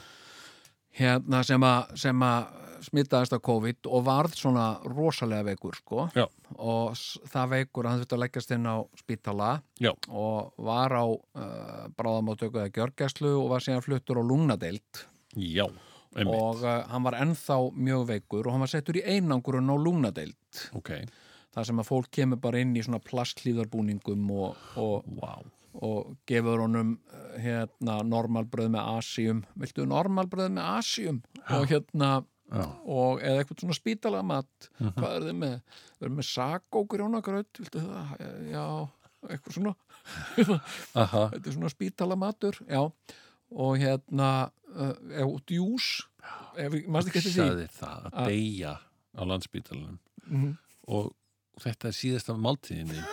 hérna sem að, sem að smitaðist af COVID og varð svona rosalega veikur sko Já. og s- það veikur að hann þurfti að leggjast inn á spítala já, og var á uh, bráðamáttöku eða gjörgæslu og var síðan fluttur á lungnadeild já einmitt, og uh, hann var ennþá mjög veikur og hann var settur í einangurinn á lungnadeild ok, þar sem að fólk kemur bara inn í svona plastlíðarbúningum og, og, wow og gefur honum eh, hérna, normalbröð með asíum viltu normalbröð með asíum og hérna Já. og eða eitthvað svona spítalamatt hvað er þið með, við erum með sakógrjónagraut, viltu það Eh, já, eitthvað svona Aha. þetta er svona spítalamatur, já og hérna uh, eh, og djús ef, manstu ekki eftir því Hugsaði það að deyja á landsbítalunum Mhm. og þetta er síðasta máltíðinni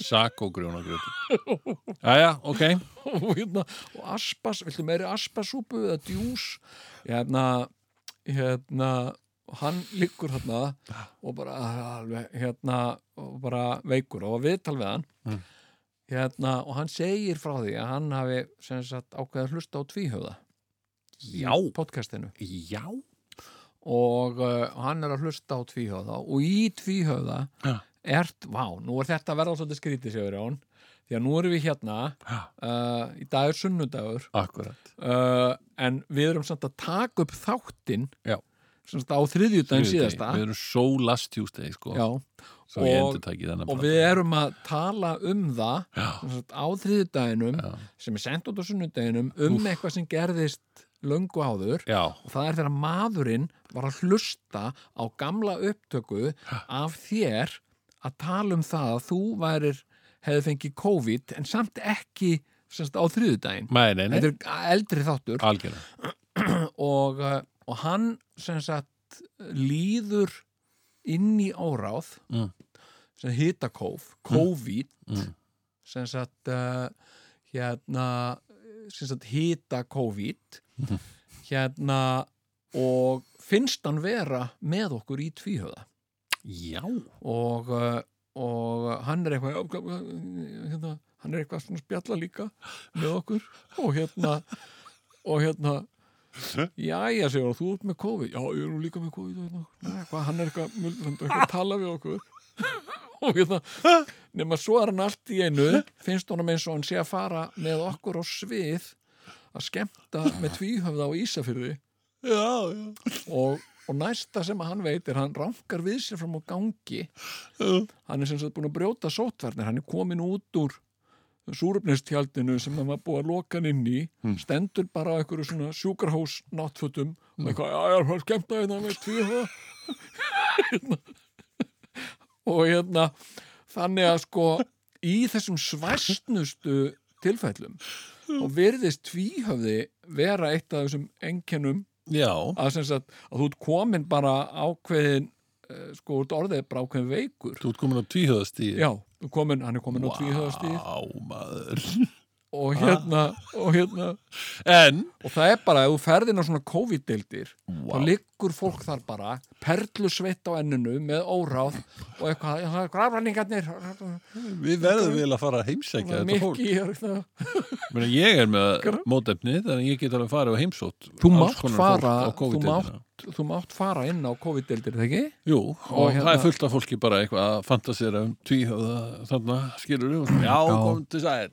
sakogrjónagrötu Jæja, ok og, hérna, og aspas, viltu meiri aspasúpu eða djús hérna, hérna hann liggur hérna og bara alveg, hérna og bara veikur og var viðtal við hann Mm. hérna og hann segir frá því að hann hafi sem sagt ákveða hlusta á tvíhöfða Já, í podcastinu já og uh, hann er að hlusta á tvíhöfða og í tvíhöfða Já. ert, vá, nú er þetta að verða svolítið skrítið sér Jón, því að nú erum við hérna uh, í dag er sunnudagur Akkurat uh, en við erum samt að taka upp þáttinn Já. sem sagt á þriðjudaginn síðasta Við erum so last Tuesday sko já, Svo ég og- endur tæki þennan og við erum að tala um það Já, sem sagt, á þriðjudaginum já, sem er sendt út á sunnudaginum um eitthvað sem gerðist löngu áður já. og það er þegar maðurinn var að hlusta á gamla upptöku af þér að tala um það að þú værir hefði fengið COVID en samt ekki sem sagt, á þriðjudaginn Nei, nei, nei, Þetta er eldri þáttur algjörlega og, uh, og hann sem sagt líður inn í óráð Mm. sem hitakóf, COVID Mm. sem sagt uh, hérna sem sagt hita COVID Mm. hérna og finnst hann vera með okkur í tvíhöða Já, og, uh, og hann er eitthvað já, já, já, hérna, hann er eitthvað svona að spjalla líka með okkur og hérna og hérna Jæja, segur hann, þú ert með COVID Já, ég er nú líka með COVID og hérna. Nei, hvað, hann er eitthvað, hann er eitthvað að tala við okkur og hérna nema svo er hann allt í einu finnst honum eins og hann sé að fara með okkur á svið að skemmta með tvíhöfða á Ísafyrði Já, já. og, og næsta sem að hann veit er hann rankar við sér fram á gangi hann er sem sagt búin að brjóta sótvarnir hann er komin út úr súröfnistjaldinu sem hann var búið að loka hann inn í stendur bara á einhverju svona sjúkarhós náttfötum og eitthvað, já, já, hann skemmta hérna með tvíhöfða Hérna. og hérna þannig að sko í þessum svæstnustu tilfællum og virðist tvíhöfði vera eitt af þessum enkennum já, að, sem sagt, að þú ert komin bara ákveðin eh, sko, út orðið bara ákveðin veikur þú ert komin á tvíhöðastíð já, þú komin, hann er komin á tvíhöðastíð maður og hérna, og hérna En, og það er bara, ef þú ferðin á svona COVID-deildir Vá. þá liggur fólk þar bara perlusveitt á enninu með óráð og eitthvað, já, grafræningarnir við verðum vel að fara að heimsækja þetta fólk mikki og eitthvað. Meni, Ég er með mótefni þannig að ég get alveg farið á heimsótt þú alls mátt konar fólk fara á þú COVID-19. mátt, þú mátt fara inn á COVID-deildir, þegar ekki? Jú, og, Og hérna- það er fullt af fólki bara eitthvað að fantasera um tvíhöða þarna, skilur við, já, já. kom til sæl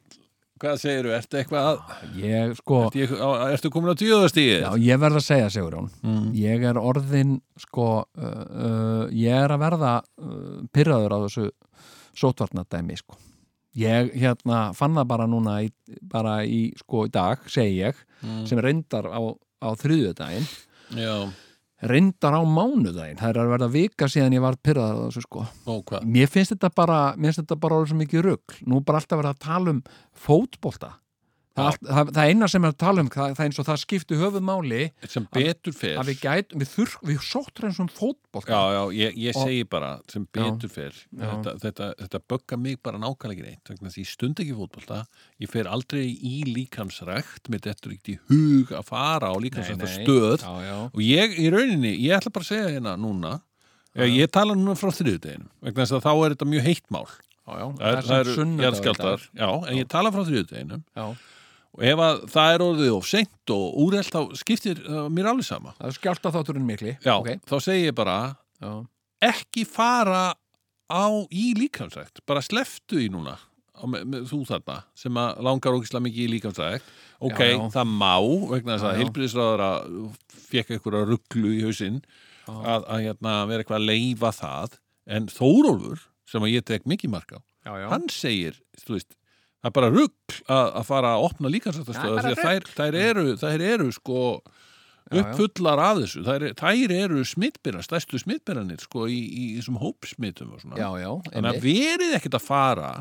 hvað segirðu, ertu eitthvað að ég sko ertu, ég- á- ertu komin á tvíhöðastíð? Já, ég verð að segja, Sigurjón ég er orðin sko, uh, uh, ég er að verða uh, pyrraður á þessu sótvarnadæmi sko. ég hérna fann það bara núna í, bara í, sko, í dag, segi ég sem reyndar á, á þriðjudaginn Mm, já, reyndar á mánudaginn, það er að verða vika síðan ég var pyrraður á þessu sko ó hvað mér finnst þetta bara, mér finnst þetta bara orðið svo mikið rugg, nú er bara alltaf verið að tala um fótbolta það, allt, það, það eina sem er að tala um, það, það er eins og það skipti höfumáli sem betur fer að við gætum, við þurfum, við sóttur eins og um fótbolta já, já, ég, ég Og- segi bara sem betur fer Já. þetta, þetta, þetta bögga mig bara nákvæmlega ekki neitt vegna þess að ég stund ekki fótbolta ég fer aldrei í líkamsrækt með þetta er ekki í hug að fara á líkamsrækta stöð já, já. og ég í rauninni, ég ætla bara að segja hérna núna Já, ég tala núna frá þriðudeginum vegna þess að þá er þetta mjög heitt mál Já, já. það, er- samt það eru sunnudagur í jarðskjaldar dag. já, en ég tala frá þriðudeginum Já. og ef að það er orðið of seint og úrelt þá skiptir uh, mér alveg sama það er skjálta þátturinn mikli já, Ok. þá segi ég bara já. ekki fara á í líkamsrækt bara sleftu í núna á me, me, þú þarna sem að langar ógislega mikið í líkamsrækt ok, Já, já. það má vegna þess Já, að já. heilbriðisráður að fekk einhverja rugglu í hausinn Já. að, að hérna, vera eitthvað að leifa það en Þórólfur sem að ég tek mikið mark á Já, já. hann segir, þú veist það er bara rugg að, að fara að opna Það er líkansættastöða bara því að þær, þær, eru, þær eru sko Já, já. uppfullar af þessu þær, þær eru smittbyrðan, stærstu smittbyrðanir sko í, í þessum hópsmittum og svona já, já, þannig að einmitt. verið ekkert að fara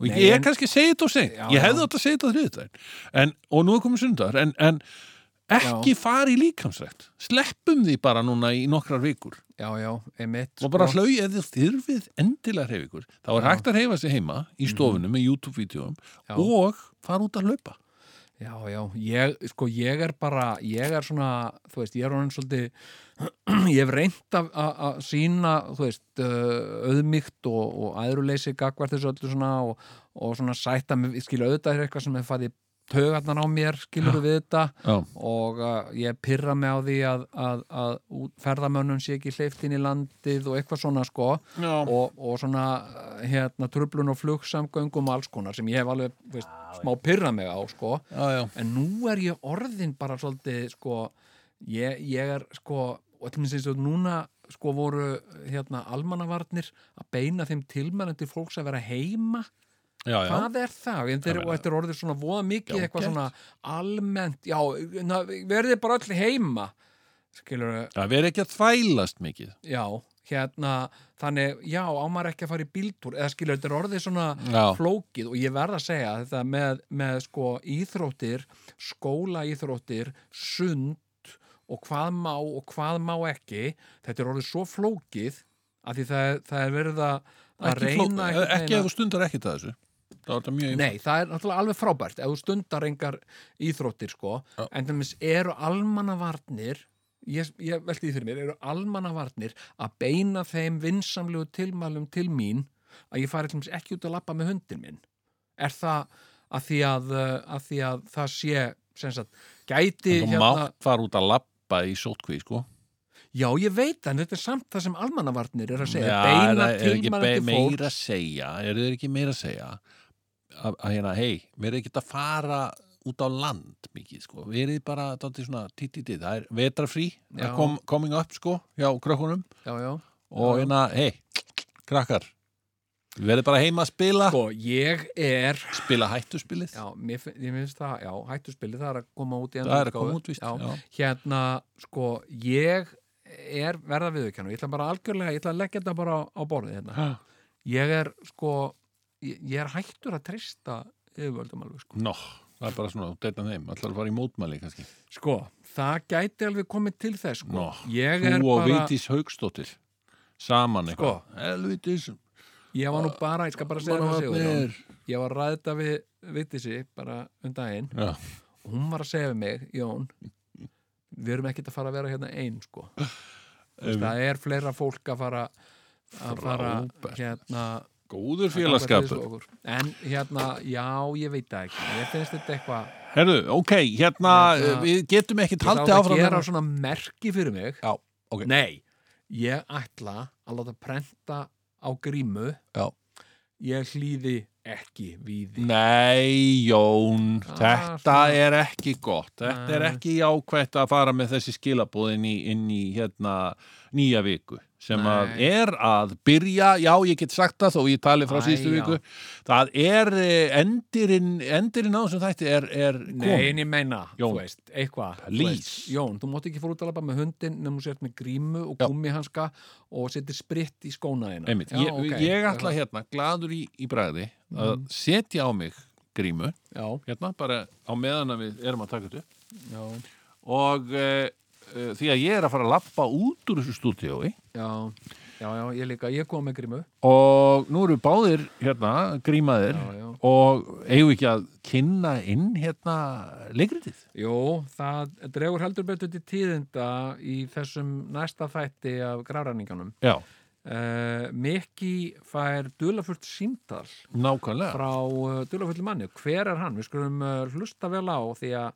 og Nei, ég en- kannski segi þetta og segi Já, ég já. hefði átt að segja þetta þriðutæn en, og nú er komið sundar en, en ekki fara í líkamsrækt sleppum því bara núna í nokkrar vikur já, já, einmitt og bara sko. hlau ef þið þyrfið endilega að hreyfa ykkur þá er Já. hægt að hreyfa sig heima í stofunum með YouTube-vídeóum Já. og fara út að hlaupa Já, já, ég, sko, ég er bara, ég er svona, þú veist, ég er hann svolítið, ég hef reynt að- að að sína, þú veist, uh, auðmygt og, og æðruleysi gagvart þessu öllu svona og, og svona sætta, mig- skilur auðvitað er eitthvað sem hefur farið tögarnar á mér, skilur við þetta Já, og uh, ég pyrra mig á því að, að, að út- ferðamönnum sé ekki hleyft inn í landið og eitthvað svona sko Já. og, og svona uh, hérna, trublun og flugsamgöngum og alls konar sem ég hef alveg veist, smá pyrra mig á sko já, já, en nú er ég orðin bara svolítið sko ég, ég er sko og allir minn sem núna sko voru hérna almannavarnir að beina þeim tilmælandi fólks að vera heima já, já. hvað er það? En þeir, Ég meina- og þetta er orðið svona voða mikið Já, eitthvað gert. svona almennt, já, na, verðið bara öll heima skilur Það veri ekki að þvælast mikið já, hérna þannig, já, ámar ekki að fara í bíltúr eða skilur, þetta er orðið svona Já. flókið og ég verð að segja að þetta með, með sko íþróttir, skólaíþróttir sund og hvað má og hvað má ekki þetta er orðið svo flókið að því það, er- það er verið að, að Ekki, fló- e- reyna einhvern ekki veginn ef þú stundar ekkert að þessu Það var þetta mjög Nei, það er náttúrulega alveg frábært ef þú stundar engar íþróttir sko Já. en þannig eru almannavarnir ég, ég velti því fyrir mér eru almannavarnir að beina þeim vinsamlegu tilmælum til mín að ég fari til dæmis ekki út að lappa með hundin minn er það að því að, uh, að, því að það sé sem sagt, gæti hérna- Þú mátt fara út að labba í sótkví sko Já, ég veit en þetta er samt það sem almannavarnir er að segja, Já, beina er það- er ekki tíman be- eftir meira að fólks segja er þeir ekki meira að segja að, að hérna, hei, mér er ekki að fara út á land mikið, sko verið bara, dátti svona, títið það er vetrafrí, það er Já. kom, coming up, sko hjá krökkunum Já, já. og Já. hérna, hei, krakkar verið bara heima að spila Sko, ég er spila hættuspilið Já, mér, fin- ég finnst það, já, hættuspili það er að koma út í það er að endurútgáfu. koma út, víst já. Hérna, sko, ég er verða viðurkennu, ég ætla bara algjörlega ég ætla að leggja þetta bara á, á borðið hérna Já. ég er, sko, ég, ég er hættur að treysta yfirvöldum alveg, sko Nó, það er bara svona, þetta þeim allar að fara í mótmæli, kannski Sko, það gæti alveg komið til þess, sko Nó, ég er Þú og bara, Vítis Haugstóttir saman Sko. eitthvað Helvitis, ég var nú bara ég skal bara segja það mannavarnir. sigur ég var að ræða við Vittissi bara um daginn Já. og hún var að segja við mig, Jón við erum ekkert að fara að vera hérna einn sko. Þú veist, það er fleira fólk að fara að fara Frábært. hérna Góður að ganga til félagskapur þessu okkur. en hérna, já, ég veit það ekki ég finnst þetta eitthvað Herðu, ok, hérna, Hérna, við getum ekki ég haldið ætla að áfram gera hérna. svona merki fyrir mig Já, ok. nei, ég ætla að láta prenta á grímu Já. ég hlýði ekki við Nei, Jón, Ah, þetta svona. er ekki gott Þetta er Nei. ekki jákvætt að fara með þessi skilabóð inn í, inn í hérna, nýja viku sem að Nei. er að byrja, já ég get sagt það þó ég tali frá Æ, síðustu já. viku það er eh, endirinn endirinn á þessum þætti er, er Nei, komin en ég meina, Jón, þú veist, eitthvað þú please. veist. Jón, þú mátt ekki fór út að labba með hundin nefnum þú sért með grímu og Já. gummihanska og setir spritt í skóna þína Einmitt, Hérna. ég, Já, ok. Mhm. ég ætla hérna, gladur í, í bræði að setja á mig grímu Já, hérna, bara á meðan að við erum að taka þetta upp já, og uh, uh, því að ég er að fara að lappa út úr þessu stúdíói já, já, já, ég líka, ég kom með grímu og nú eru báðir hérna, grímaðir Já, já. og eigum við ekki að kynna inn hérna leikritið Jú, það dregur heldur betur til tíðinda í þessum næsta þætti af gráræninganum Já, uh, Mikki fær duðlafullt símtal nákvæmlega frá uh, duðlafullu manni Hver er hann? Við skulum uh, hlusta vel á því að,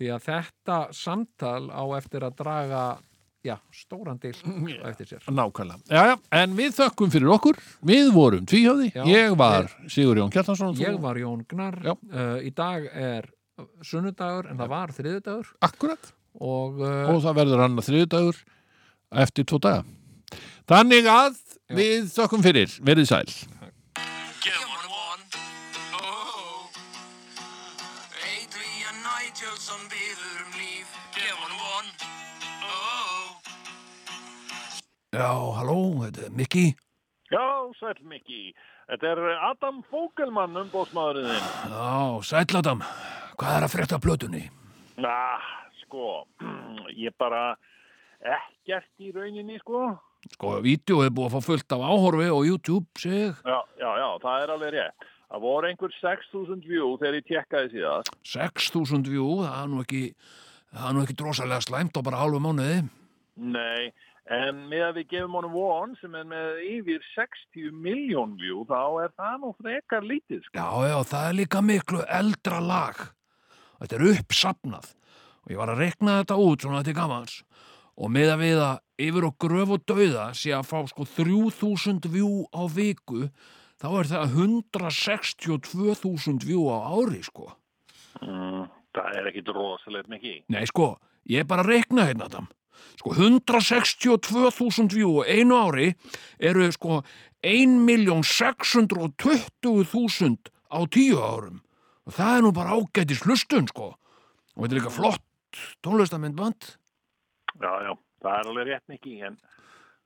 því að þetta samtal á eftir að draga já, stóran deil á eftir sér Nákvæmlega, já, já, en við þökkum fyrir okkur Við vorum tvíhjóði, Já. ég var Sigur Jón Kjartansson og þú- Ég var Jón Gnar Já. uh, í dag er sunnudagur en það var þriðudagur Akkurat og, uh, og það verður hann að þriðdagur eftir tvo daga Þannig að við þökkum fyrir, verið sæl Give one one. Oh. Adrian Nigelsson biður um líf. Give one one. Oh. Já, halló, þetta er Mikki Já, sæl Mikki. Þetta er Adam Fókelmann, umbóðsmaðurinn þinn. Já, sætladam, hvað er að frétta af plötunni? Na, sko, ég bara ekkert í rauninni, sko. Sko, vídeo er búið að fá fullt af áhorfi og YouTube sig Já, já, já, það er alveg rétt. Það voru einhver 6.000 view þegar ég tekkaði síðast. 6000 view, það er nú ekki það er nú ekki drosalega slæmt á bara hálfu mánuði Nei, en með að við gefum honum von sem er með yfir 60 miljón view, þá er það nú frekar lítið, sko. Já, já, það er líka miklu eldra lag. Þetta er uppsapnað og ég var að rekna þetta út svona til gamans og með að við að yfir og gröf og dauða sé að fá sko 3000 vjú á viku þá er það 162.000 vjú á ári sko. Mm, það er ekkit rosalegt, Mikki. Nei sko, ég er bara að rekna hérna þetta. Sko 162.000 vjú á einu ári eru sko 1.620.000 á tíu árum. Og það er nú bara ágætis hlustun sko. Og þetta er líka flott tónlistamindband. Já, já, það er alveg rétt Nikki, en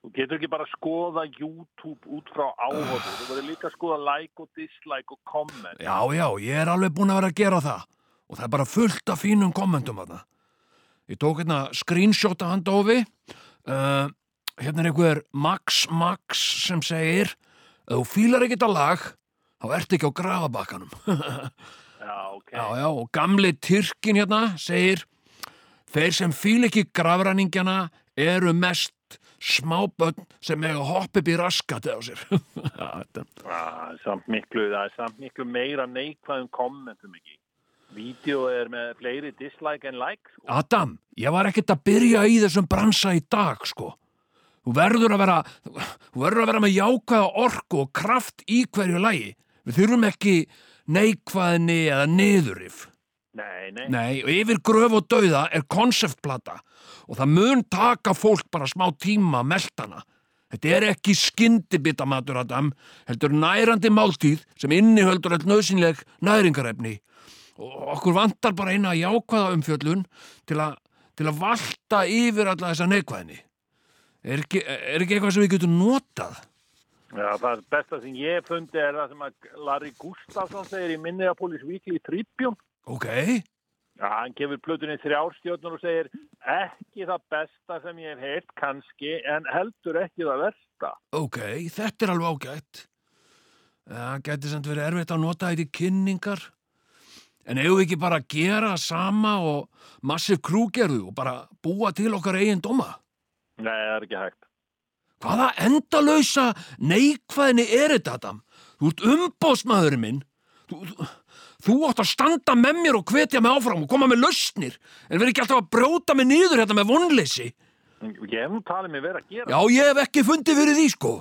þú getur ekki bara að skoða YouTube út frá áhorfu, þú verður líka að skoða like og dislike og comment. Já, já, ég er alveg búin að vera að gera það. Og það er bara fullt af fínum kommentum að það. Ég tók hérna screenshot af hann Dófi. Uh, hérna er einhver Max Max sem segir Ef þú fílar ekki þetta lag, þá ertu ekki á grafabakkanum. Já, ok. já, já, og gamli Tyrkin hérna segir Þeir sem fíla ekki grafræningjana eru mest smábönn sem eiga hopp upp í raskat eða á sér. já, þetta Ah, samt miklu, það er samt miklu meira neikvæðum kommentum ekki. Vídeó er með fleiri dislike en like sko. Adam, ég var ekkert að byrja í þessum bransa í dag, sko. Þú verður að vera, þú verður að vera með jákvæða orku og kraft í hverju lagi. Við þurfum ekki neikvæðni eða niðurif. Nei, nei, Nei, og yfir gröf og dauða er konceptplata og það mun taka fólk bara smá tíma að melta hana. Þetta er ekki skyndibitamatur, Adam, heldur nærandi máltíð sem innihöldur all nöðsynleg næringarefni. Og okkur vantar bara eina jákvæða umfjöllun til, að til að valta yfir alla þessa neikvæðni. Er ekki, er ekki eitthvað sem við getum notað? Já, það besta sem ég hef fundi er það sem að Larry Gustafsson segir í Minneapolis Weekly Tribune. Ok, Já, hann gefur plötunni þrjárstjórnur og segir ekki það besta sem ég hef heyrt kannski en heldur ekki það versta. ok, þetta er alveg ágætt. Það gæti samt verið erfitt að nota þetta í kynningar. En eigum við ekki bara að gera sama og massif krúgerðu og bara búa til okkar eigin dóma? Nei, það er ekki hægt. Hvaða endalausa neikvæðinni er þetta, Adam? Þú ert umbóðsmaðurinn minn. Þú, þú, þú átt að standa með mér og hvetja mig áfram og koma með lausnir. En verð ekki alltaf að brjóta mig niður hérna með vonleysi. Ég hef nú talið mig verið að gera, Já, ég hef ekki fundið fyrir því, sko.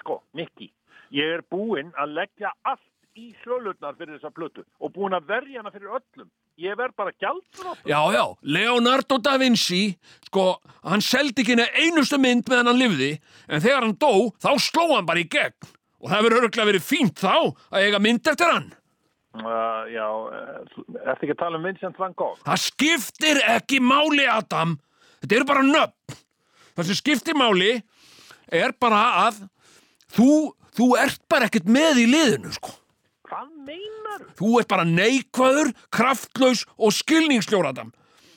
sko, Mikki. Ég er búinn að leggja allt í sölurnar fyrir þessa plötu og búinn að verja hana fyrir öllum. Ég verð bara gjaldur okkur. Já, já, Leonardo da Vinci, sko, hann seldi ekki neina einustu mynd meðan hann lifði, en þegar hann dó, þá sló hann bara í gegn. Og það hefur örgulega verið fínt þá að eiga mynd eftir hann. Uh, já, uh, ertu ekki að tala um Vincent van Gogh? Það skiptir ekki máli, Adam. Þetta eru bara nöfn. Það sem skiptir máli er bara að þú, þú ert bara ekkert með í liðinu, sko. Hvað meinar? Þú ert bara neikvæður, kraftlaus og skilningsljór, Adam.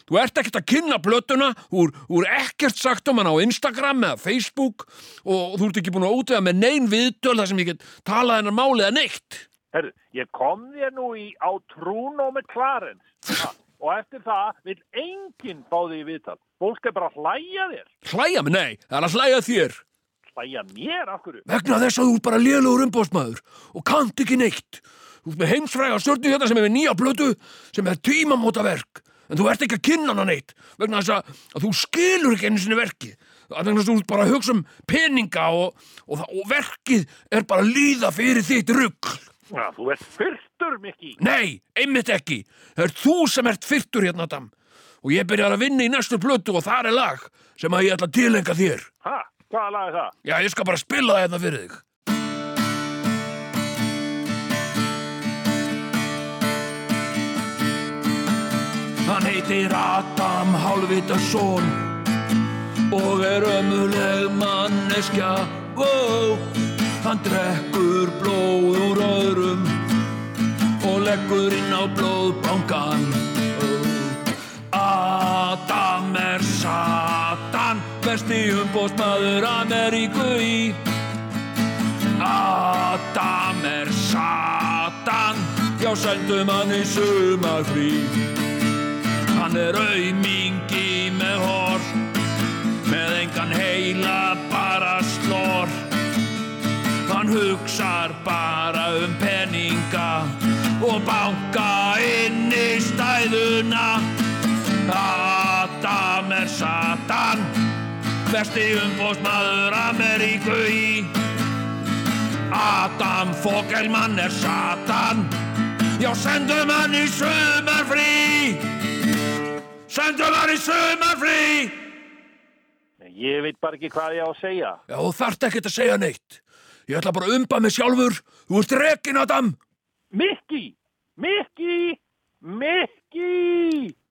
Þú ert ekkert að kynna blötuna, þú er- þú er ekkert sagt um hana á Instagram eða Facebook og þú ert ekki búin að útvega með nein viðtöl þar sem ég get talað hennar máli eða neitt. Herru, ég kom þér nú í á trún og með Clarence ha, og eftir það vil enginn fá þig í viðtal. Fólk er bara að hlæja þér. Hlæja mig, nei, það er að hlæja þér. Hlæja mér, af hverju? Vegna þess að þú ert bara lélugur umbóðsmaður og kannt ekki neitt. Þú ert með heimsfræga stjórnu hérna sem er með nýja blötu sem er tímamótaverk. En þú ert ekki að kynna hana neitt vegna þess að, að þú skilur ekki einu sinni verkið. Það vegna þess að þú ert bara að hugsa um peninga og, og, það- og verkið er bara að líða fyrir þitt rugg. Já, þú ert fyrtur, Mikki. Nei, einmitt ekki. Það er þú sem ert fyrtur hérna, Adam. Og ég byrjar að vinna í næstu blötu og þar er lag sem að ég ætla að tilenga þér. Ha, hvaða lag er það? Já, ég skal bara spila það hérna fyrir þig. Hann heitir Adam Hálvitason og er ömuleg manneskja. Wow. Hann drekkur blóð úr öðrum og leggur inn á blóðbankan. Ó. Adam er Satan, besti umbóðsmaður Ameríku í. Adam er Satan, já sendum hann í sumarfrí. Hann er aumingi með hor, með engan heila bara slor. Hann hugsar bara um peninga og banka inn í stæðuna. Adam er Satan, besti umbóðsmaður Ameríku í. Adam Fogelmann er Satan, já sendum hann í sumarfrí. Sendum hann í sumarfrí. Nei, Ég veit bara ekki hvað ég á að segja. Já, þú þarft ekkert að segja neitt. Ég ætla bara að umba mig sjálfur. Þú ert rekin, Adam. Mikki! Mikki! Mikki!